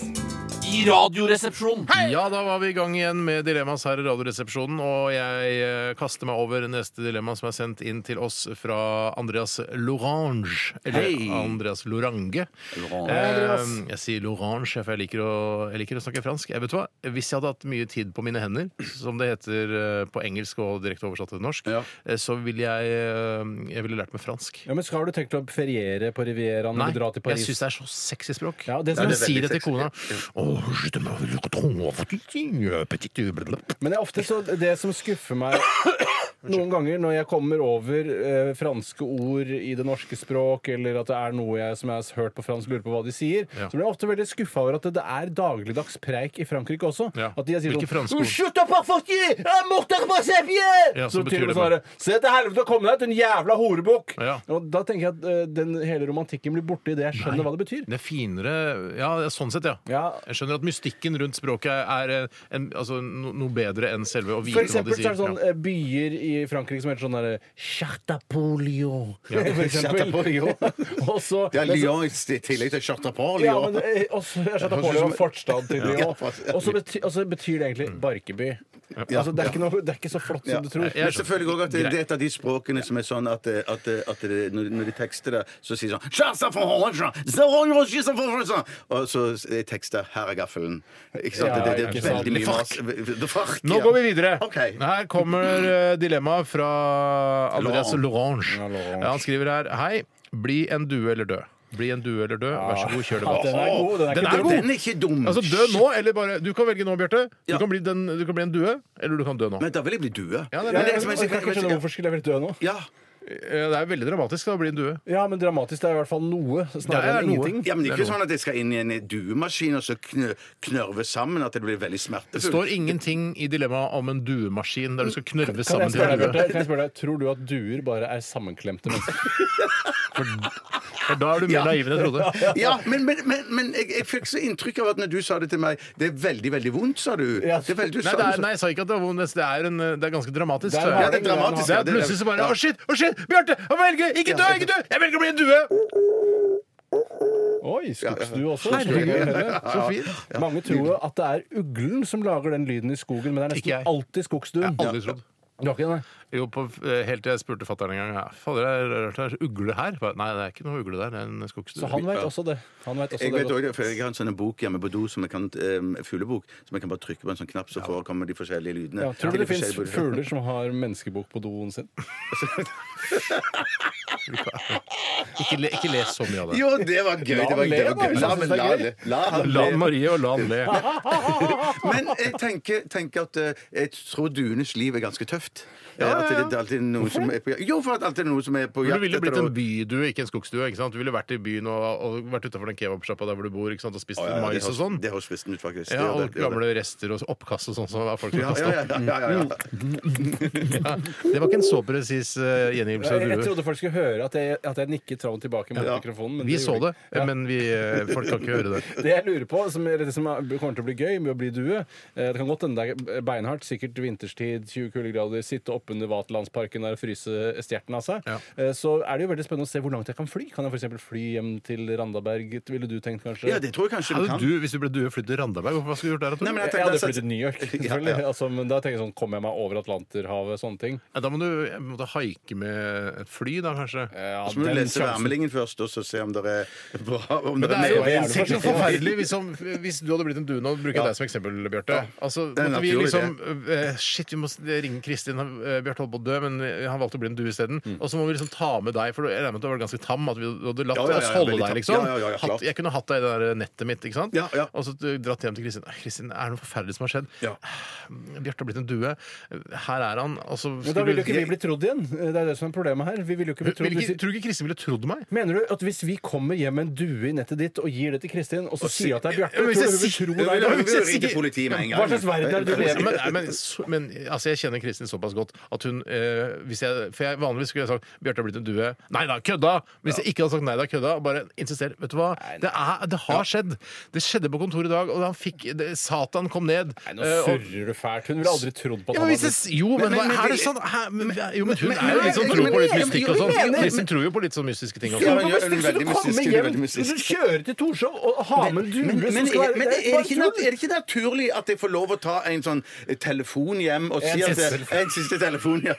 Speaker 15: i Radioresepsjonen.
Speaker 4: Ja, da var vi i gang igjen med Dilemmas her i Radioresepsjonen. Og jeg eh, kaster meg over neste dilemma som er sendt inn til oss fra Andreas Lorange. Eller
Speaker 13: Hei.
Speaker 4: Andreas Lorange.
Speaker 13: Hei, Andreas.
Speaker 4: Eh, jeg sier Lorange, for jeg liker, å, jeg liker å snakke fransk. Jeg vet du hva? Hvis jeg hadde hatt mye tid på mine hender, som det heter eh, på engelsk og direkte oversatt til norsk, eh, så ville jeg, eh, jeg ville lært meg fransk.
Speaker 6: Ja, men Skal du tenkt å feriere på Rivieraen?
Speaker 4: Nei,
Speaker 6: eller dra til Paris?
Speaker 4: jeg syns det er så sexy språk.
Speaker 6: Ja, det
Speaker 4: Når
Speaker 6: som
Speaker 4: jeg sier det til
Speaker 6: veldig
Speaker 4: kona «Åh, je te m'en veux, trop, petit, petit, blablabla».
Speaker 6: Men det er ofte så det som skuffer meg noen ganger når jeg kommer over eh, franske ord i det norske språk, eller at det er noe jeg, som jeg har hørt på fransk, lurer på hva de sier, så blir jeg ofte veldig skuffa over at det, det er dagligdags preik i Frankrike også. At de sier
Speaker 4: Hvilke franske
Speaker 6: sånn
Speaker 4: ord?
Speaker 6: «Slutt å parfortier! Jeg må ta på sepje!»
Speaker 4: Ja, så betyr
Speaker 6: Så betyr det
Speaker 4: det
Speaker 6: bare
Speaker 4: bare-
Speaker 6: Se til helvete å komme deg ut, din jævla horebukk!
Speaker 4: Ja.
Speaker 6: Og da tenker jeg at eh, den hele romantikken blir borte idet jeg skjønner hva det betyr.
Speaker 4: Det er finere Ja, sånn sett, ja. Jeg skjønner at mystikken rundt språket er eh, en, altså, no, noe bedre enn selve å
Speaker 6: For
Speaker 4: vite hva de
Speaker 6: eksempel så er
Speaker 4: sier.
Speaker 6: det sånn
Speaker 4: Ja.
Speaker 6: eh, byer i Frankrike som heter sånn derre Chartapolio.
Speaker 4: Ja.
Speaker 6: For eksempel.
Speaker 5: Chateaubriand.
Speaker 6: Og så
Speaker 5: Ja,
Speaker 6: men så-
Speaker 5: Lyon i tillegg til Chateaubriand.
Speaker 6: Ja, men eh, også, ja, Chateaubriand var forstad til
Speaker 5: Ja.
Speaker 6: Lyon. Og så bety, og så betyr det
Speaker 4: Mm.
Speaker 6: egentlig Barkeby. Altså, det, er ikke noe, det er ikke så flott
Speaker 5: Ja.
Speaker 6: som du tror.
Speaker 5: Men selvfølgelig også at det, det er et av de språkene som er sånn at, eh, at, eh, at det, når, når de tekster det, så sier sånn «Kjæreste for Hollandsja! Zerong og kjæreste for Hollandsja!» Og så er tekster 'Her er gaffelen'. Ikke sant?
Speaker 4: Ja,
Speaker 5: det, det,
Speaker 4: ikke
Speaker 5: det er
Speaker 4: sant.
Speaker 5: veldig mye mas.
Speaker 4: Fuck.
Speaker 5: Det er fart,
Speaker 4: Nå
Speaker 5: ja.
Speaker 4: går vi videre.
Speaker 5: Ok.
Speaker 4: Her kommer eh, dilemmaet fra Andreas Lorange. Ja, han skriver her Hei, bli en due eller død. Bli en due eller død. Vær så god, kjør det
Speaker 6: Ja, den er god, den er ikke dum. Den er ikke dum.
Speaker 4: Altså, dø nå, eller bare Du kan velge nå, Bjarte. Du, kan bli den- du kan bli en due, eller du kan dø nå.
Speaker 5: Men da vil jeg bli due.
Speaker 4: Ja, det,
Speaker 6: Ja,
Speaker 4: er det,
Speaker 6: jeg kan ikke skjønne hvorfor skulle jeg vært død nå?
Speaker 4: Eh, det er veldig dramatisk da, å bli en due.
Speaker 6: Ja, men dramatisk det er i hvert fall noe. Snarere enn ingenting.
Speaker 5: Ja, men ikke sånn at jeg skal inn i en duemaskin og så kn knørve sammen, at det blir
Speaker 4: Det
Speaker 5: veldig smertefullt.
Speaker 4: står ingenting i dilemmaet om en duemaskin der du skal knørve
Speaker 6: Kan
Speaker 4: sammen
Speaker 6: jeg, spørre deg,
Speaker 4: til
Speaker 6: Bjarte?
Speaker 4: en
Speaker 6: kan
Speaker 4: due.
Speaker 6: jeg spørre deg, Tror du at duer bare er sammenklemte mennesker?
Speaker 4: For da er du mer naiv enn jeg trodde.
Speaker 5: Ja, men, men, men, men jeg, jeg fikk så inntrykk av at når du sa det til meg Det er veldig, veldig vondt, sa du. Det er veldig, du
Speaker 4: Nei,
Speaker 5: sa
Speaker 4: det
Speaker 5: det
Speaker 4: er,
Speaker 5: så-
Speaker 4: nei, jeg sa ikke at det var vondt. Det er, en, det er ganske dramatisk.
Speaker 5: Det er-
Speaker 4: sa jeg.
Speaker 5: ja, det er dramatisk,
Speaker 4: Det
Speaker 5: ja,
Speaker 4: er
Speaker 5: det er-
Speaker 4: plutselig så bare
Speaker 5: ja.
Speaker 4: Å, shit! Å, shit! Bjarte! Han velger! Ikke dø! Ikke dø! Jeg velger å bli en due!
Speaker 6: Oi, skogsdue også.
Speaker 4: Herregud.
Speaker 6: Så fint. Mange tror jo at det er uglen som lager den lyden i skogen, men det er
Speaker 4: Ikke jeg.
Speaker 6: nesten alltid skogsduen.
Speaker 4: Jeg har aldri trodd.
Speaker 6: Du har ikke det?
Speaker 4: Jo, på, eh, Helt til jeg spurte fatter'n en gang ja, Fader, det er rart det er ugle her. Bare, Nei, det er ikke noe ugle der. Det er en skogstue.
Speaker 6: Så han vet også det. Han vet også
Speaker 5: Jeg
Speaker 6: det
Speaker 5: vet
Speaker 6: godt.
Speaker 5: også, for jeg har en sånn bok hjemme på do som jeg kan, em, fuglebok, som jeg kan bare trykke på en sånn knapp, så forekommer de forskjellige lydene.
Speaker 6: Ja,
Speaker 5: til
Speaker 6: tror du det
Speaker 5: de
Speaker 6: fins
Speaker 5: forskjellige-
Speaker 6: fugler som har menneskebok på doen sin?
Speaker 4: Ikke, le, ikke les så mye av det.
Speaker 5: Jo, det var gøy.
Speaker 4: La
Speaker 5: Det
Speaker 4: han le,
Speaker 5: var, det var gøy.
Speaker 4: da,
Speaker 5: La,
Speaker 4: hvis han
Speaker 5: men, la,
Speaker 4: synes
Speaker 5: han
Speaker 4: det
Speaker 5: le.
Speaker 4: er
Speaker 5: la han
Speaker 4: gøy.
Speaker 5: le.
Speaker 4: La han Marie og la han le.
Speaker 5: Men jeg tenker, tenker at eh, jeg tror duenes liv er ganske tøft. jakt. Eh, At det, det er alltid noen som er på jakt. Jo, for at alltid er noen som er på
Speaker 4: Men
Speaker 5: jakt
Speaker 4: du ville
Speaker 5: etter
Speaker 4: blitt en
Speaker 5: å-
Speaker 4: bydue, ikke en skogstue. ikke sant? Du ville vært i byen og, og vært utafor den kebabsjappa der hvor du bor ikke sant? og spist
Speaker 5: Å, ja, ja, det
Speaker 4: mais og
Speaker 5: høres-
Speaker 4: sånn.
Speaker 5: Det høres visst ut, faktisk.
Speaker 4: Ja,
Speaker 5: Det gjør
Speaker 4: og
Speaker 5: det, det gjør
Speaker 4: gamle rester og oppkast og sånn som folk har
Speaker 5: Ja, ja, ja,
Speaker 4: kastet opp.
Speaker 5: ja, ja, ja.
Speaker 4: Ja, Det var ikke en så presis eh, gjengivelse
Speaker 6: Jeg,
Speaker 4: av
Speaker 6: jeg
Speaker 4: due.
Speaker 6: trodde folk skulle høre at jeg, at jeg nikket fram og tilbake mot
Speaker 4: Ja.
Speaker 6: mikrofonen.
Speaker 4: Vi
Speaker 6: det
Speaker 4: så
Speaker 6: gjorde
Speaker 4: det,
Speaker 6: jeg ikke. Ja.
Speaker 4: men vi, eh, folk kan ikke høre det.
Speaker 6: Det jeg lurer på, som, eller det som er- kommer til å bli gøy med å bli due eh, Det kan godt hende det er beinhardt, sikkert vinterstid, 20 kuldegrader, sitte oppunder Vaterlandsparken der og fryse stjerten av seg. Eh, Så er det jo veldig spennende å se hvor langt jeg kan fly. Kan jeg f.eks. fly hjem til Randaberg, ville du tenkt kanskje?
Speaker 4: Hadde du hvis du ble due, flyttet til Randaberg? Hva skulle du gjort der? da, Tor?
Speaker 6: jeg, hadde flyttet til New York, selvfølgelig. Altså, men da tenker jeg sånn Kommer jeg meg over Atlanterhavet? Sånne ting.
Speaker 4: Ja, da må du jeg måtte haike med et fly, da kanskje.
Speaker 6: Eh,
Speaker 5: Så må du lese værmeldingen først, og så se om det er bra om
Speaker 4: Men det er jo
Speaker 5: nedvind.
Speaker 4: helt sikkert noe forferdelig hvis, som, hvis du hadde blitt en due nå. Bruker jeg
Speaker 5: Ja.
Speaker 4: deg som eksempel, Bjarte. Altså,
Speaker 5: Det er en
Speaker 4: måtte vi
Speaker 5: naturlig
Speaker 4: liksom eh, Shit, vi må ringe Kristin. eh, Bjarte holdt på å dø, men han valgte å bli en due isteden. Og så må vi liksom ta med deg, for jeg regner med at du var ganske tam. At vi hadde latt
Speaker 5: Mm. Ja, ja, ja,
Speaker 4: oss
Speaker 5: ja,
Speaker 4: holde
Speaker 5: veldig tam.
Speaker 4: deg, liksom.
Speaker 5: Ja, ja, ja, ja, klart.
Speaker 4: hatt, jeg kunne hatt deg i det der eh, nettet mitt, ikke sant? Og så dratt hjem til Kristin. «Nei, Kristin, er det noe forferdelig som har skjedd? Ah, Bjarte har blitt en due. Her er han. Og så
Speaker 6: Men da ville jo ikke vi bli trodd igjen. Eh, Det er det som er problemet her. Vi ville jo ikke bli trodd.
Speaker 4: Vil ikke-
Speaker 6: hvis vi-
Speaker 4: Tror du ikke Kristin ville trodd meg?
Speaker 6: Mener du at hvis vi kommer hjem med en due i nettet ditt og gir det til Kristin, og så
Speaker 4: Og si-
Speaker 6: sier at det er Bjarte,
Speaker 4: Ja, men hvis
Speaker 6: tror
Speaker 4: jeg
Speaker 6: du hun
Speaker 4: sier-
Speaker 6: vil tro deg da?
Speaker 4: Ja, men hvis jeg sier-
Speaker 6: Hva slags verden er det du lever
Speaker 4: Men,
Speaker 6: i?
Speaker 4: nei, men, så- men altså, jeg kjenner Kristin såpass godt at hun eh, hvis jeg, For jeg, vanligvis skulle jeg sagt 'Bjarte har blitt en due'. Nei da, kødda! Hvis jeg ikke hadde sagt 'nei da, kødda', og bare insistert Vet du hva? Det, er, det har skjedd! Det skjedde på kontoret i dag, og han fikk det, Satan kom ned. Nei,
Speaker 6: Nå surrer du fælt. Hun ville aldri trodd på at
Speaker 4: ja,
Speaker 6: han
Speaker 4: men hvis
Speaker 6: hadde
Speaker 4: jeg, jo, men,
Speaker 6: Men- men-
Speaker 4: hva- er det sånn? Hæ, men, jo, men hun
Speaker 6: Men-
Speaker 4: er jo litt sånn
Speaker 6: men-
Speaker 4: tro på litt
Speaker 6: men-
Speaker 4: mystikk
Speaker 6: men-
Speaker 4: og sånn.
Speaker 6: men-
Speaker 4: Kristin tror jo på litt sånn mystiske ting og
Speaker 6: Jo,
Speaker 4: sånn.
Speaker 6: men hvis du kommer hjem, hvis du kjører til Torshov og har med en due
Speaker 5: Men, men,
Speaker 6: som
Speaker 5: men,
Speaker 6: skal være
Speaker 5: men er,
Speaker 6: det er
Speaker 5: det
Speaker 6: bare
Speaker 5: ikke,
Speaker 6: tull.
Speaker 5: nat- er det ikke naturlig at jeg får lov å ta en sånn telefon hjem og si
Speaker 6: En
Speaker 5: at
Speaker 6: siste
Speaker 5: det, En siste telefon, ja.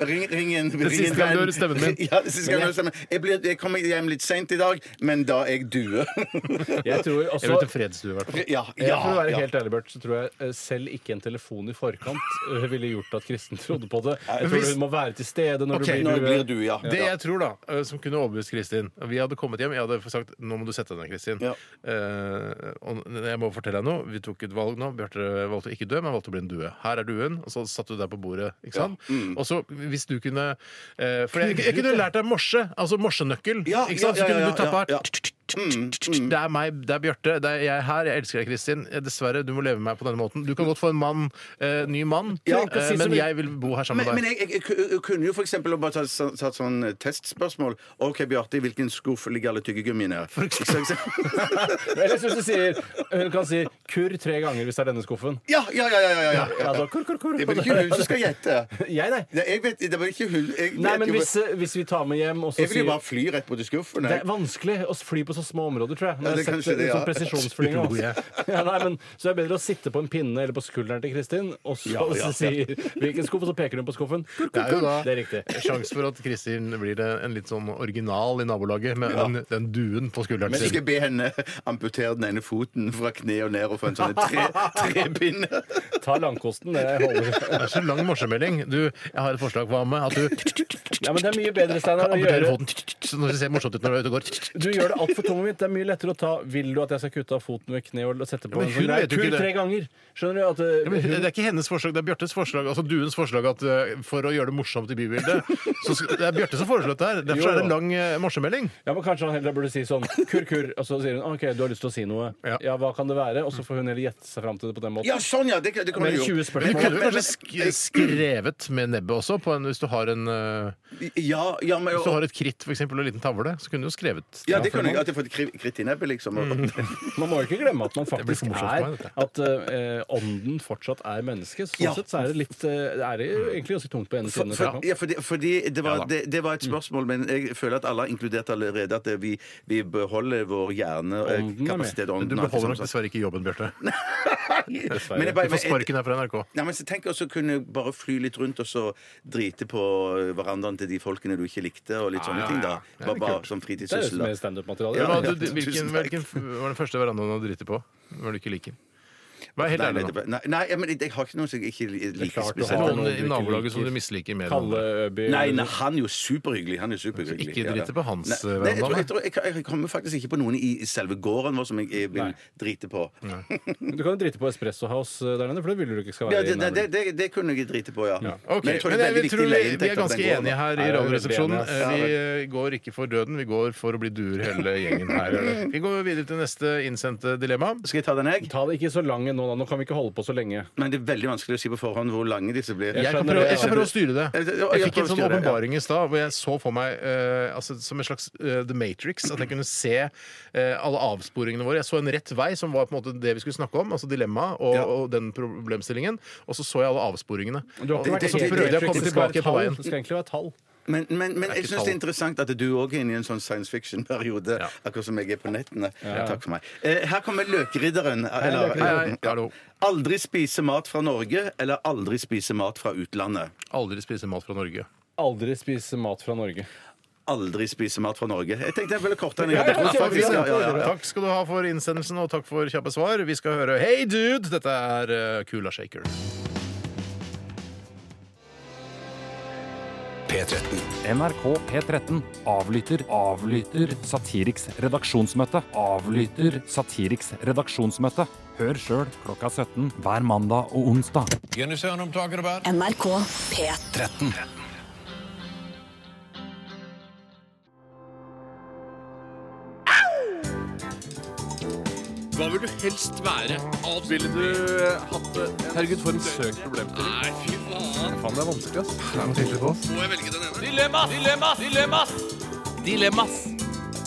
Speaker 5: Ring, ring en
Speaker 4: Det siste
Speaker 5: ring en
Speaker 4: gang du
Speaker 5: venn.
Speaker 4: hører stemmen min.
Speaker 5: Ja, det siste gang
Speaker 4: Men
Speaker 5: du
Speaker 4: jeg-
Speaker 5: hører stemmen. Jeg, blir, jeg kommer hjem litt seint i dag, men da er jeg due.
Speaker 6: Jeg tror altså-
Speaker 4: Jeg
Speaker 6: også-
Speaker 4: vil til fredsdue, i hvert fall.
Speaker 5: Ja,
Speaker 6: Ja, for å være
Speaker 5: ja.
Speaker 6: helt ærlig, Bert, så tror jeg eh, selv ikke en telefon i forkant eh, ville gjort at Kristen trodde på det. Jeg tror
Speaker 4: Hvis-
Speaker 6: hun må være til stede når
Speaker 4: Ok,
Speaker 6: du blir due.
Speaker 4: Det jeg tror, da, eh, som kunne overbevist Kristin Vi hadde kommet hjem, jeg hadde sagt 'nå må du sette deg ned, Kristin'. Eh, og jeg må fortelle deg noe. Vi tok et valg nå. Bjarte valgte å ikke dø, men valgte å bli en due. Her er duen. Og så satt du der på bordet, ikke sant?
Speaker 5: Mm.
Speaker 4: Og så, hvis du kunne eh, For jeg, jeg kunne lært deg morse. Altså morsenøkkel.
Speaker 5: Ja,
Speaker 4: ikke sant?
Speaker 5: ja,
Speaker 4: Så
Speaker 5: ja,
Speaker 4: kunne
Speaker 5: ja,
Speaker 4: du tappa
Speaker 5: ja, Mm, ja.
Speaker 4: Det er meg, det er Bjarte, det er jeg her. Jeg elsker deg, Kristin. Eh, Dessverre, du må leve med meg på denne måten. Du kan godt få en mann, eh, ny mann,
Speaker 5: Ja.
Speaker 4: eh, men jeg vil bo her sammen
Speaker 5: Men,
Speaker 4: med deg.
Speaker 5: men jeg, jeg, jeg, ku- kunne jo for eksempel bare tatt ta, ta sånn testspørsmål. OK, Bjarte, i hvilken skuff ligger alle tyggegummiene? For
Speaker 6: eh, Eller hvis du sier Hun kan si 'kurr' tre ganger hvis det er denne skuffen.
Speaker 5: Ja, ja, ja, ja, ja, ja.
Speaker 6: altså, kurr, kurr, kurr.
Speaker 5: Det er vel ikke hun som skal gjette?
Speaker 6: Jeg, nei.
Speaker 5: jeg vet, det er vel ikke hun jeg
Speaker 6: Nei,
Speaker 5: vet
Speaker 6: men
Speaker 5: jo-
Speaker 6: hvis, eh, hvis vi tar med hjem og så
Speaker 5: Jeg vil jo
Speaker 6: sier-
Speaker 5: bare fly rett på til skuffen.
Speaker 6: Det
Speaker 5: jeg.
Speaker 6: er vanskelig å fly på så små områder, tror jeg.
Speaker 5: Ja,
Speaker 6: Når
Speaker 5: det
Speaker 6: jeg har
Speaker 5: kanskje
Speaker 6: sett det,
Speaker 5: det, ja.
Speaker 6: sånn presisjonsflying,
Speaker 5: Tror
Speaker 6: altså. ja, nei, men, så det er bedre å sitte på en pinne eller på skulderen til Kristin, og så
Speaker 4: Ja, ja, ja.
Speaker 6: sier hvilken skuff, og så peker hun på skuffen.
Speaker 4: Det er jo da
Speaker 6: Det er riktig.
Speaker 4: sjanse for at Kristin blir en litt sånn original i nabolaget med
Speaker 5: Ja.
Speaker 4: den, den duen på skulderen
Speaker 5: Men jeg
Speaker 4: sin.
Speaker 5: skal be henne amputere den ene foten fra kne og ned og få en sånn tre, trepinne.
Speaker 6: Ta langkosten. Det holder.
Speaker 4: Det er så lang morsemelding. Du, jeg har et forslag. Hva med at du
Speaker 6: Ja, men det er mye bedre, Steinar,
Speaker 4: kan
Speaker 6: å
Speaker 4: amputere
Speaker 6: gjøre
Speaker 4: foten så når det ser morsomt ut når du er ute og går?
Speaker 6: du gjør det altfor tungvint. Det er mye lettere å ta Vil du at jeg skal kutte av foten ved kneet og sette på
Speaker 4: men
Speaker 6: en
Speaker 4: hun
Speaker 6: sånn greie?
Speaker 4: vet jo ikke
Speaker 6: Kull
Speaker 4: det.
Speaker 6: tre ganger? Skjønner du at eh,
Speaker 4: Ja, men
Speaker 6: hun-
Speaker 4: det er ikke hennes forslag, det er Bjørtes forslag. Altså duens forslag at eh, for å gjøre det morsomt i bybildet så skal, Det er Bjørte som foreslår det her. Derfor
Speaker 6: Jo,
Speaker 4: er det en
Speaker 6: jo.
Speaker 4: lang eh, morsemelding.
Speaker 6: Ja, men Kanskje han heller burde si sånn kurr, kurr, og så sier hun "Ah, OK, du har lyst til å si noe. Ja, hva kan det være? Og så får hun heller gjette seg fram til det på den måten.
Speaker 5: Ja, sånn, ja! Det, det kunne
Speaker 6: Men
Speaker 5: jeg
Speaker 6: 20
Speaker 5: gjort.
Speaker 6: spørsmål.
Speaker 4: Men du kunne jo
Speaker 5: Men-
Speaker 4: kanskje sk eh, skrevet med nebbet også, på en, hvis du har en eh,
Speaker 5: Ja, ja, men,
Speaker 4: Hvis du har et kritt for eksempel, og en liten tavle, så kunne du jo skrevet.
Speaker 5: ja, det kunne jeg. At jeg får et kri- kritt i nebbet, liksom.
Speaker 4: Mm,
Speaker 6: Man må jo ikke glemme at man
Speaker 4: blir for
Speaker 6: faktisk
Speaker 4: morsomt for
Speaker 6: er
Speaker 4: meg, dette.
Speaker 6: At eh, ånden fortsatt er menneske. Så Sånn
Speaker 5: Ja.
Speaker 6: sett så er det litt eh, Det er jo egentlig ganske tungt på ene
Speaker 5: For,
Speaker 6: siden.
Speaker 5: for, ja, fordi, fordi det,
Speaker 6: Ja
Speaker 5: var,
Speaker 6: da.
Speaker 5: det, det var
Speaker 4: Mm.
Speaker 5: et spørsmål, men jeg føler at alle har inkludert allerede at det- vi, vi beholder vår eh,
Speaker 4: Ånden er med.
Speaker 5: hjernekapasitet.
Speaker 4: Men Du beholder nok dessverre ikke jobben, Bjarte.
Speaker 5: Men jeg
Speaker 4: Du
Speaker 5: bare-
Speaker 4: får sparken her fra NRK.
Speaker 5: Nei, men så tenk også kunne jeg bare fly litt rundt og så drite på verandaen til de folkene du ikke likte, og litt sånne
Speaker 4: Ja, ja,
Speaker 5: ting,
Speaker 4: ja.
Speaker 5: da.
Speaker 4: Det er
Speaker 5: Bare,
Speaker 4: litt
Speaker 5: bare
Speaker 4: kult.
Speaker 5: som
Speaker 6: Det er jo
Speaker 5: fritidssyssel.
Speaker 6: mer standup-materiale.
Speaker 4: Ja,
Speaker 5: Ja,
Speaker 4: men
Speaker 5: ja.
Speaker 4: du, hvilken,
Speaker 5: Tusen takk.
Speaker 4: hvilken f- var den første verandaen du hadde driti på? Hva du ikke liker? Vær helt
Speaker 5: Nei,
Speaker 4: ærlig nå.
Speaker 5: nettopp. Nei, nei, men jeg, jeg har ikke noen som jeg ikke liker
Speaker 4: klart du
Speaker 5: spesielt.
Speaker 4: har noen i nabolaget som du misliker mer enn
Speaker 5: Kalle
Speaker 4: andre.
Speaker 5: Øby. Nei, nei, han er jo superhyggelig. Han er jo superhyggelig.
Speaker 4: Altså, ikke
Speaker 5: Ja,
Speaker 4: drite
Speaker 5: ja.
Speaker 4: på hans,
Speaker 5: Nei,
Speaker 4: eh,
Speaker 5: nei, jeg,
Speaker 4: veranda,
Speaker 5: tror- jeg, tror- jeg, jeg kommer faktisk ikke på noen i i selve gården vår som jeg, jeg vil drite på.
Speaker 6: Du kan jo drite på Espresso House eh, der nede, for det vil du ikke skal
Speaker 5: Ja,
Speaker 6: være
Speaker 5: det,
Speaker 6: inne.
Speaker 5: det, det, det kunne jeg drite på, ja.
Speaker 4: Ok,
Speaker 5: Men jeg tror det
Speaker 4: men
Speaker 5: er
Speaker 4: jeg
Speaker 5: veldig
Speaker 4: tror
Speaker 5: viktig
Speaker 4: vi,
Speaker 5: leieinntekt
Speaker 4: vi er
Speaker 5: at den
Speaker 4: ganske
Speaker 5: går, da.
Speaker 4: enige her i
Speaker 5: Ja, det er veldig
Speaker 4: Radioresepsjonen.
Speaker 5: enige, ass.
Speaker 4: Eh,
Speaker 5: Ja,
Speaker 4: Vi
Speaker 5: vel.
Speaker 4: eh, går ikke for døden, vi går for å bli duer hele gjengen her. Vi går videre til neste innsendte dilemma.
Speaker 5: Skal jeg ta den, jeg?
Speaker 6: Ta det ikke så lang en nå, da. Nå kan vi ikke holde på så lenge.
Speaker 5: Men det er veldig vanskelig å si på forhånd hvor lange disse blir.
Speaker 4: Jeg, kan prøve, jeg skal prøve å styre det. Jeg fikk en sånn åpenbaring i stad hvor jeg så for meg eh, altså, som en slags eh, The Matrix. At jeg kunne se eh, alle avsporingene våre. Jeg så en rett vei, som var på en måte det vi skulle snakke om, altså dilemmaet og, og den problemstillingen. Og så så jeg alle avsporingene.
Speaker 6: Du har
Speaker 4: Og
Speaker 6: ikke vært
Speaker 4: så
Speaker 6: helt
Speaker 4: prøvde jeg å
Speaker 6: Matrix,
Speaker 4: komme
Speaker 6: det skal være
Speaker 4: tilbake på
Speaker 6: tall.
Speaker 4: veien.
Speaker 6: Det skal egentlig være tall.
Speaker 5: Men, men, men
Speaker 6: er
Speaker 5: jeg
Speaker 6: ikke
Speaker 5: syns det
Speaker 6: tall.
Speaker 5: er interessant at du òg er inne i en sånn science fiction-periode. Akkurat som jeg er på nettene.
Speaker 6: Ja.
Speaker 5: Takk for meg. Eh, her kommer Løkridderen. Eller,
Speaker 4: Løkridderen.
Speaker 5: Ja. Aldri spise mat fra Norge eller aldri spise mat fra utlandet.
Speaker 4: Aldri spise mat fra Norge.
Speaker 6: Aldri spise mat fra Norge.
Speaker 5: Aldri spise mat fra Norge. Jeg tenkte jeg ville korte enn jeg hadde trodd.
Speaker 4: Takk,
Speaker 5: faktisk. Ja, ja, ja, ja.
Speaker 4: Takk skal du ha for innsendelsen, og takk for kjappe svar. Vi skal høre Hey Dude! Dette er eh, Kula Shaker.
Speaker 1: P13.
Speaker 16: NRK P13 avlytter, avlytter Satiriks redaksjonsmøte. Avlytter Satiriks redaksjonsmøte. Hør sjøl klokka 17 hver mandag og onsdag.
Speaker 17: NRK P13.
Speaker 14: Hva vil du helst være? Ville du hatt det? Herregud, for en søkt problemstilling. Nei, fy faen.
Speaker 4: Faen, det er vanskelig, ass.
Speaker 14: Må jeg velge den ene?
Speaker 15: Dilemmas! Dilemmas! Dilemmas! Dilemmas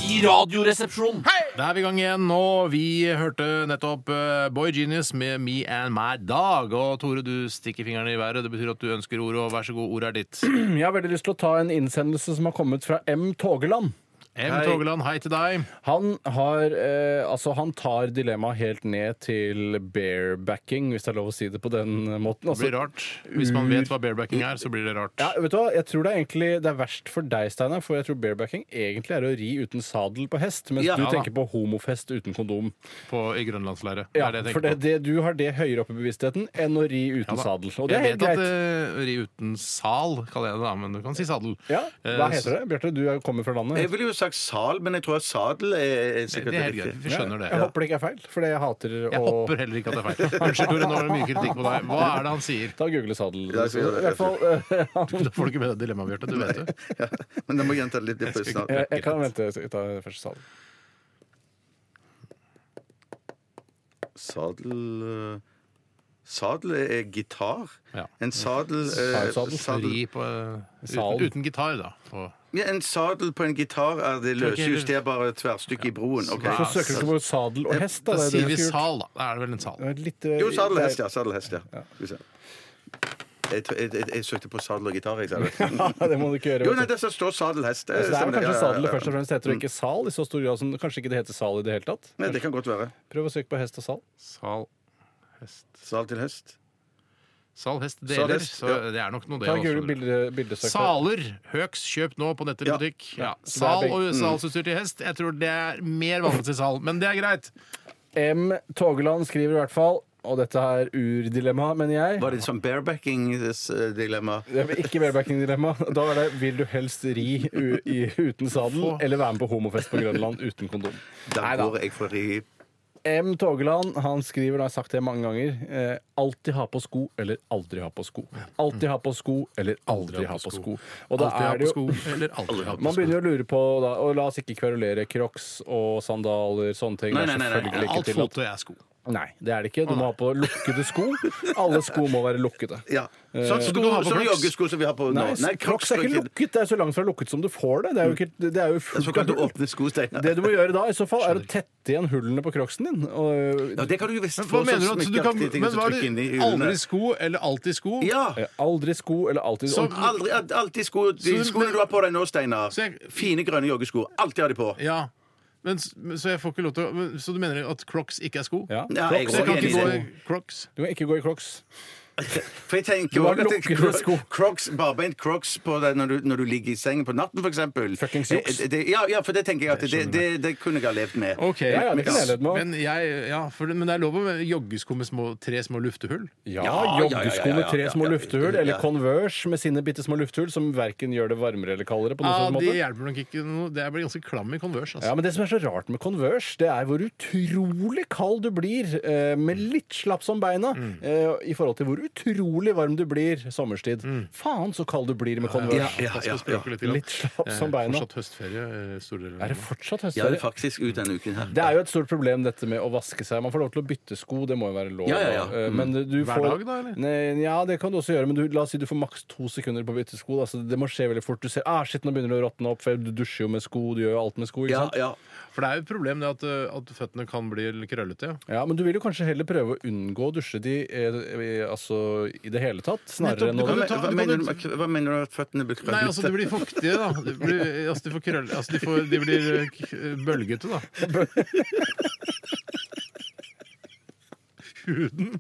Speaker 15: i Radioresepsjonen.
Speaker 4: Da er vi i gang igjen nå. Vi hørte nettopp eh, Boy Genius med Me and My Dog. Og Tore, du stikker fingeren i været. Det betyr at du ønsker ordet, og vær så god, ordet er ditt.
Speaker 6: Jeg har veldig lyst til å ta en innsendelse som har kommet fra M. Togeland.
Speaker 4: M. Togeland, hei til deg.
Speaker 6: Han har eh, Altså, han tar dilemmaet helt ned til barebacking, hvis det er lov å si det på den måten.
Speaker 4: Det
Speaker 6: Altså,
Speaker 4: blir rart. Hvis man vet hva barebacking er, så blir det rart.
Speaker 6: Ja, vet du hva? Jeg tror det er egentlig det er verst for deg, Steinar, for jeg tror barebacking egentlig er å ri uten sadel på hest, mens
Speaker 4: Ja.
Speaker 6: du tenker på homofest uten kondom.
Speaker 4: På, I grønlandsleiret.
Speaker 6: Ja,
Speaker 4: det er det jeg
Speaker 6: for det,
Speaker 4: tenker på.
Speaker 6: det, du har det høyere oppe i bevisstheten enn å ri uten
Speaker 4: Ja da.
Speaker 6: sadel. Og det er
Speaker 4: jeg
Speaker 6: helt
Speaker 4: vet at
Speaker 6: greit.
Speaker 4: eh, ri uten sal kaller jeg det, da, men du kan si sadel.
Speaker 6: Ja, Hva
Speaker 4: Eh,
Speaker 6: heter det? Bjarte, du er- kommer fra landet.
Speaker 5: Jeg ville jo sagt sal, men jeg tror at sadel er er sikkert
Speaker 4: Det er helt greit. Vi skjønner det.
Speaker 6: Jeg håper det ikke er feil, for jeg hater å
Speaker 4: Jeg håper heller ikke at det er feil. Unnskyld, Tore, nå er det mye kritikk på deg. Hva er det han sier?
Speaker 6: Ta Google sadel.
Speaker 5: Ja, jeg skal gjøre det.
Speaker 6: I hvert fall, eh,
Speaker 4: Da får du ikke med deg dilemmaet, Bjarte. Du vet det.
Speaker 5: Men da må jeg gjenta det litt. det er snart.
Speaker 6: Eh, jeg, jeg kan vente til jeg tar første sadel.
Speaker 5: Sadel eh, Sadel er gitar. En sadel, eh,
Speaker 4: Sadel. Ri på, eh, uten, uten gitar, da. På
Speaker 5: ja, En sadel på en gitar er det
Speaker 4: Tror ikke-
Speaker 5: løsjusterbare tverrstykket i broen. ok.
Speaker 6: Så søker du på sadel og hest, da.
Speaker 4: Da
Speaker 6: det er
Speaker 4: sier
Speaker 6: det
Speaker 4: vi
Speaker 6: du skulle gjort.
Speaker 4: sal, da. Da er det vel en sal.
Speaker 6: Det er Litt, eh,
Speaker 5: Jo, sadel og hest,
Speaker 6: det
Speaker 5: ja. Sadel og hest, ja. Skal vi se. Jeg, tror- jeg, jeg, jeg søkte på sadel og gitar. Jeg, sa det.
Speaker 6: er- Det må du ikke gjøre.
Speaker 5: Jo,
Speaker 6: vet
Speaker 5: nei,
Speaker 6: du.
Speaker 5: det står sadel hest.
Speaker 6: Så det er vel
Speaker 5: Eh, stemmer det.
Speaker 6: kanskje
Speaker 5: Ja, ja, ja.
Speaker 6: sadel først og fremst heter det ikke sal i så stor grad som kanskje ikke det heter sal i det hele tatt.
Speaker 5: Nei, det kan godt være.
Speaker 6: Prøv å søke på hest og sal.
Speaker 4: Sal, hest
Speaker 5: Sal til hest.
Speaker 4: Sal, hest,
Speaker 6: Sal,
Speaker 4: deler.
Speaker 6: hest,
Speaker 4: Så
Speaker 6: ja.
Speaker 4: det er nok noe, det.
Speaker 6: Ta
Speaker 4: også,
Speaker 6: gule
Speaker 4: tror jeg.
Speaker 6: bilde, bildesøk.
Speaker 4: Saler. Høks, kjøp nå på nettet i
Speaker 6: Ja.
Speaker 4: butikk. Ja.
Speaker 6: Ja.
Speaker 4: Sal
Speaker 6: Det er
Speaker 4: og
Speaker 6: begge- Mm.
Speaker 4: salsutstyr til hest. Jeg tror det er mer vanlig til sal, men det er greit.
Speaker 6: M. Togeland skriver i hvert fall, og dette er urdilemma, mener jeg.
Speaker 5: Var det sånn barebacking-dilemma?
Speaker 6: Det er Ikke barebacking-dilemma. Da er det vil du helst ri u i, uten sadel eller være med på homofest på Grønland uten kondom.
Speaker 5: Da går jeg for ri...
Speaker 6: M. Togeland han skriver, da har jeg sagt det mange ganger, eh, alltid ha på sko eller aldri ha på sko. Alltid ha på sko eller aldri ha på sko. Og da
Speaker 4: Alltid ha
Speaker 6: er det
Speaker 4: på
Speaker 6: jo
Speaker 4: sko eller aldri ha på
Speaker 6: Man
Speaker 4: sko.
Speaker 6: begynner jo å lure på da, Og la oss ikke kverulere crocs og sandaler, sånne ting.
Speaker 4: Nei,
Speaker 6: Det er
Speaker 4: nei, nei, nei.
Speaker 6: selvfølgelig ikke
Speaker 4: Alt
Speaker 6: tillatt.
Speaker 4: fottøy er sko.
Speaker 6: Nei, det er det ikke. Du må ha på lukkede sko. Alle sko må være lukkede.
Speaker 5: Ja.
Speaker 6: Eh,
Speaker 5: Sånn sko, sånn joggesko som vi har på nå.
Speaker 6: Nei, crocs er ikke lukket. Det er så langt fra lukket som du får det. Det er jo, ikke, det er jo fullt av
Speaker 5: Såkalte
Speaker 6: hull.
Speaker 5: åpne sko, Steinar.
Speaker 6: Det du må gjøre da, i så fall, er å tette igjen hullene på crocsen din. Og,
Speaker 5: Ja, det kan du jo visst
Speaker 4: Men hva
Speaker 5: få
Speaker 4: mener du
Speaker 5: sånn
Speaker 4: at du kan
Speaker 5: smykkeaktige ting
Speaker 4: Men
Speaker 5: som
Speaker 4: var
Speaker 5: trykker inn i
Speaker 4: det
Speaker 5: hjulene.
Speaker 4: aldri sko eller alltid sko?
Speaker 5: Ja.
Speaker 6: Eh, Aldri sko eller alltid
Speaker 5: Som aldri, al- alltid sko, de
Speaker 4: Så-
Speaker 5: skoene du har på deg nå, Steinar. Fine, grønne joggesko. Alltid ha de på.
Speaker 4: Ja. Men, s- men- så jeg får ikke lov til å men, Så du mener at crocs ikke er sko?
Speaker 6: Ja.
Speaker 5: Ja, jeg
Speaker 4: crocs, jeg
Speaker 5: går
Speaker 4: kan
Speaker 5: enig
Speaker 4: ikke
Speaker 5: i
Speaker 4: gå i
Speaker 5: det.
Speaker 4: crocs.
Speaker 6: Du kan ikke gå i crocs.
Speaker 5: For jeg tenker
Speaker 7: Du har
Speaker 5: også at det-
Speaker 7: lukkede sko.
Speaker 5: Crocs, barbeint Crocs på deg når, du- når du ligger i sengen på natten, f.eks.
Speaker 7: Fuckings juks.
Speaker 5: Ja, ja, for eh, det tenker jeg at det, det, det kunne jeg ha levd med.
Speaker 4: Men, jeg, ja, for, det- men det er lov med joggesko med små, tre små luftehull?
Speaker 6: Ja, joggesko med tre små luftehull, eller Converse med sine bitte små luftehull, som verken gjør det varmere eller kaldere. på noen
Speaker 4: Ja,
Speaker 6: sånn
Speaker 4: det
Speaker 6: måte.
Speaker 4: hjelper nok ikke noe. Det blir ganske klam i Converse. Altså.
Speaker 6: Ja, men Det som er så rart med Converse, det er hvor utrolig kald du blir eh, med litt slaps om beina eh, i forhold til hvor utrolig varm du blir sommerstid. Faen så kald du blir med Converse. Litt slaps om beina.
Speaker 4: Fortsatt høstferie. eh, store deler av
Speaker 6: Er det fortsatt
Speaker 5: Ja, det
Speaker 6: høstferie?
Speaker 5: er faktisk ut denne uken her.
Speaker 6: Det er jo et stort problem dette med å vaske seg. Man får lov til å bytte sko, det må jo være lov.
Speaker 5: Ja, ja, ja.
Speaker 6: Eh,
Speaker 5: Mm.
Speaker 6: Men du
Speaker 5: Hver
Speaker 6: får,
Speaker 5: dag da, eller?
Speaker 6: Nei, ja, det kan du også gjøre, men du, la oss si du får maks to sekunder på å bytte sko. da, så det må skje veldig fort. Du ser ah, shit, nå begynner det å råtne opp, for du dusjer jo med sko, du gjør jo alt med sko. ikke sant?
Speaker 4: For det er jo et problem det at, eh, at føttene kan bli krøllete. Ja.
Speaker 6: Ja, Men du vil jo kanskje heller prøve å unngå å dusje de eh, eh, altså, i det hele tatt, snarere enn å
Speaker 5: hva, hva, mener du, med- hva mener du at føttene blir
Speaker 4: Nei, altså de blir fuktige, da. De blir, altså, de, får krøll, altså, de, får, de blir eh, k- bølgete, da. Huden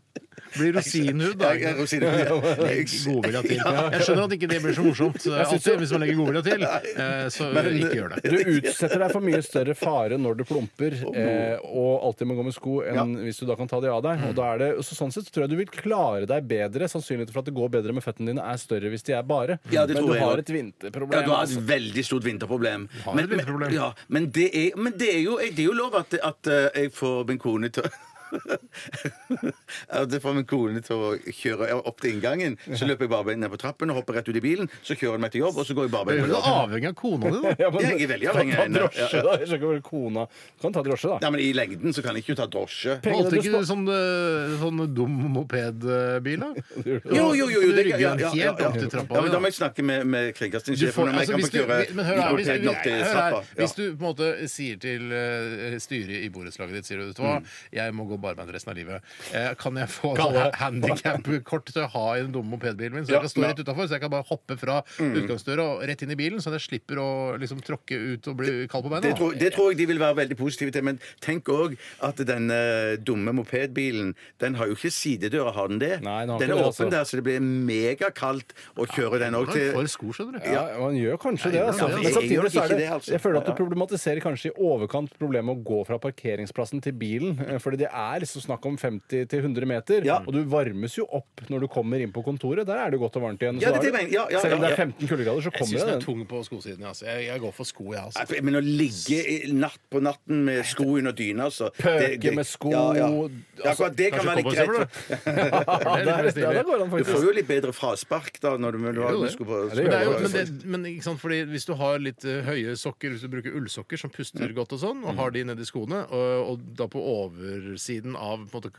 Speaker 4: blir rosinhud, da.
Speaker 5: Ja, ja, rosinhud, ja.
Speaker 4: Godvilja til. Jeg skjønner at ikke det blir så morsomt eh,
Speaker 6: Jeg synes
Speaker 4: alltid
Speaker 6: jo-
Speaker 4: hvis man legger godvilja til, eh, så
Speaker 6: Men,
Speaker 4: ikke gjør det.
Speaker 6: Du utsetter deg for mye større fare når du plumper eh, og alltid må gå med sko, enn hvis du da kan ta de av deg. Og da er det, så sånn sett tror jeg du vil klare deg bedre. Sannsynligheten for at det går bedre med føttene dine er større hvis de er bare.
Speaker 5: Ja, det
Speaker 6: Men
Speaker 5: tror
Speaker 6: du
Speaker 5: jeg
Speaker 6: har
Speaker 5: også.
Speaker 6: et vinterproblem.
Speaker 5: Ja, du har et
Speaker 6: altså.
Speaker 5: veldig stort vinterproblem.
Speaker 6: et vinterproblem.
Speaker 5: Men, ja, men, det, er, men det, er jo, det er jo lov at, at eh, jeg får min kone til å- at jeg får min kone til å kjøre opp til inngangen. Så løper jeg barbeint ned på trappen og hopper rett ut i bilen. Så kjører hun meg til jobb, og så går jeg
Speaker 4: Men
Speaker 5: barbeint
Speaker 4: er
Speaker 5: på
Speaker 4: du
Speaker 5: jobb.
Speaker 4: avhengig av kona di, da?
Speaker 5: Ja, men- Jeg er veldig avhengig av
Speaker 6: Kan ta
Speaker 5: henne.
Speaker 6: drosje, da. Jeg skjønner ikke hvor kona Du kan ta drosje, da.
Speaker 5: Ja, men I lengden så kan jeg ikke ta drosje.
Speaker 4: Valgte ikke du sånn, eh, sånn dum mopedbil, da?
Speaker 5: Jo, jo, jo! jo
Speaker 4: Du
Speaker 5: det,
Speaker 4: rygger
Speaker 5: ja, ja,
Speaker 4: den
Speaker 5: ja,
Speaker 4: helt
Speaker 5: ja, ja.
Speaker 4: opp til trappa,
Speaker 5: Ja, men
Speaker 4: da.
Speaker 5: da må jeg snakke med, med
Speaker 4: Du får-
Speaker 5: kringkastingssjefen om jeg
Speaker 4: altså,
Speaker 5: kan
Speaker 4: hvis
Speaker 5: få
Speaker 4: du-
Speaker 5: kjøre
Speaker 4: men hør her, hvis-
Speaker 5: mopeden opp til
Speaker 4: hør her,
Speaker 5: trappa. Ja.
Speaker 4: Hvis du på en måte sier til eh, styret i borettslaget ditt sier du, vet du hva,
Speaker 5: Mm.
Speaker 4: jeg må gå barbeint resten av livet. Eh, Kan jeg få
Speaker 6: Kalle.
Speaker 4: handikap-kort til å ha i den dumme mopedbilen min? Så
Speaker 6: Ja,
Speaker 4: jeg kan stå
Speaker 6: ja.
Speaker 4: rett utenfor, så jeg kan bare hoppe fra
Speaker 5: Mm.
Speaker 4: utgangsdøra og rett inn i bilen, sånn at jeg slipper å liksom tråkke ut og bli kald på beina?
Speaker 5: Det tror, det tror jeg de vil være veldig positive til. Men tenk òg at denne dumme mopedbilen Den har jo ikke sidedører, har den det?
Speaker 6: den har
Speaker 5: den
Speaker 6: ikke
Speaker 5: er
Speaker 6: det,
Speaker 5: åpen
Speaker 6: altså.
Speaker 5: der, så det blir megakaldt å kjøre den òg til
Speaker 4: For sko, skjønner du.
Speaker 6: Ja, man gjør kanskje det.
Speaker 5: Ja, jeg
Speaker 6: Altså.
Speaker 5: gjør
Speaker 6: Men
Speaker 5: det. Jeg gjør
Speaker 6: samtidig så
Speaker 5: ikke
Speaker 6: er det,
Speaker 5: det, altså.
Speaker 6: jeg føler at
Speaker 5: Ja,
Speaker 6: du
Speaker 5: ja.
Speaker 6: problematiserer kanskje i overkant problemet med å gå fra parkeringsplassen til bilen. eh, Fordi det er liksom snakk om 50-100 meter, og du varmes jo opp når du kommer inn på kontoret. Der er det godt og varmt igjen.
Speaker 5: Ja,
Speaker 6: Så
Speaker 5: det
Speaker 6: da er
Speaker 5: mener jeg. Ja, ja,
Speaker 6: selv om det
Speaker 5: ja,
Speaker 6: er
Speaker 5: ja.
Speaker 6: 15 kuldegrader, så
Speaker 4: Jeg syns
Speaker 6: kommer
Speaker 4: den
Speaker 6: det
Speaker 4: er
Speaker 6: den.
Speaker 4: tung på skosiden. Altså. Jeg, jeg går for sko, jeg, altså.
Speaker 5: Nei, Men å ligge i- natt på natten med sko under dyna altså, det-
Speaker 6: Pøke
Speaker 5: det-
Speaker 6: med sko
Speaker 5: ja, ja.
Speaker 6: altså,
Speaker 5: Ja, Akkurat det kan
Speaker 6: kanskje
Speaker 5: være litt
Speaker 6: cowboyser,
Speaker 5: greit.
Speaker 6: bro. Ja,
Speaker 4: Det er litt
Speaker 6: der- ja, der går han
Speaker 5: Du
Speaker 6: faktisk.
Speaker 5: får jo litt bedre fraspark da når du når du har med sko på.
Speaker 4: Men det er jo- men det- men ikke sant, fordi Hvis du har litt eh, høye sokker, hvis du bruker ullsokker som puster
Speaker 5: Mm.
Speaker 4: godt og sånn, og har de nedi skoene, og, og da på oversiden av på en måte,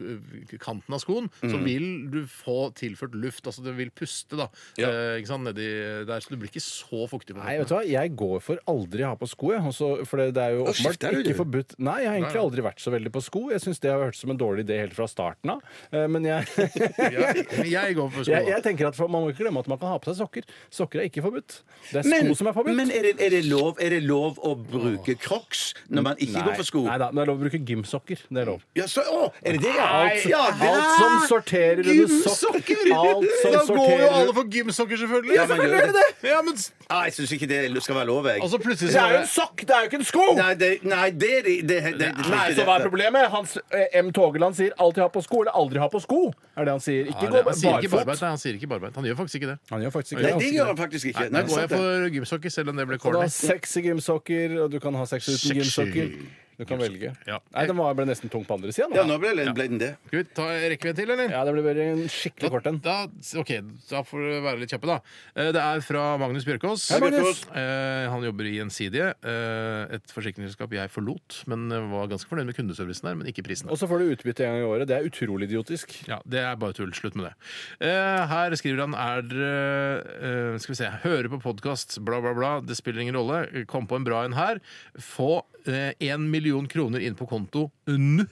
Speaker 4: k- kanten av skoen, så
Speaker 14: Mm.
Speaker 4: vil du få tilført luft. Altså det vil puste, da.
Speaker 14: Ja.
Speaker 4: eh, Ikke sant, nedi der, så du blir ikke så fuktig på
Speaker 6: Nei, vet du
Speaker 4: føttene.
Speaker 6: hva? Jeg går for aldri å ha på sko. Jeg. Også, for det, det er jo
Speaker 4: Å,
Speaker 6: åpenbart
Speaker 4: skifter du,
Speaker 6: ikke
Speaker 4: du?
Speaker 6: forbudt. Nei, jeg har egentlig
Speaker 4: Nei.
Speaker 6: aldri vært så veldig på sko. Jeg syns det har hørt som en dårlig idé helt fra starten av. Eh, Men jeg,
Speaker 4: Men jeg går for sko.
Speaker 6: jeg, jeg tenker at for, Man må ikke glemme at man kan ha på seg sokker. Sokker er ikke forbudt. Det er sko
Speaker 5: Men,
Speaker 6: som er forbudt.
Speaker 5: men er, det, er, det lov, er det lov å bruke crocs når man ikke går for sko?
Speaker 6: Nei da, men det er lov å bruke gymsokker. Det er lov.
Speaker 5: Ja, så, å, er det det? Ja,
Speaker 6: Alt,
Speaker 5: ja, det
Speaker 6: alt som sorterer under sokk.
Speaker 5: Gymsokker!
Speaker 6: Alt som
Speaker 4: Da går jo
Speaker 6: sorterer
Speaker 4: alle for gymsokker, selvfølgelig!
Speaker 5: Ja, man gjør det.
Speaker 4: Ja, men s-
Speaker 5: Nei, Ah, jeg syns ikke det skal være lov, jeg.
Speaker 6: Altså,
Speaker 4: Og så plutselig så
Speaker 6: Det er jo
Speaker 4: bare-
Speaker 6: en sokk, det er jo ikke en sko!
Speaker 5: Nei, det, nei, det, er det, det, det, det,
Speaker 6: Nei, så hva er problemet? Hans, eh, M. Togeland sier 'alltid ha på sko' eller 'aldri ha på sko'. Er det han sier. Ikke
Speaker 4: Nei,
Speaker 6: gå
Speaker 4: han sier ikke
Speaker 6: barfot.
Speaker 4: barbeint. Nei, han sier ikke barbeint. Han gjør faktisk ikke det.
Speaker 6: Han gjør faktisk
Speaker 5: Nei, det gjør han faktisk ikke.
Speaker 4: Nei,
Speaker 5: Nei,
Speaker 4: da går jeg
Speaker 5: sant det.
Speaker 4: for gymsokker, selv om det ble
Speaker 6: Og Du
Speaker 4: corny.
Speaker 6: har sexy gymsokker, og du kan ha sex uten
Speaker 4: Sexy
Speaker 6: gymsokker. Du kan velge. Nei, den var, ble nesten tung på andre sida.
Speaker 5: Ja, nå ble, ble den det.
Speaker 4: Skal vi ta rekker vi en til, eller?
Speaker 6: Ja, det ble bare en skikkelig kort en.
Speaker 4: Da, ok, da får du være litt kjappe, da. Eh, Det er fra Magnus Bjørkås.
Speaker 6: Hei, Magnus.
Speaker 4: Eh, Han jobber i Gjensidige, eh, et forsikringsselskap jeg forlot, men eh, var ganske fornøyd med kundeservicen der, men ikke prisen.
Speaker 6: Og så får du utbytte en gang i året. Det er utrolig idiotisk.
Speaker 4: Ja, Det er bare tull. Slutt med det. Eh, her skriver han er dere eh, Skal vi se. Hører på podkast, bla, bla, bla. Det spiller ingen rolle. Kom på en bra en her. Få én million kroner inn på konto nå.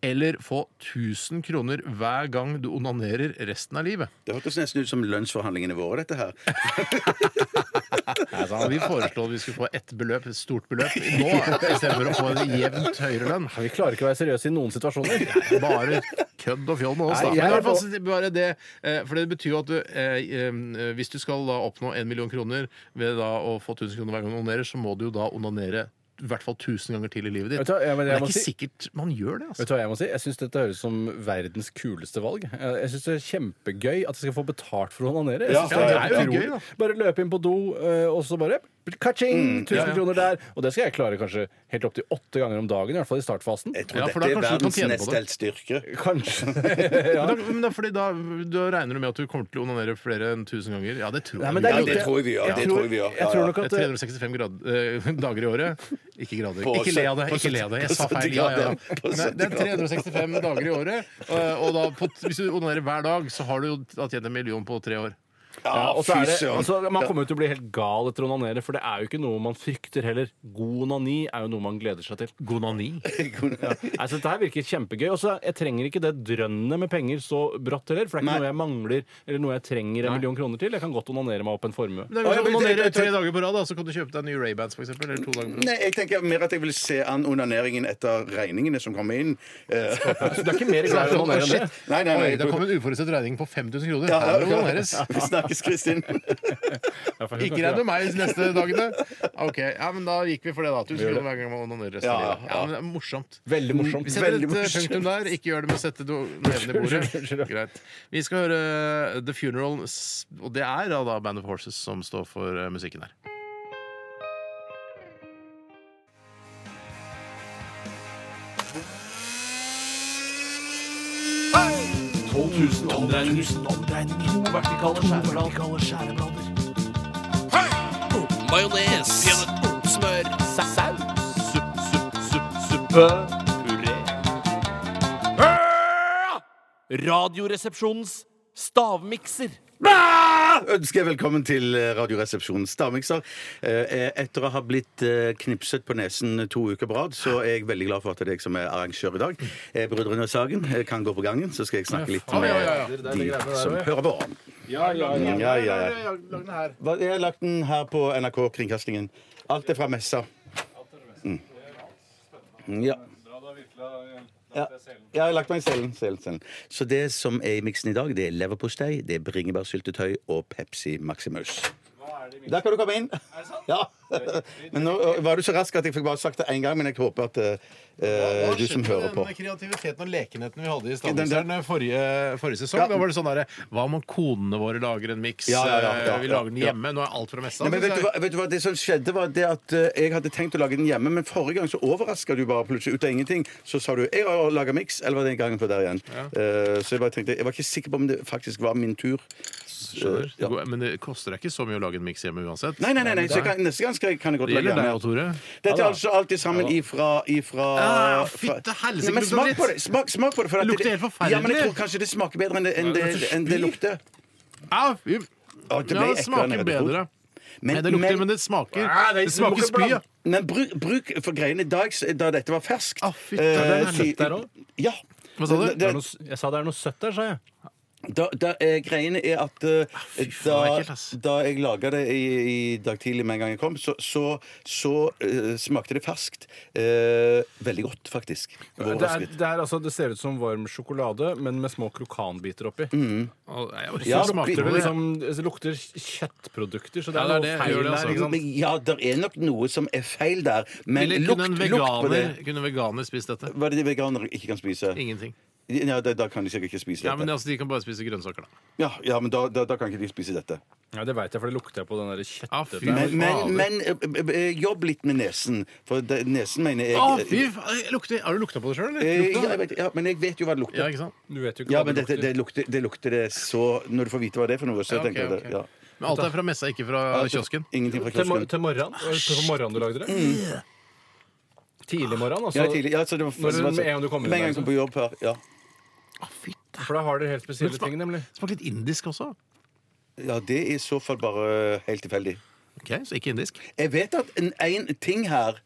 Speaker 4: Eller få 1000 kroner hver gang du onanerer resten av livet.
Speaker 5: Det hørtes nesten ut som lønnsforhandlingene våre, dette her.
Speaker 4: Ja, altså, vi foreslo at vi skulle få ett beløp, et stort beløp, nå istedenfor å få en jevnt høyere lønn.
Speaker 6: Vi klarer ikke å være seriøse i noen situasjoner.
Speaker 4: Bare kødd og fjoll med oss,
Speaker 7: Nei,
Speaker 4: da.
Speaker 7: jeg
Speaker 4: Men i
Speaker 7: er
Speaker 4: hvert
Speaker 7: på-
Speaker 4: fall så det er bare det, eh, for det betyr jo at du, eh, eh, hvis du skal da oppnå en million kroner ved da å få 1000 kroner hver gang du onanerer, så må du jo da onanere i hvert fall 1000 ganger til i livet ditt.
Speaker 6: Vet du hva, ja, men
Speaker 4: det
Speaker 6: jeg
Speaker 4: er
Speaker 6: må
Speaker 4: ikke
Speaker 6: si-
Speaker 4: sikkert man gjør det, altså.
Speaker 6: Vet du hva Jeg må si? Jeg syns dette høres som verdens kuleste valg. Jeg jeg syns det er kjempegøy at jeg skal få betalt for å onanere. Jeg
Speaker 4: Ja,
Speaker 6: synes
Speaker 4: ja,
Speaker 6: det
Speaker 4: det
Speaker 6: er
Speaker 4: er jo
Speaker 6: utrolig.
Speaker 4: gøy, da.
Speaker 6: Bare løpe inn på do, eh, og så bare ka-ching!
Speaker 4: Mm,
Speaker 6: 1000
Speaker 4: ja, ja.
Speaker 6: kroner der. Og det skal jeg klare kanskje helt opptil åtte ganger om dagen, i hvert fall i startfasen.
Speaker 5: Jeg tror dette er verdens nest eldste yrke.
Speaker 6: Kanskje.
Speaker 4: Men da, men da, fordi da, da regner du med at du kommer til å onanere flere enn 1000 ganger? Ja, det tror
Speaker 6: Nei,
Speaker 4: jeg. vi
Speaker 6: men det er
Speaker 4: gjør.
Speaker 6: ikke- Ja, det tror jeg vi gjør, det tror jeg vi gjør. Ja, ja.
Speaker 4: Det er 365 grad, eh, dager i året. Ikke grader.
Speaker 6: På
Speaker 4: ikke le av det.
Speaker 6: sytt- på
Speaker 4: ikke le av det.
Speaker 6: sytt-
Speaker 4: Jeg sa
Speaker 6: på
Speaker 4: feil.
Speaker 6: sytti
Speaker 4: Ja, ja.
Speaker 6: grader, ja. På
Speaker 4: Nei, det er
Speaker 6: sytti grader.
Speaker 4: 365 dager i året. Og, og da, på, hvis du onanerer hver dag, så har du jo da tjent en million på tre år.
Speaker 6: Ja, og så er det, altså, man kommer jo til å bli helt gal etter å onanere, for det er jo ikke noe man frykter heller. God onani er jo noe man gleder seg til. God onani? ja. altså, dette her virker kjempegøy. Og så jeg trenger ikke det drønnet med penger så brått heller, for det er ikke noe jeg mangler eller noe jeg trenger en million kroner til. Jeg kan godt onanere meg opp en formue.
Speaker 4: Men da kan du onanere tre dager på rad, da, så kan du kjøpe deg nye Ray-Bans for eksempel, Eller to dager på
Speaker 5: Nei, jeg tenker mer at jeg vil se an onaneringen etter regningene som kommer inn.
Speaker 4: Så
Speaker 5: Så
Speaker 4: du er ikke mer glad i å onanere enn det?
Speaker 5: Nei, nei, nei.
Speaker 4: Oi, Det kom en uforutsett regning på 5000 kroner.
Speaker 5: Ja,
Speaker 4: Her må det
Speaker 5: ja.
Speaker 4: onaneres.
Speaker 5: Vi snakkes, Kristin.
Speaker 4: Ikke regn med meg de neste dagene. Ok, ja, men Da gikk vi for det, da. Tusen kroner hver gang man onanerer resten av
Speaker 6: Ja,
Speaker 4: livet.
Speaker 6: ja.
Speaker 4: Ja, men det er morsomt.
Speaker 6: Veldig morsomt.
Speaker 4: Vi setter
Speaker 6: Veldig
Speaker 4: et eh,
Speaker 6: morsomt.
Speaker 4: punktum der. Ikke gjør det med å sette do- neven i bordet. Greit. Vi skal høre eh, The Funeral, s- og det er da, da Band of Horses som står for eh, musikken her.
Speaker 15: To vertikale skjæreblader.
Speaker 14: Majones. Smør.
Speaker 15: Saus.
Speaker 14: Supp, supp, supp,
Speaker 15: Suppe. Puré. Radioresepsjonens stavmikser.
Speaker 5: Ønsker jeg velkommen til Radioresepsjonen Stavmikser. Eh, Etter å ha blitt eh, knipset på nesen eh, to uker på rad, så er jeg veldig glad for at det er jeg som er arrangør i dag. Eh, Brødrene Sagen eh, kan gå på gangen, så skal jeg snakke litt
Speaker 4: Ja, faen, ja, ja, ja. Det
Speaker 5: med
Speaker 4: er det
Speaker 5: de
Speaker 4: greiene der,
Speaker 5: som
Speaker 4: ja.
Speaker 5: hører på.
Speaker 4: Ja,
Speaker 5: ja, ja. Ja, ja, ja.
Speaker 4: Lag den her.
Speaker 5: Hva- Jeg har lagt den her på NRK-kringkastingen. Alt er fra messa. Mm. Ja. Ja. Jeg har lagt meg i selen, selen, selen. Så det som er i miksen i dag, det er leverpostei, det er bringebærsyltetøy og Pepsi Maximus. Der kan du komme inn. Ja. Men nå ø, var du så rask at jeg fikk bare sagt det én gang, men jeg håper at ø, ø, du Eh, som hører på
Speaker 4: Den kreativiteten og lekenheten vi hadde i
Speaker 5: Den- den-
Speaker 4: Stavmikseren forrige, forrige sesong,
Speaker 5: Ja.
Speaker 4: da var det sånn derre Hva om konene våre lager en miks? eh,
Speaker 5: Ja, ja, ja, ja,
Speaker 4: vi
Speaker 5: ja,
Speaker 4: lager den
Speaker 5: ja.
Speaker 4: hjemme. Nå er alt fra messa.
Speaker 5: Nei, men vet, du hva, vet du hva, Det som skjedde, var det at eh, jeg hadde tenkt å lage den hjemme, men forrige gang så overraska du bare plutselig ut av ingenting. Så sa du 'jeg har laga miks', eller var det den gangen før der igjen? Eh, så jeg bare tenkte, jeg var ikke sikker på om det faktisk var min tur.
Speaker 4: Skjønner. Det går- Men det koster deg ikke så mye å lage en miks hjemme uansett.
Speaker 5: Nei, nei, nei, nei, så jeg kan, neste gang skal jeg, kan jeg godt
Speaker 4: Det
Speaker 5: lage
Speaker 4: gjelder deg
Speaker 5: hjemme.
Speaker 4: og Tore.
Speaker 5: Dette
Speaker 4: Ja
Speaker 5: er
Speaker 4: da.
Speaker 5: altså alltid
Speaker 4: Ja
Speaker 5: sammen
Speaker 4: da.
Speaker 5: ifra, ifra
Speaker 4: Ah,
Speaker 5: fra-
Speaker 4: fytte helsike,
Speaker 5: Nei, men
Speaker 4: lukter
Speaker 5: smak
Speaker 4: dritt.
Speaker 5: på det! Smak, smak på det, for at
Speaker 4: Det lukter
Speaker 5: det-
Speaker 4: helt forferdelig.
Speaker 5: Ja, men jeg tror kanskje det smaker bedre enn det, enn
Speaker 4: Ja, det
Speaker 5: det,
Speaker 4: lukter
Speaker 5: enn det lukter.
Speaker 4: Au, fy.
Speaker 5: Å, det ble
Speaker 4: Ja, det
Speaker 5: eklere enn jeg
Speaker 4: smaker
Speaker 5: hadde
Speaker 4: bedre.
Speaker 5: trodd. Men-
Speaker 4: Men, det lukter,
Speaker 5: men-
Speaker 4: men det smaker
Speaker 5: Ah,
Speaker 4: Det smaker spy. ja.
Speaker 5: Men bruk, bruk for greiene i dag, s- da dette var ferskt.
Speaker 6: Det er noe
Speaker 5: si-
Speaker 6: søtt der òg.
Speaker 5: Ja.
Speaker 6: Hva sa du?
Speaker 5: Det- det-
Speaker 6: Det er noe s- Jeg sa det er noe søtt der, sa jeg.
Speaker 5: Da, da, eh, greiene er at eh,
Speaker 6: Ah,
Speaker 5: da, da jeg laga det i, i dag tidlig med en gang jeg kom, så, så, så eh, smakte det ferskt. Eh, veldig godt, faktisk.
Speaker 6: Det, er,
Speaker 5: Overrasket.
Speaker 6: det, er, altså, det ser ut som varm sjokolade, men med små krokanbiter oppi.
Speaker 5: Mm.
Speaker 4: Å, jeg orker
Speaker 6: Ja,
Speaker 4: ikke smake
Speaker 6: det,
Speaker 4: det,
Speaker 6: liksom, det lukter kjøttprodukter, så det
Speaker 4: Ja,
Speaker 6: er
Speaker 4: det er
Speaker 6: noe
Speaker 4: det.
Speaker 6: feil
Speaker 4: Gjør det,
Speaker 6: der.
Speaker 4: altså.
Speaker 6: Ikke sant?
Speaker 5: Men ja, det er nok noe som er feil der, men
Speaker 4: Ville-
Speaker 5: lukt,
Speaker 4: kunne en
Speaker 5: lukt på det.
Speaker 4: veganer, kunne en veganer spist dette?
Speaker 5: Hva er det de veganere ikke kan spise?
Speaker 4: Ingenting.
Speaker 5: Ja, da, da kan de sikkert ikke spise
Speaker 4: Ja, men
Speaker 5: dette.
Speaker 4: altså, De kan bare spise grønnsaker, da.
Speaker 5: Ja, ja, men da, da, da kan ikke de spise dette.
Speaker 6: Ja, det veit jeg, for det lukter jeg på den der
Speaker 4: Ah,
Speaker 6: kjøttete
Speaker 5: Men, men, men eh, eh, jobb litt med nesen, for det, nesen mener jeg
Speaker 4: Å, fy faen! Lukter- Har du lukta på det sjøl,
Speaker 5: Eh,
Speaker 4: eller?
Speaker 5: ja, jeg
Speaker 4: Lukta?
Speaker 5: vet, ja, men jeg vet jo hva det lukter.
Speaker 4: Ja, ikke sant?
Speaker 6: Du vet jo ikke
Speaker 5: Ja,
Speaker 6: hva
Speaker 5: men
Speaker 6: det
Speaker 5: dette, det, lukter, det lukter det så Når du får vite hva det er for noe, så
Speaker 4: Ja, ok,
Speaker 5: tenker jeg det.
Speaker 4: ok.
Speaker 5: Ja.
Speaker 4: Men alt er fra messa, ikke fra
Speaker 5: Ja, det-
Speaker 4: kiosken?
Speaker 5: Ingenting fra
Speaker 6: Til, mor-
Speaker 5: kiosken.
Speaker 6: til morgenen? Var det På morgenen du lagde det? Mm. Tidlig morgen, altså?
Speaker 5: Ja, tidlig. Ja, så det var
Speaker 6: Når du, med en gang du kommer
Speaker 5: Med en gang jeg
Speaker 6: inn der,
Speaker 5: kom på jobb her. Ja.
Speaker 6: altså. For da har dere helt spesielle ting, nemlig.
Speaker 4: Smaker litt indisk også.
Speaker 5: ja, det er i så fall bare helt tilfeldig.
Speaker 4: Ok, Så ikke indisk.
Speaker 5: Jeg vet at en, en ting her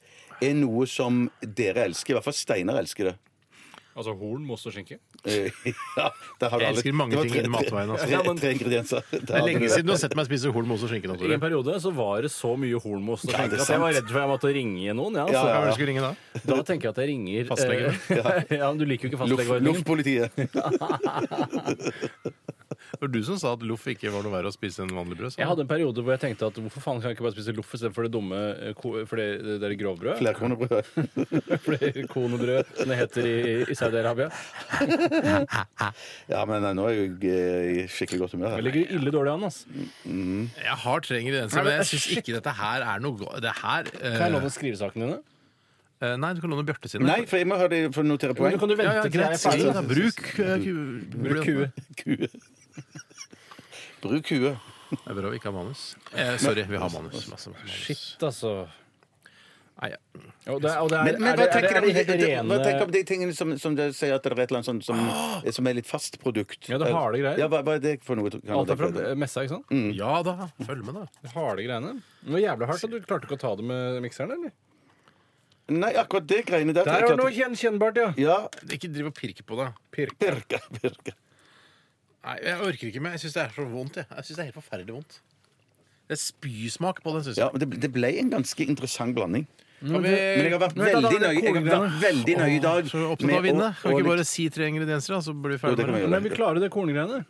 Speaker 5: er noe som dere elsker. I hvert fall Steinar elsker det.
Speaker 6: Altså horn, most og skinke?
Speaker 5: Eh, Ja, der har du
Speaker 6: Jeg
Speaker 5: alle-
Speaker 6: elsker mange
Speaker 5: det var
Speaker 6: ting
Speaker 5: tre-
Speaker 6: innen matveien, altså.
Speaker 5: tre-
Speaker 6: Ja, men-
Speaker 5: Tre ingredienser.
Speaker 6: Det er lenge siden du har sett
Speaker 4: meg spise horn, mos og skinke.
Speaker 6: I en periode så var det så mye hornmost og
Speaker 4: Ja, det er
Speaker 6: skinke at jeg var
Speaker 4: sant.
Speaker 6: redd for jeg måtte ringe noen. Ja,
Speaker 4: Ja,
Speaker 6: altså.
Speaker 4: ja, ja. Hvem skal du ringe
Speaker 6: da? Da tenker jeg at jeg ringer
Speaker 4: Fastlegen.
Speaker 6: eh, ja, men Du liker jo ikke fastlegeordningen.
Speaker 4: Det var du som sa at loff ikke var noe verre å spise enn vanlig brød. sa
Speaker 6: Jeg
Speaker 4: du?
Speaker 6: hadde en periode hvor jeg tenkte at hvorfor faen kan jeg ikke bare spise loff istedenfor det dumme eh, ko- for det, det der grovbrødet?
Speaker 5: Flerkonebrød.
Speaker 6: Flerkonebrød, som det heter i, i Saudi-Arabia.
Speaker 5: Ja, men eh, nå er jeg eh, i skikkelig godt humør.
Speaker 6: Jeg ligger ille dårlig an, altså. ass.
Speaker 5: Mm.
Speaker 4: Jeg har tre ingredienser,
Speaker 6: Nei, men
Speaker 4: men jeg
Speaker 6: shit.
Speaker 4: syns ikke dette her er noe go- det her, eh,
Speaker 6: Kan jeg låne skrivesakene dine?
Speaker 4: nei, du kan låne Bjarte sine.
Speaker 5: Nei, for jeg må ha det for å notere
Speaker 4: Men
Speaker 5: poeng.
Speaker 4: du kan jo vente Ja, ja, til greit, jeg er ferdig. si det da. Bruk, eh, ku-
Speaker 5: Bruk kue. Kue. Bruk kue.
Speaker 4: Det er bra vi ikke har manus. Eh, sorry, vi har manus. Masse manus.
Speaker 6: Shit, altså.
Speaker 4: Nei, ja.
Speaker 6: Og det, er- og det er,
Speaker 5: Men, men
Speaker 6: er,
Speaker 5: hva
Speaker 6: det-
Speaker 5: tenker
Speaker 6: er,
Speaker 5: du om,
Speaker 6: det-
Speaker 5: det-
Speaker 6: er
Speaker 5: det- hva
Speaker 6: det
Speaker 5: tenker du om
Speaker 6: rene
Speaker 5: de tingene som, som dere sier at det er et eller annet sånt som, som er litt fast produkt?
Speaker 6: Ja, det er harde greier.
Speaker 5: Ja, hva, hva er det for noe? Kan
Speaker 6: Alt er
Speaker 5: dere-
Speaker 6: fra messa, ikke sant?
Speaker 5: Mm.
Speaker 4: Ja da, følg med, da.
Speaker 6: Det harde greiene. Det var jævlig hardt, så du klarte ikke å ta det med mikseren, eller?
Speaker 5: Nei, akkurat det greiene der.
Speaker 6: Der
Speaker 5: tenker
Speaker 6: var
Speaker 5: jeg at-
Speaker 6: noe gjenkjennbart, ja.
Speaker 4: Ikke driv og pirke på det.
Speaker 6: Pirke.
Speaker 5: Pirke, pirke.
Speaker 4: Nei, jeg orker ikke mer. Jeg syns det er så vondt. Jeg, jeg synes det er helt forferdelig vondt. Det er spysmak på den, syns jeg.
Speaker 5: Ja, men det, det ble en ganske interessant blanding.
Speaker 4: Kan vi-
Speaker 5: Men jeg har vært
Speaker 4: Eh, Vent da, da, det er
Speaker 5: veldig nøye, jeg har vært
Speaker 4: korngreiene.
Speaker 5: veldig nøye i dag.
Speaker 4: Åh, Så opptatt av å vinne. Kan vi ikke bare si tre ingredienser, da, så blir vi
Speaker 5: Jo, det
Speaker 4: ferdig
Speaker 5: kan vi
Speaker 4: med
Speaker 5: gjøre. eh,
Speaker 4: det?
Speaker 6: Men vi klarer det korngreiene.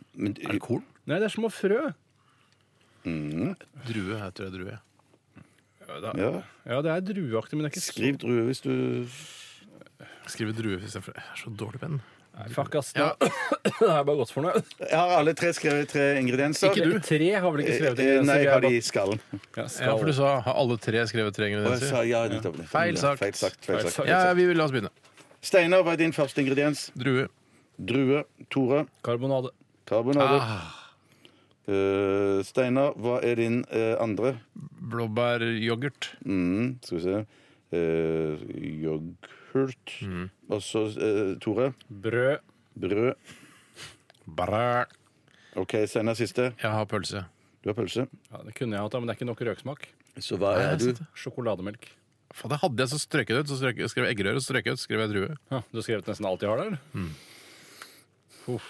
Speaker 5: Er
Speaker 4: det korn?
Speaker 6: Nei, det er små frø.
Speaker 4: Drue. Jeg tror det er drue.
Speaker 5: Ja.
Speaker 6: Ja, det er drueaktig, men det er ikke
Speaker 5: Skriv drue hvis du
Speaker 4: Skrive drue istedenfor Jeg er så dårlig venn.
Speaker 6: Nei, Fuck, ass. nå- Det er bare godt for noe.
Speaker 5: Jeg har alle tre skrevet tre ingredienser.
Speaker 6: Ikke du? Tre har vel ikke skrevet
Speaker 5: Eh, eh,
Speaker 6: ingredienser,
Speaker 5: Nei,
Speaker 6: vi
Speaker 5: jeg
Speaker 6: er
Speaker 5: har
Speaker 6: bare-
Speaker 5: de i skallen.
Speaker 4: Ja, for du sa har alle tre skrevet tre
Speaker 5: Og jeg
Speaker 4: ingredienser?
Speaker 5: sa ja, nettopp.
Speaker 4: Feil sagt.
Speaker 5: Feil sagt, feil sagt.
Speaker 4: Ja, vi vil la oss begynne.
Speaker 5: Steinar, hva er din første ingrediens?
Speaker 4: Drue.
Speaker 5: Drue. Tore?
Speaker 6: Karbonade.
Speaker 5: Karbonade. Eh, Steinar, hva er din eh, andre?
Speaker 4: Blåbæryoghurt.
Speaker 5: Mm, skal vi se. Eh, yoghurt. Og så eh, Tore?
Speaker 6: Brød.
Speaker 5: Brød.
Speaker 4: Brød.
Speaker 5: OK, Steinar siste.
Speaker 4: Jeg har pølse.
Speaker 5: Du har pølse?
Speaker 6: Ja, det kunne jeg hatt, da, men det er ikke nok røksmak.
Speaker 5: Så hva
Speaker 4: er du?
Speaker 6: Sjokolademelk.
Speaker 4: Faen, det hadde jeg så strøket det ut. Så strøk, skrev jeg eggerøre, så strøket jeg ut, skrev jeg drue.
Speaker 6: Ja, du har skrevet nesten alt jeg har der?
Speaker 4: Mm.
Speaker 6: Uff.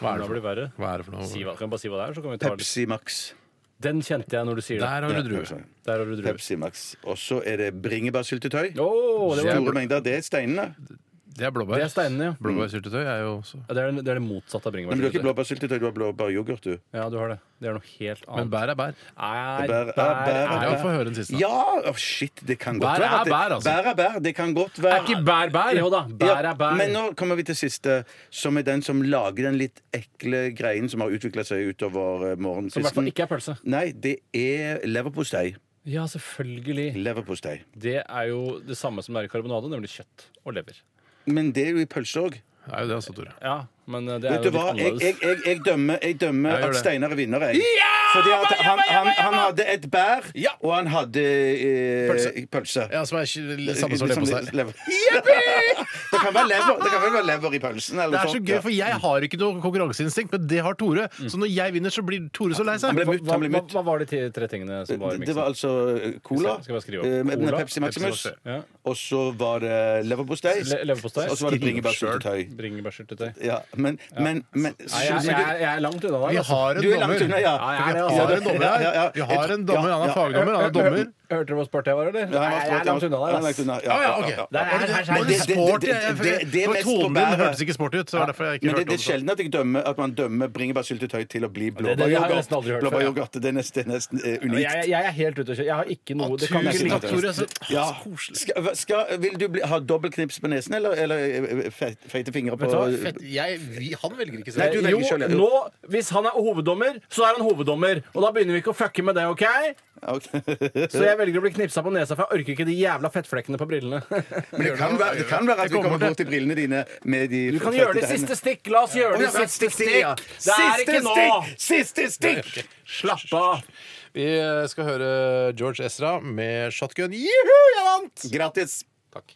Speaker 4: Hva er det
Speaker 6: Da blir
Speaker 4: for-
Speaker 6: verre.
Speaker 4: Hva er det for noe?
Speaker 6: Si hva, kan jeg bare si hva det er, så kan vi ta det.
Speaker 5: Pepsi Max.
Speaker 6: Den kjente jeg når du sier det.
Speaker 5: Der har du drue.
Speaker 6: Der har du drue.
Speaker 5: Pepsi Max. Og så er det bringebærsyltetøy.
Speaker 6: Oh, det var-
Speaker 5: Store mengder. Det er steinene.
Speaker 4: Det er blåbær.
Speaker 6: Det er steinene, ja.
Speaker 5: Mm.
Speaker 4: Blåbærsyltetøy er jo også
Speaker 6: Ja, det, er, det er det motsatte av
Speaker 5: Nei, Men du har ikke blåbærsyltetøy,
Speaker 6: bringebærsyltetøy.
Speaker 5: du har blåbæryoghurt, du.
Speaker 6: Ja, du har det. Det er noe helt annet.
Speaker 4: Men bær er bær.
Speaker 6: Nei,
Speaker 5: Bær
Speaker 6: bær,
Speaker 5: er bær.
Speaker 6: er-
Speaker 5: Ja, få høre
Speaker 4: den siste,
Speaker 5: da. Ja! åh, shit, det kan
Speaker 6: Bær
Speaker 5: godt være.
Speaker 6: er
Speaker 5: at det-
Speaker 6: bær, altså.
Speaker 5: Bær er bær. Det kan godt være.
Speaker 6: Er ikke bær bær? Jo da, bær
Speaker 5: Ja,
Speaker 6: er bær.
Speaker 5: Men nå kommer vi til siste, som er den som lager den litt ekle greien som har utvikla seg utover eh,
Speaker 6: Som i hvert fall
Speaker 5: morgenkvisten.
Speaker 6: ikke er pølse.
Speaker 5: Nei, det er leverpostei.
Speaker 6: Ja, selvfølgelig.
Speaker 5: Leverpostei.
Speaker 6: Det er jo det samme som det er i karbonade, nemlig kjøtt og lever.
Speaker 5: Men det er jo i pølse òg.
Speaker 4: Det er jo det, altså, Tore.
Speaker 6: Ja, men eh, det er
Speaker 5: Vet
Speaker 6: jo
Speaker 5: du
Speaker 6: litt
Speaker 5: hva? Jeg,
Speaker 6: annerledes.
Speaker 5: jeg, jeg, jeg dømmer, jeg dømmer
Speaker 6: Ja, gjør
Speaker 5: at
Speaker 6: det.
Speaker 5: Steinar er vinner, jeg.
Speaker 6: Ja!
Speaker 5: Fordi at han, han, han hadde et bær, og han hadde eh,
Speaker 4: Pølse.
Speaker 5: pølse.
Speaker 4: Ja, som er ikke- samme som
Speaker 5: Liksom
Speaker 4: leverpostei.
Speaker 5: lever- Det kan være lever, det kan vel være lever i pølsen. Eller
Speaker 4: Det er så
Speaker 5: sånt,
Speaker 4: gøy,
Speaker 5: ja.
Speaker 4: for jeg har ikke noe konkurranseinstinkt, men det har Tore.
Speaker 5: Mm.
Speaker 4: Så når jeg vinner, så blir Tore så lei seg.
Speaker 6: hva, hva, hva var de ti- tre tingene som var i
Speaker 5: Det- Det
Speaker 6: miksen?
Speaker 5: var altså eh, cola,
Speaker 6: Skal jeg bare skrive opp?
Speaker 5: eh, med- med
Speaker 6: Cola,
Speaker 5: Pepsi Maximus,
Speaker 6: Pepsi Max, ja.
Speaker 5: og så var det leverpostei,
Speaker 6: Le- leverpostei.
Speaker 5: og så var det bringebærsyltetøy.
Speaker 6: Bringebærsyltetøy.
Speaker 5: Ja, men, men, men
Speaker 6: Nei, jeg, jeg, jeg er langt unna der.
Speaker 5: Vi
Speaker 6: altså.
Speaker 5: har en Du er langt dommer. unna, ja.
Speaker 6: jeg er det,
Speaker 5: Vi
Speaker 6: altså.
Speaker 5: har en dommer her. Ja, ja, ja. Vi har en dommer, han er fagdommer, han er dommer.
Speaker 6: Hør- hør- Hørte du hvor sport jeg var, eller?
Speaker 5: Ja, han var
Speaker 6: Nei, jeg
Speaker 5: sport,
Speaker 6: er langt
Speaker 5: ja.
Speaker 6: unna der.
Speaker 5: Han er
Speaker 6: ass.
Speaker 5: langt unna, ja. Ja, ja, ok.
Speaker 6: Der er- her- her-
Speaker 5: Men det- det-
Speaker 4: Sport,
Speaker 5: det-
Speaker 4: jeg-
Speaker 5: det- det er
Speaker 4: for
Speaker 5: mest
Speaker 4: Tonen din
Speaker 5: på bæret.
Speaker 4: hørtes ikke sporty ut, så
Speaker 5: Ja.
Speaker 4: derfor har jeg
Speaker 5: Men
Speaker 4: ikke
Speaker 5: det,
Speaker 4: hørt om
Speaker 5: det er
Speaker 4: det.
Speaker 5: sjelden at jeg dømmer at man dømmer bringebærsyltetøy til å bli
Speaker 6: det- det har jeg nesten aldri hørt
Speaker 5: blåbæryoghurt.
Speaker 6: før, ja.
Speaker 5: Blåbæryoghurt, Det er nesten, det er nesten eh, unikt.
Speaker 6: Jeg, jeg er helt ute å kjøre. Jeg har ikke noe det kan
Speaker 5: Ah, Tusen
Speaker 6: ikke
Speaker 5: takk,
Speaker 6: ligge-
Speaker 5: Tore. Så- Ja. Skal, skal, vil du bli, ha dobbeltknips på nesen, eller, eller eh, fe- feite fingre på
Speaker 6: Vet du hva? Fett-
Speaker 4: han velger ikke
Speaker 5: Nei, du velger selv, ja.
Speaker 6: jo, nå, hvis han er hoveddommer, så er han hoveddommer. Og da begynner vi ikke å fucke med det, OK? Så jeg velger å bli knipsa på nesa, for jeg orker ikke de jævla fettflekkene på brillene.
Speaker 5: Men det kan, være, det kan være at vi kommer bort til brillene dine med de
Speaker 6: Du kan gjøre det i siste stikk. La oss gjøre det i
Speaker 5: Å, ja,
Speaker 6: siste
Speaker 5: stikk til,
Speaker 6: stikk.
Speaker 5: ja.
Speaker 6: Det er ikke nå.
Speaker 5: Siste stikk!
Speaker 4: Siste stikk!
Speaker 6: Slapp av.
Speaker 4: Vi eh, skal høre George Ezra med shotgun. Juhu, jeg vant!
Speaker 5: Grattis.
Speaker 4: Takk.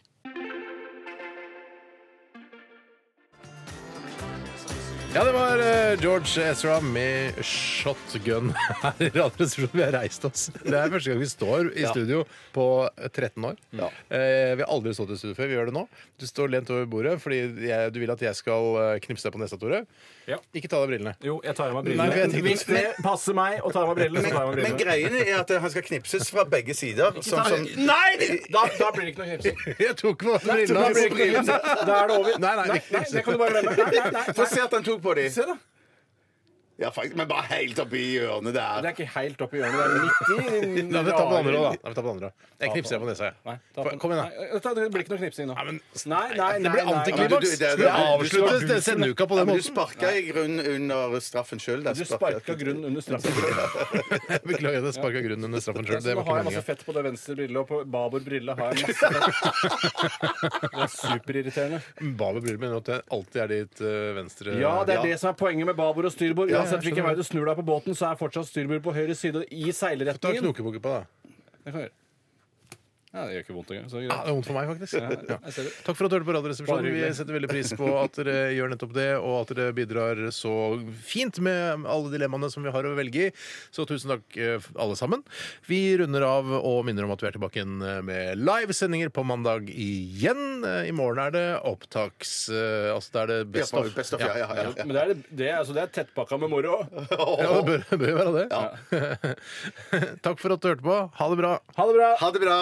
Speaker 4: Ja, det var eh, George Ezra med 'Shotgun' her i Radioresepsjonen. Vi har reist oss. Det er første gang vi står i
Speaker 7: Ja.
Speaker 4: studio på 13 år. Eh, vi har aldri stått i studio før. Vi gjør det nå. Du står lent over bordet fordi jeg, du vil at jeg skal eh, knipse deg på nesa, Tore. Ikke ta av deg brillene.
Speaker 6: Jo, jeg tar av
Speaker 4: Nei,
Speaker 6: meg
Speaker 4: for jeg
Speaker 6: brillene.
Speaker 4: tenkte-
Speaker 6: Hvis det passer meg å ta av meg brillene, så tar jeg av meg
Speaker 5: Men
Speaker 6: brillene.
Speaker 5: greien er at han skal knipses fra begge sider. Sånn
Speaker 6: ta-
Speaker 5: som
Speaker 6: Nei! Da, da blir det ikke noe knipsing.
Speaker 4: Jeg tok på
Speaker 6: Nei,
Speaker 4: brillene.
Speaker 6: da blir det ikke noe knipsing. Da er det over.
Speaker 4: Nei, nei,
Speaker 6: nei,
Speaker 4: ikke
Speaker 6: nei
Speaker 4: knipsing.
Speaker 6: det kan du bare glemme. Nei, nei, nei.
Speaker 5: Få se at han tok på dem.
Speaker 6: Se da.
Speaker 5: Ja, faktisk, men bare helt oppi hjørnet der.
Speaker 6: Det er ikke helt oppi hjørnet. Det er midt i.
Speaker 4: Da får vi ta på andre òg, da. da. får vi ta på andre også. Jeg knipser deg på nesa, jeg. Få- Kom igjen, da.
Speaker 6: Nei, vet du hva, det blir ikke noe knipsing nå. Nei, nei, nei.
Speaker 4: det blir
Speaker 6: nei.
Speaker 4: antiklimaks.
Speaker 6: Men du- du-
Speaker 4: Det avsluttes
Speaker 5: du- du-
Speaker 4: sendeuka på den
Speaker 5: Ja, men
Speaker 4: måten.
Speaker 5: Du sparka i grunn under straffen sjøl.
Speaker 6: Du sparka grunn under straffen.
Speaker 4: Beklager, jeg sparka grunnen under straffen sjøl.
Speaker 6: Så
Speaker 4: Det
Speaker 6: nå
Speaker 4: var ikke
Speaker 6: har jeg masse
Speaker 4: meninga.
Speaker 6: fett på det venstre brille, og på babord brille har jeg masse fett. Det er superirriterende.
Speaker 4: Baber bryr meg nå at det alltid er ditt eh, venstre
Speaker 6: Ja, det er det som er poenget med babord og styrbord.
Speaker 4: Ja,
Speaker 6: Uansett
Speaker 4: jeg
Speaker 6: hvilken vei
Speaker 4: skjønner.
Speaker 6: du snur deg på båten, så er fortsatt styrbord på høyre side og i
Speaker 4: Ta
Speaker 6: seilretningen.
Speaker 4: knokebukke på, da.
Speaker 6: Det kan jeg gjøre. Ja, det gjør ikke vondt engang. Så
Speaker 4: Ja, det er
Speaker 6: greit.
Speaker 4: vondt for meg, faktisk.
Speaker 6: Ja,
Speaker 4: Ja.
Speaker 6: jeg ser det.
Speaker 4: Takk for at du hørte på Radioresepsjonen.
Speaker 6: Bare
Speaker 4: Vi
Speaker 6: hyggelig.
Speaker 4: setter veldig pris på at dere gjør nettopp det, og at dere bidrar så fint med alle dilemmaene som vi har å velge i. Så tusen takk, eh, alle sammen. Vi runder av og minner om at vi er tilbake igjen eh, med livesendinger på mandag igjen. Eh, I morgen er det opptaks... eh, Altså, da er det Best
Speaker 5: Ja,
Speaker 4: of.
Speaker 5: Best of, ja, ja, ja, ja.
Speaker 6: Men det er, det- det, er- altså, det er tettpakka med moro.
Speaker 4: Ja, det bør, bør jo være det. Takk for at du hørte på. Ha det bra.
Speaker 6: Ha det bra.
Speaker 5: Ha det bra.